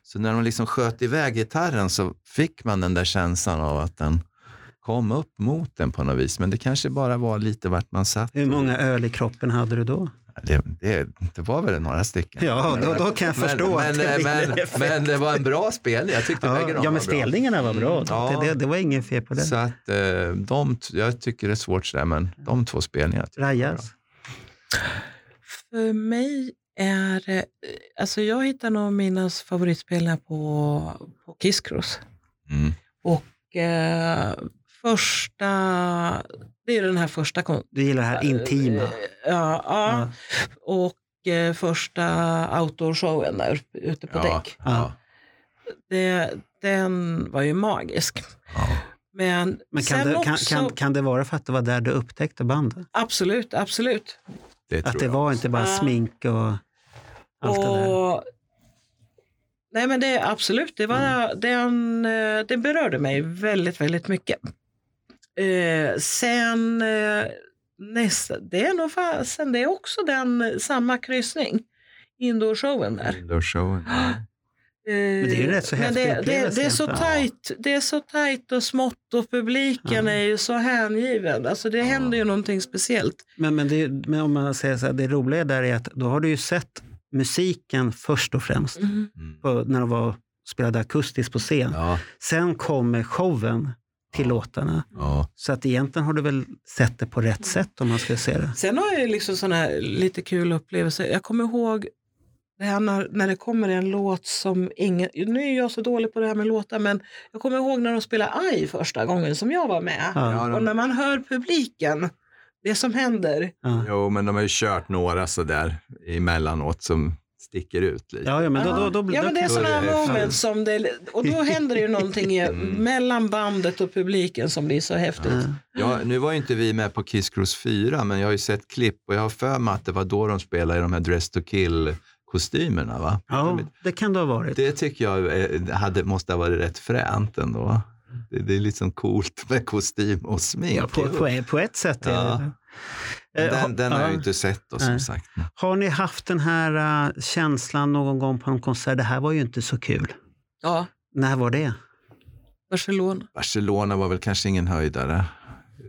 Så när de liksom sköt iväg gitarren så fick man den där känslan av att den kom upp mot den på något vis. Men det kanske bara var lite vart man satt.
Hur många öl i kroppen hade du då?
Det, det, det var väl några stycken.
Ja, då, då kan jag
men,
förstå
men,
att det blir
men,
en effekt.
men det var en bra spelning. Jag tyckte bägge de
ja, ja,
var
men
bra.
spelningarna var bra.
Mm, ja.
Det, det, det var ingen fel på det.
Så att eh, de, t- jag tycker det är svårt sådär, men de två spelningarna. tycker jag var bra.
Rajas.
För mig är det, alltså jag hittar nog mina favoritspelningar på, på Kiss Cruise.
Mm.
Och, eh, första, det är den här första kon-
Du gillar det här intima.
Eh, Ja, ja.
Ja.
och eh, första outdoor-showen där ute på
Ja,
däck.
ja,
Det, den var ju magisk.
ja.
Men,
Men kan
sen
det, kan,
också,
kan, kan det vara för att det var där du upptäckte bandet?
absolut, absolut.
Det
Att
tror
det
jag
var
också.
inte bara
Ja.
smink och allt det där?
och, nej men det är absolut, det, var,
Mm.
den, eh, det berörde mig väldigt, väldigt mycket. Eh, sen eh, nästa, det är nog fasen, det är också den, eh, samma kryssning. Indoorshowen där.
Indoorshowen.
Men
det är ju rätt så häftig
Eh, det, det,
upplevelse
det, är så
egentligen.
tajt, det är så tajt och smått och publiken
Ja.
är ju så hängiven. Alltså det händer ju någonting speciellt.
Men, men, det, men om man säger så här, det roliga där är att då har du ju sett musiken först och främst.
Mm.
På, när de var, spelade akustiskt på scen.
Ja,
Sen kommer showen till låtarna.
ja.
Så att egentligen har du väl sett det på rätt sätt om man ska se det.
Sen har jag ju liksom sådana här lite kul upplevelser. Jag kommer ihåg det här när, när det kommer en låt som ingen... Nu är jag så dålig på det här med låtar, men jag kommer ihåg när de spelade AI första gången som jag var med.
Ja,
Ja,
Och när man hör publiken, det som händer.
ja.
Jo, men de har ju kört några sådär emellanåt som sticker ut lite.
ja, ja men då, då, då, då,
ja, men det är
då
sådana
är
här
det fan.
moments som det, och då händer det ju någonting i,
Mm.
mellan bandet och publiken som blir så häftigt.
Ja.
Ja, nu var ju inte vi med på Kiss Cross 4, men jag har ju sett klipp och jag har för mig att det var då de spelade i de här Dress to Kill-kostymerna. Va?
Ja, det kan det ha varit.
Det tycker jag eh, hade, måste ha varit rätt fränt ändå. Det, det är liksom coolt med kostym och smink.
Ja, på, på, på ett sätt är
Ja.
det det. Eh,
Den, den har jag
ja.
ju inte sett då, som
Nej.
sagt.
Har ni haft den här eh, känslan någon gång på en konsert, det här var ju inte så kul.
Ja,
När var det?
Barcelona.
Barcelona var väl kanske ingen höjdare.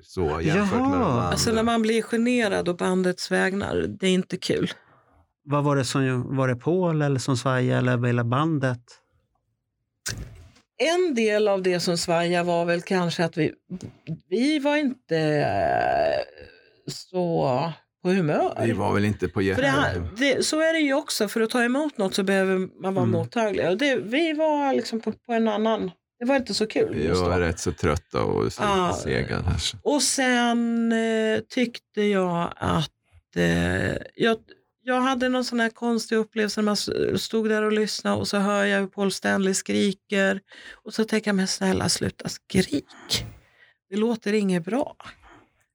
Så jämfört med de
Jaha.
andra.
Alltså när man blir generad och bandets vägnar, det är inte kul.
Vad var det som var det Paul eller som svajade eller hela bandet?
En del av det som svajade var väl kanske att vi, vi var inte eh, så på humör.
Vi var väl inte på
För det,
jätte...
det, så är det ju också, för att ta emot något så behöver man vara
Mm.
mottaglig. Och det, vi var liksom på, på en annan, det var inte så kul.
Vi
just då.
var rätt så trötta och
Ja.
segade. här.
Och sen eh, tyckte jag att eh, jag, jag hade någon sån här konstig upplevelse när man s- stod där och lyssnade och så hör jag hur Paul Stanley skriker och så tänker jag, men snälla sluta skrik. Det låter inget bra.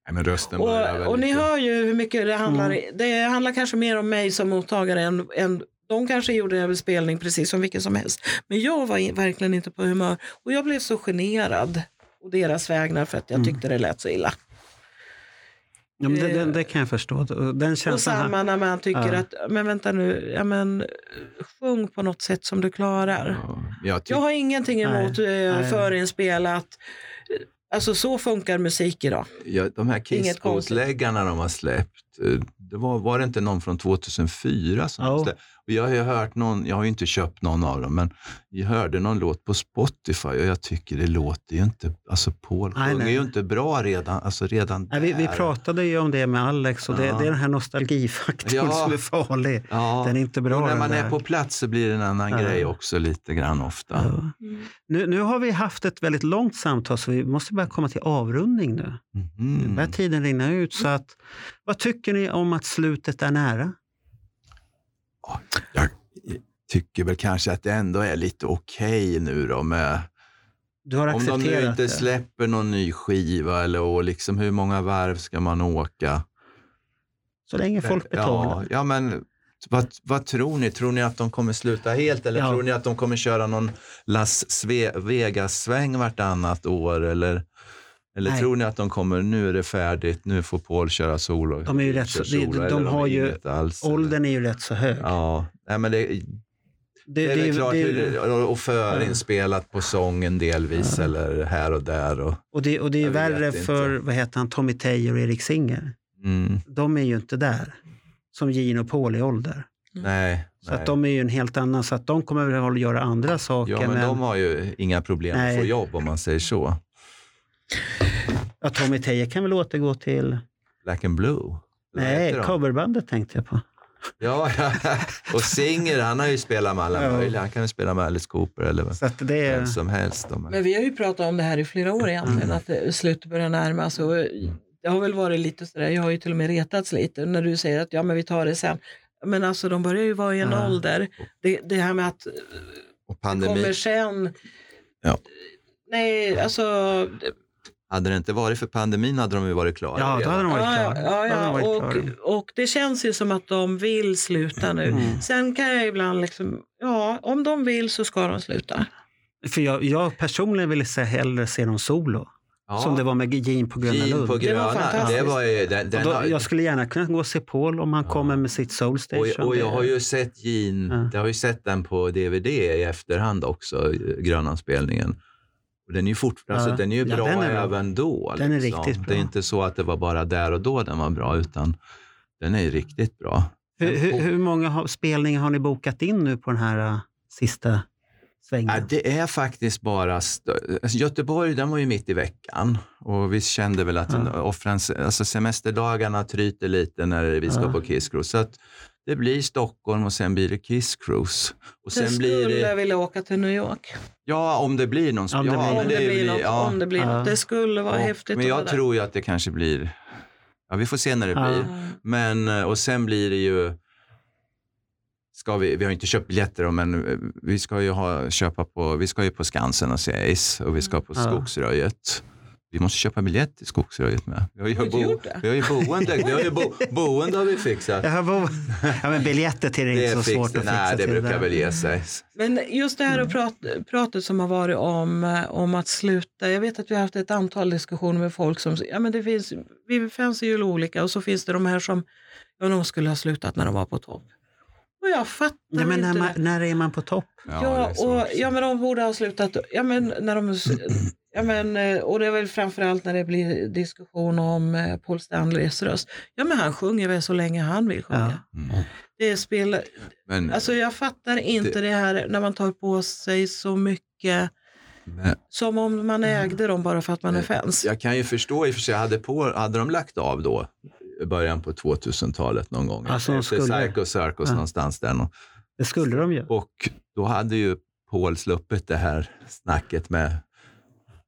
Nej, men rösten började
Och,
väl
och ni
lite-
hör ju hur mycket det handlar Det handlar kanske mer om mig som mottagare än, än de kanske gjorde en spelning precis som vilken som helst. Men jag var i- verkligen inte på humör och jag blev så generad och deras vägnar för att jag
Mm.
tyckte det lät så illa.
Ja, men det,
Eh,
det, det kan jag förstå. Den
Och
känslan
samma när man tycker
Ja.
att, men vänta nu, ja, men, sjung på något sätt som du klarar.
Ja, jag tyck-
Jag har ingenting emot eh,
typ. nej.
förinspelat. Alltså så funkar musik idag.
Ja, de här
Inget konstigt.
Kiss-kotläggarna de har släppt, eh, det var, var det inte någon från 2004 som
Jo.
oh. Och Jag har ju hört någon, jag har ju inte köpt någon av dem, men jag hörde någon låt på Spotify och jag tycker det låter ju inte, alltså Paul
Nej,
sjunger
nej.
ju inte bra redan, alltså redan
Nej, vi, vi
där.
pratade ju om det med Alex och det,
Ja.
det är den här nostalgifaktorn
Ja.
som är farlig.
Ja,
Den är inte bra.
och när
den
man
där.
är på plats så blir det en annan
Ja.
grej också lite grann ofta.
Ja. Nu, nu har vi haft ett väldigt långt samtal så vi måste börja komma till avrundning nu. Nu
Mhm.
börjar tiden rinna ut. Så att, vad tycker ni om att slutet är nära?
Jag tycker väl kanske att det ändå är lite okej nu då med
Du har
Om de
accepterat
nu inte
det.
släpper någon ny skiva eller och liksom hur många varv ska man åka?
så länge folk
Ja,
betalar.
ja men vad, vad tror ni? Tror ni att de kommer sluta helt eller
Ja.
tror ni att de kommer köra någon Las Sve- Vegas-sväng vartannat år? Eller, eller
Nej.
tror ni att de kommer, nu är det färdigt, nu får Paul köra solo?
De är ju rätt så-
Kör
de- de
eller
har ju
inget alls, eller?
Åldern är ju rätt så hög.
Ja, nej, men det,
Det-
det, är
det-
väl klart
det-
hur det, och förinspelat på sången delvis eller här och där. Och,
Och det, och det är ju
Jag vet
värre
inte.
för vad heter han, Tommy Teijer och Erik Singer.
mm,
De är ju inte där, som Gene och Paul i ålder.
Mm.
nej,
Så
nej.
att de är ju en helt annan, så att de kommer väl att göra andra saker.
Ja, men,
men
de har ju inga problem att
Nej.
få jobb om man säger så.
ja, Tommy Teijer kan väl återgå till...
Black and Blue. Eller vad
Nej,
heter de?
coverbandet tänkte jag på.
Ja, ja. Och Singer, han har ju spelat med alla
Ja.
möjliga. Han kan ju spela med Alice Cooper eller
Så att det är...
vem som helst. De
Men
är.
vi har ju pratat om det här i flera år egentligen,
Mm.
att eh, slutet börjar närma sig. Och eh, Det har väl varit lite sådär, jag har ju till och med retats lite när du säger att ja men vi tar det sen. Men alltså de börjar ju vara i en
Ja.
ålder. Det, det här med att
Och
det
pandemin.
kommer sen.
Ja.
Nej, alltså.
Hade det inte varit för pandemin hade de ju varit klara.
Ja, då
redan.
hade de varit
Ja,
klara.
ja,
Då hade de
ja,
varit klara.
och, och det känns ju som att de vill sluta nu.
Mm.
Sen kan jag ibland liksom, ja, om de vill så ska de sluta.
För jag, jag personligen ville se hellre se dem solo.
Ja.
Som det var med Jean på Gröna
Jean
Lund.
på
Det var
Gröna.
fantastiskt.
Det var ju, den,
Och
den
då,
har,
jag skulle gärna kunna gå och se Paul om han
Ja.
kommer med sitt Soul Station.
och, och jag har ju sett Jean,
Ja.
jag har ju sett den på DVD i efterhand också, Grönanspelningen. Och den är ju fortfarande,
Ja.
alltså, den är ju
Ja,
bra
den är bra.
även då. liksom.
Den är riktigt bra.
Det är inte så att det var bara där och då den var bra, utan den är ju riktigt bra.
hur, hur, hur många har, spelningar har ni bokat in nu på den här äh, sista svängen?
Ja, det är faktiskt bara... stö- Alltså Göteborg, den var ju mitt i veckan. Och vi kände väl att
Ja.
offrens, alltså semesterdagarna tryter lite när vi ska
Ja.
på Kiss Cruise. Så att det blir Stockholm och sen blir det Kiss Cruise. Och
Jag
sen
skulle
blir det...
vilja åka till New York.
Ja, om det blir någon...
Om det blir-
ja, men
Om det, blir något.
ja.
Om det blir
Ja.
något. Det skulle vara
Och-
häftigt
Men
att
jag
vara där.
tror ju att det kanske blir... Ja, vi får se när det
Ja.
blir. Men, eh, och sen blir det ju... Ska vi, vi har inte köpt biljetter, då, men eh, vi ska ju, ha, köpa på, vi ska ju på Skansen och se Ace och vi ska
Mm.
på
Ja.
Skogsröjet. Vi måste köpa biljett till Skogsröjet med. Vi har
Har
ju,
du
bo,
gjort det?
vi har ju boende. Vi har ju
[LAUGHS]
bo, boende har vi fixat.
Jag har bo- ja, men biljetter till det är inte så svårt att
fixat.
fixa
Nej, det
till
brukar
där.
väl ge sig.
Men just det här och prat, pratet som har varit om, eh, om att sluta. Jag vet att vi har haft ett antal diskussioner med folk som ja, men det finns, vi fans är ju olika och så finns det de här som ja, de skulle ha slutat när de var på topp. Och jag fattar
Nej, men
inte
när, man,
det.
när är man på topp?
Ja,
det är svårt.
och, ja, men de borde ha slutat. Ja, men när de,
[CLEARS THROAT]
ja, men, eh, och det är väl framförallt när det blir diskussion om eh, Paul Stanleys röst. Ja, men han sjunger väl så länge han vill sjunga.
Mm.
Det spelar,
Men,
alltså jag fattar inte det, här när man tar på sig så mycket
men-
som om man
Mm.
ägde dem bara för att man är fans.
Eh, Jag kan ju förstå i och för sig, hade, på, hade de lagt av då i början på 2000-talet någon gång?
Alltså, de
efter
skulle-
Psycho Circus
Ja.
någonstans där. nå-
Det skulle de ju.
Och då hade ju Paul sluppit det här snacket med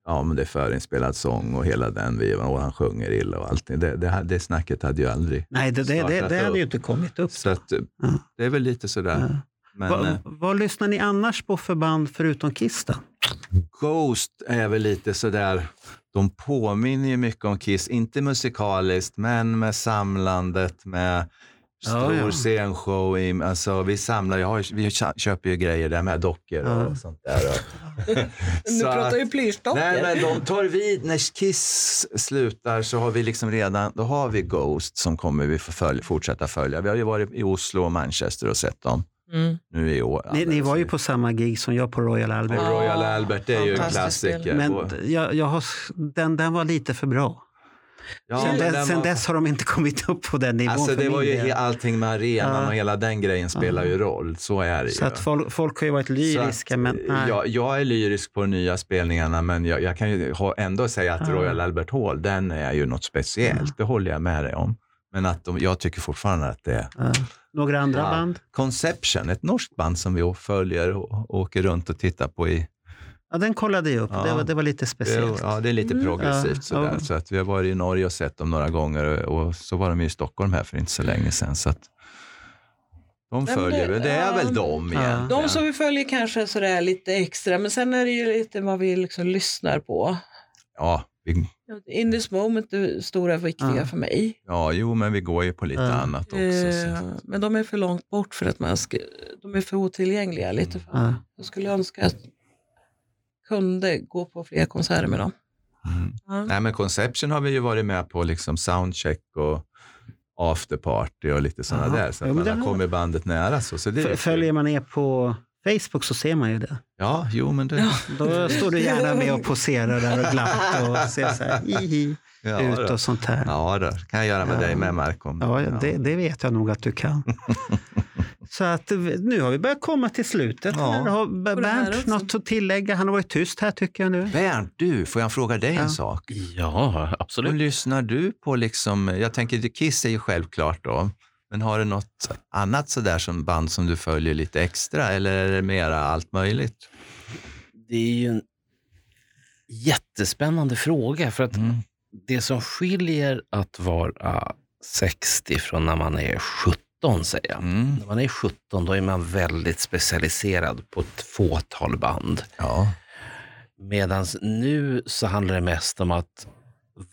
ja, men det är förinspelad sång och hela den vivan och han sjunger illa och allting. Det, det, det snacket hade ju aldrig.
Nej, det, det, det,
Startat
det hade ju
upp.
inte kommit upp.
Så att, eh,
Ja.
det är väl lite sådär.
Ja.
Men
Vad-
eh,
vad lyssnar ni annars på för band förutom Kiss då?
Ghost är väl lite sådär, de påminner ju mycket om Kiss, inte musikaliskt, men med samlandet, med stor
Ja, ja.
scenshow. i- Alltså, vi samlar, jag har, ju- vi kö- köper ju grejer där med dockor och
Ja.
sånt där.
[LAUGHS]
Och. Så att-
plyrstockar.
Nej, men de tar vid. När Kiss slutar så har vi liksom redan, då har vi Ghost som kommer vi få följ, fortsätta följa. Vi har ju varit i Oslo och Manchester och sett dem
Mm.
nu i år.
Ni, ni var ju på samma gig som jag på Royal
Och
Albert.
Royal Albert, det är ju en
Fantastisk
klassiker.
Men
Och-
d- jag, jag har, s- den, den var lite för bra.
Ja,
sen
men
dess,
den
sen
var-
dess har de inte [LAUGHS] kommit upp på den nivån
Alltså
för
det
min
var ju
del.
he- allting med arenan
Ja.
och hela den grejen spelar ju roll. Så är det ju.
Så att folk, folk har ju varit
Så att, eh,
lyriska, men nej.
jag, jag är lyrisk på de nya spelningarna, men jag, jag kan ju ha, ändå säga att
Ja.
Royal Albert Hall, den är ju något speciellt. Det håller jag med dig om. Men att de, jag tycker fortfarande att det är
Ja. Några andra
Ja.
band?
Conception, ett norskt band som vi följer och åker runt och tittar på. I,
Ja, den kollade jag upp. Det,
Ja.
var, det var lite
det,
speciellt.
ja, det är lite
Mm.
progressivt
Ja.
sådär.
Ja.
Så att vi har varit i Norge och sett dem några gånger och, och så var de ju i Stockholm här för inte så länge sedan. Så att de
men
följer,
det-
det, det är
ja.
väl de
Ja.
egentligen.
De som vi följer kanske sådär lite extra, men sen är det ju lite vad vi liksom lyssnar på.
Ja, vi,
In this moment är stora viktiga
Ja.
för mig.
ja, jo, men vi går ju på lite
Ja.
annat också.
Eh,
Så.
Men de är för långt bort för att man ska, de är för otillgängliga lite. För.
Ja.
Jag skulle önska att kunde gå på fler konserter med dem.
Mm.
Ja.
Nej, men Conception har vi ju varit med på, liksom soundcheck och afterparty och lite sådana
Ja.
där. Så
Ja,
att
men
man
det
har
har-
kommit bandet nära. Så, så det är
F-
ju
Följer
kul.
man er på Facebook så ser man ju det.
Ja, jo, men det...
Ja.
Då står du gärna med och poserar där och glatt och ser så här hihi
Ja,
ut
då.
och sånt här.
Ja, då. kan jag göra med
Ja.
dig med, Marko.
Ja, det, det vet jag nog att du kan. Så att vi- nu har vi börjat komma till slutet.
Ja.
här. Har B-
Och det här
Bernt
också.
något att tillägga? Han har varit tyst här tycker jag nu.
Bernt, du, får jag fråga dig
Ja.
en sak?
Ja,
Och
absolut.
lyssnar du på, liksom, jag tänker The Kiss är ju självklart då, men har du något annat sådär som band som du följer lite extra eller är det mera allt möjligt?
Det är ju en jättespännande fråga. För att det som skiljer att vara 60 från när man är 17, säger jag.
Mm.
När man är 17 då är man väldigt specialiserad på ett fåtal band.
Ja.
Medan nu så handlar det mest om att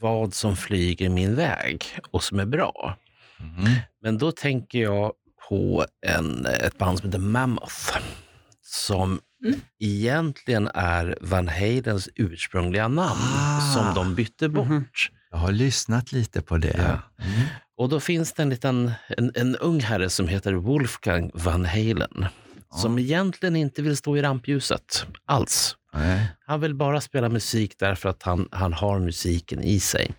vad som flyger min väg och som är bra.
Mm.
Men då tänker jag på en, ett band som heter Mammoth. Som egentligen är Van Haydens ursprungliga namn
Ah.
som de bytte bort.
Mhm.
Jag har lyssnat lite på det. Mm.
Och då finns det en liten, en, en ung herre som heter Wolfgang Van Halen. Som egentligen inte vill stå i rampljuset alls.
Nej.
Han vill bara spela musik därför att han, han har musiken i sig.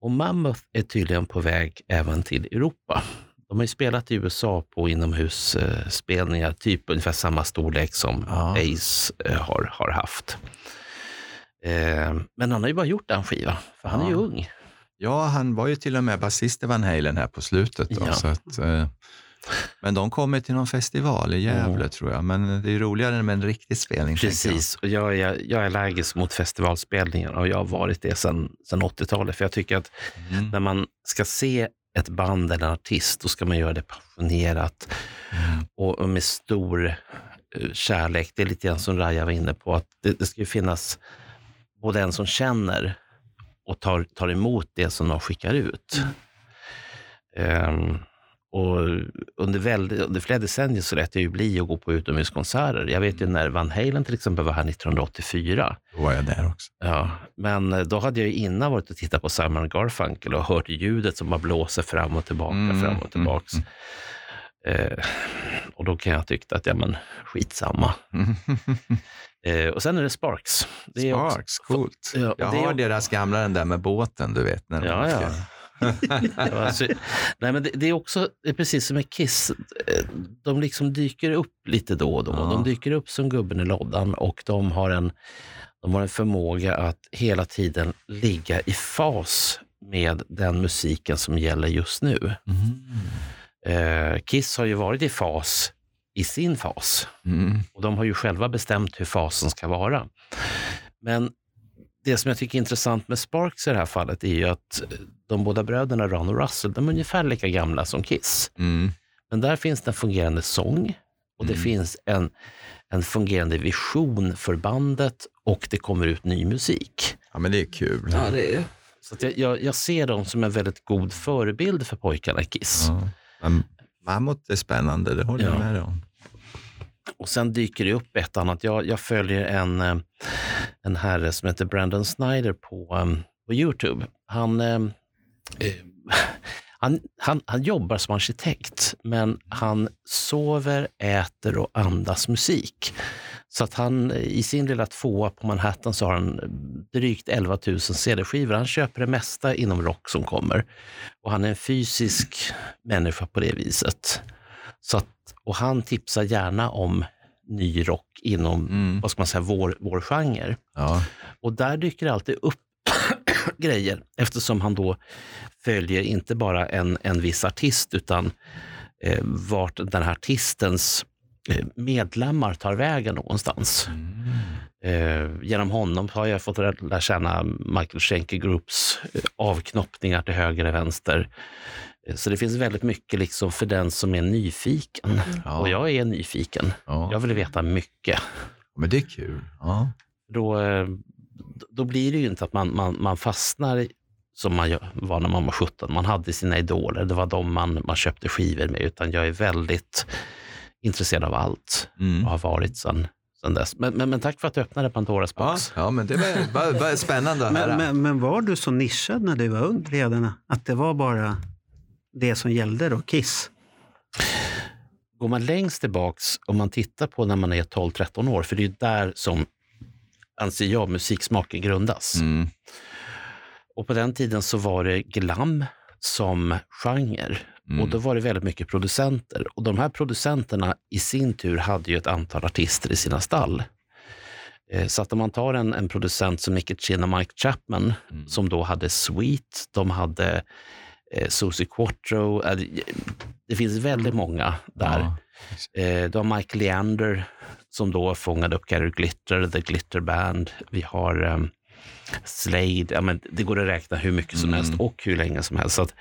Och Mammoth är tydligen på väg även till Europa. De har ju spelat i USA på inomhusspelningar, typ ungefär samma storlek som
Ja.
Ace eh, har, har haft. Eh, Men han har ju bara gjort en skiva, för han är ju
Ja.
ung.
Ja, han var ju till och med basist i Van Halen här på slutet. Då,
Ja.
så att, eh, men de kommer till någon festival i Gävle tror jag. Men det är roligare med en riktig spelning. tänker
Precis, och jag är, jag är allergisk mot festivalspelningar och jag har varit det sedan sedan 80-talet. För jag tycker att
jag. Mm.
när man ska se ett band eller en artist, då ska man göra det passionerat och, och med stor eh, kärlek. Det är lite grann som Raja var inne på, att det, det ska ju finnas både en som känner och tar, tar emot det som de skickar ut. Ehm, och under, väldigt, under flera decennier så lät det ju bli att gå på utomhuskonserter. Jag vet ju när Van Halen till exempel var här 1984.
Då var jag där också.
Ja, men eh, då hade jag ju innan varit och tittat på Simon Garfunkel och hört ljudet som bara blåser fram och tillbaka,
Mm,
fram och tillbaks.
mm,
Eh, och då kan jag tycka att, ja men skitsamma. Eh, och sen är det Sparks. Det är också-
Sparks, coolt.
Ja, och
jag
det är
har
också-
deras gamla den där med båten, du vet. När de
Ja, ja.
åker.
Det var sy- alltså, Nej, men det, det är också det är precis som med Kiss. Eh, De liksom dyker upp lite då och då.
Ja.
De dyker upp som gubben i lådan och de har, en, de har en förmåga att hela tiden ligga i fas med den musiken som gäller just nu.
Mm,
Eh, Kiss har ju varit i fas i sin fas.
Mm.
Och de har ju själva bestämt hur fasen ska vara. Men det som jag tycker är intressant med Sparks i det här fallet är ju att eh, de båda bröderna Ron och Russell, de är ungefär lika gamla som Kiss.
Mm.
Men där finns det en fungerande sång och det
Mm.
finns en, en fungerande vision för bandet och det kommer ut ny musik.
Ja, men det är kul.
Ja, det är,
Så att jag, jag, jag ser dem som en väldigt god förebild för pojkarna i Kiss.
Ja. Men Mammut är spännande, det håller
Ja.
jag med dig om.
Och sen dyker det upp ett annat. Jag, jag följer en, eh, en herre som heter Brandon Snyder på, eh, på YouTube. Han, eh, eh, han, han, han jobbar som arkitekt, men han sover, äter och andas musik. Så att han eh, i sin lilla tvåa på Manhattan så har han drygt 11 000 CD-skivor. Han köper det mesta inom rock som kommer. Och han är en fysisk människa på det viset. Så att, och han tipsar gärna om ny rock inom
Mm.
vad ska man säga, vår, vår genre.
Ja.
Och där dyker det alltid upp [COUGHS] grejer eftersom han då följer inte bara en, en viss artist utan eh, vart den här artistens eh, medlemmar tar vägen någonstans.
Mm.
Eh, genom honom har jag fått rä- lära känna Michael Schenker Groups eh, avknoppningar till höger och vänster. Eh, Så det finns väldigt mycket liksom för den som är nyfiken.
Ja.
Och jag är nyfiken.
Ja.
Jag vill veta mycket.
Men det är kul. Ja.
Då, eh, då blir det ju inte att man, man, man fastnar i- som man gör- var när man var 17. Man hade sina idoler, det var de man, man köpte skivor med. Utan jag är väldigt intresserad av allt
Mm.
och har varit sedan sedan dess. Men, men, men tack för att du öppnade Pandoras
Ja,
box.
ja, men det var, var, var spännande att höra.
Men, men, men var du så nischad när du var ung redan? Att det var bara det som gällde då, Kiss?
går man längst tillbaks, om man tittar på när man är 12-13 år, för det är ju där som, anser jag, musiksmaken grundas.
Mm.
Och på den tiden så var det glam som genre.
Mm.
Och då var det väldigt mycket producenter. Och de här producenterna i sin tur hade ju ett antal artister i sina stall. Eh, Så att om man tar en, en producent som Nicky Chin och Mike Chapman,
Mm.
som då hade Sweet, de hade eh, Susie Quattro. eh, det- Det finns väldigt många där.
Ja.
Eh, du har Mike Leander som då fångade upp Gary Glitter, The Glitter Band. Vi har ehm, Slade. Ja, men det går att räkna hur mycket som
Mm.
helst och hur länge som helst. Så att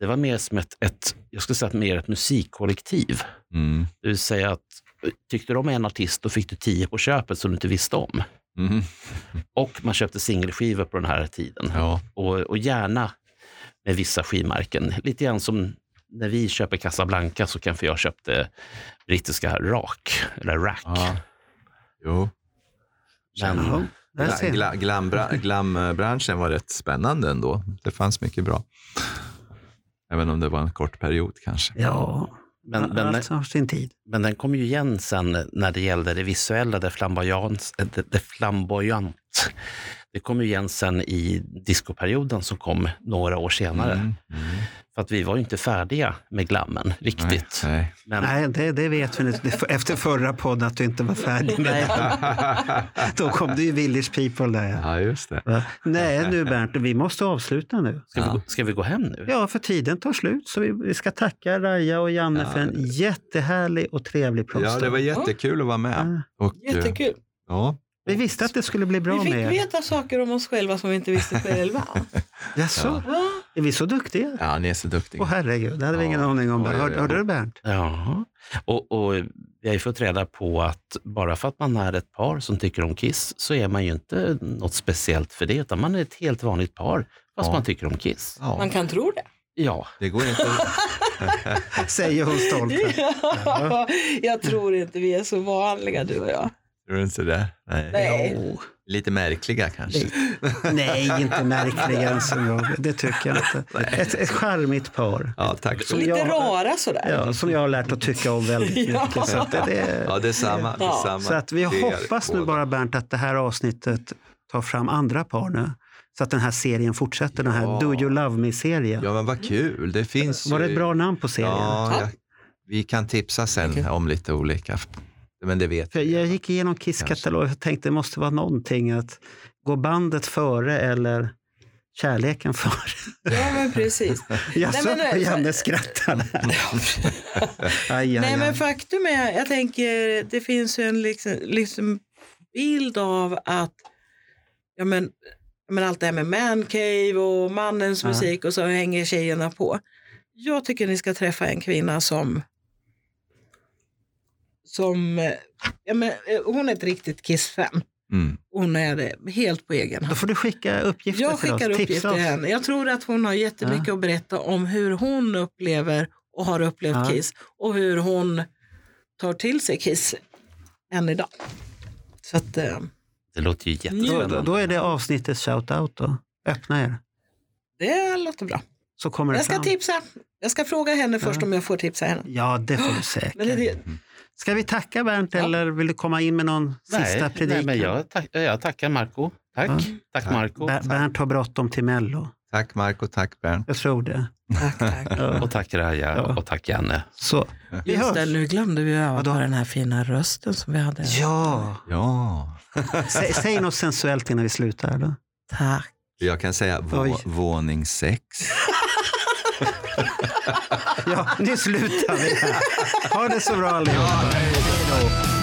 det var mer som ett, ett, jag skulle säga att mer ett musikkollektiv.
Mm.
Det vill säga att eh, tyckte du om en artist då fick du tio på köpet som du inte visste om.
Mm.
Och man köpte singelskivor på den här tiden.
Ja.
Och, och gärna med vissa skivmärken. Lite grann som när vi köper Casablanca så kanske jag köpte brittiska Rak, eller Rack.
Ja. Jo.
Men,
Ja, där
Gla-
ser
gla-
jag.
glambra- Glambranschen var rätt spännande ändå. Det fanns mycket bra. Även om det var en kort period kanske.
Ja,
men, men,
allt har sin tid.
Men den kom ju igen sen när det gällde det visuella, det, flamboyans, eh, det, det flamboyant. Det kom ju igen sen i discoperioden som kom några år senare.
Mm,
För att vi var ju inte färdiga med glammen riktigt.
Nej, [LAUGHS] nej.
Men,
Nej, det, det vet vi nu. Efter förra podden att du inte var färdig med det. Då kom det ju Village People där. ja.
ja, just det.
Va? Nej, nu Bernt, vi måste avsluta nu.
Ska, vi, gå- ska vi gå hem nu?
Ja, för tiden tar slut. Så vi, vi ska tacka Raja och Janne
Ja,
för en jättehärlig och trevlig pratstund.
Ja, det var jättekul att vara med.
Ja.
Och, eh,
Jättekul.
Ja.
Mm. Vi visste att det skulle bli bra
Vi fick
med er.
veta saker om oss själva som vi inte visste [LAUGHS] själva.
Jaså,
Va?
är vi så duktiga?
ja, ni är så duktiga.
Åh herregud, det hade vi
Ja.
ingen aning om.
Oj, oj,
Hör,
oj.
hörde du Bernt?
Ja. Och, och vi har ju fått reda på att bara för att man är ett par som tycker om Kiss så är man ju inte något speciellt för det, utan man är ett helt vanligt par fast
Ja.
man tycker om Kiss.
Ja,
Man kan tro det.
Ja,
det går inte.
Säger hon stolt. Ja.
jag tror inte vi är så vanliga du och jag.
Tror du inte det? Nej.
Nej.
Jo.
Lite märkliga kanske.
Nej, inte märkligare än som jag. Det tycker jag inte. Ett, ett charmigt par.
Ja, tack.
Så
För...
Lite
jag-
rara sådär.
Ja, som jag har lärt att tycka om väldigt
[LAUGHS] Ja.
mycket. Så, att det,
Ja,
det,
detsamma.
Ja.
detsamma.
så att vi
Det är
hoppas nu
båda.
bara Bernt att det här avsnittet tar fram andra par nu. Så att den här serien fortsätter, den här
Ja.
Do You Love Me-serien.
Ja, men vad kul. Det finns
Var det
ju-
ett bra namn på serien?
Ja, jag, vi kan tipsa sen
Okej.
om lite olika. Men det vet
För
vi.
jag gick igenom Kiss
Kanske.
katalog och tänkte det måste vara någonting. att Gå bandet före eller kärleken [LAUGHS] före?
Ja,
[LAUGHS]
men precis.
Jaså,
men nu-
Janne skrattar.
[LAUGHS]
aj, aj,
Nej, men
aj.
faktum är, jag tänker, det finns ju en liksom, liksom bild av att ja, men, ja, men allt det här med mancave och mannens
Ja.
musik och så hänger tjejerna på. Jag tycker ni ska träffa en kvinna som som, eh, ja, men, eh, hon är ett riktigt Kiss-fan.
Mm.
Hon är det helt på egen hand.
Då får du skicka uppgifter
Jag
till oss.
skickar
Tipsa
uppgifter
oss.
till henne. Jag tror att hon har jättemycket att berätta om hur hon upplever och har upplevt
Ja.
Kiss och hur hon tar till sig Kiss än idag. Så att, eh,
det låter ju
Då,
jättespännande.
då är det avsnittets shout-out då. Öppna er.
det låter bra.
Så kommer det
Jag ska
fram.
tipsa. Jag ska fråga henne först
Ja.
om jag får tipsa henne.
Ja, det får du
Men det,
säkert.
det,
Ska vi tacka Bernt
Ja.
eller vill du komma in med någon sista
nej,
predikan?
nej, men jag, tack, jag tackar Marco. Tack,
Ja.
tack
Tack.
Marco.
Ber- Bernt har bråttom till Mello.
Tack Marco, tack Bernt.
Jag tror det.
tack, tack.
[LAUGHS] Ja.
Och tack Raja
Ja.
och tack Janne.
Så, vi
Just det,
hörs.
nu glömde vi öva
Vadå?
på den här fina rösten som vi hade.
Ja,
Ja.
Sä, säg något sensuellt innan vi slutar. Då.
Tack.
Jag kan säga
Oj.
vå, våning sex.
Ja, nu slutar vi. Ha det så bra allihopa. Hej då.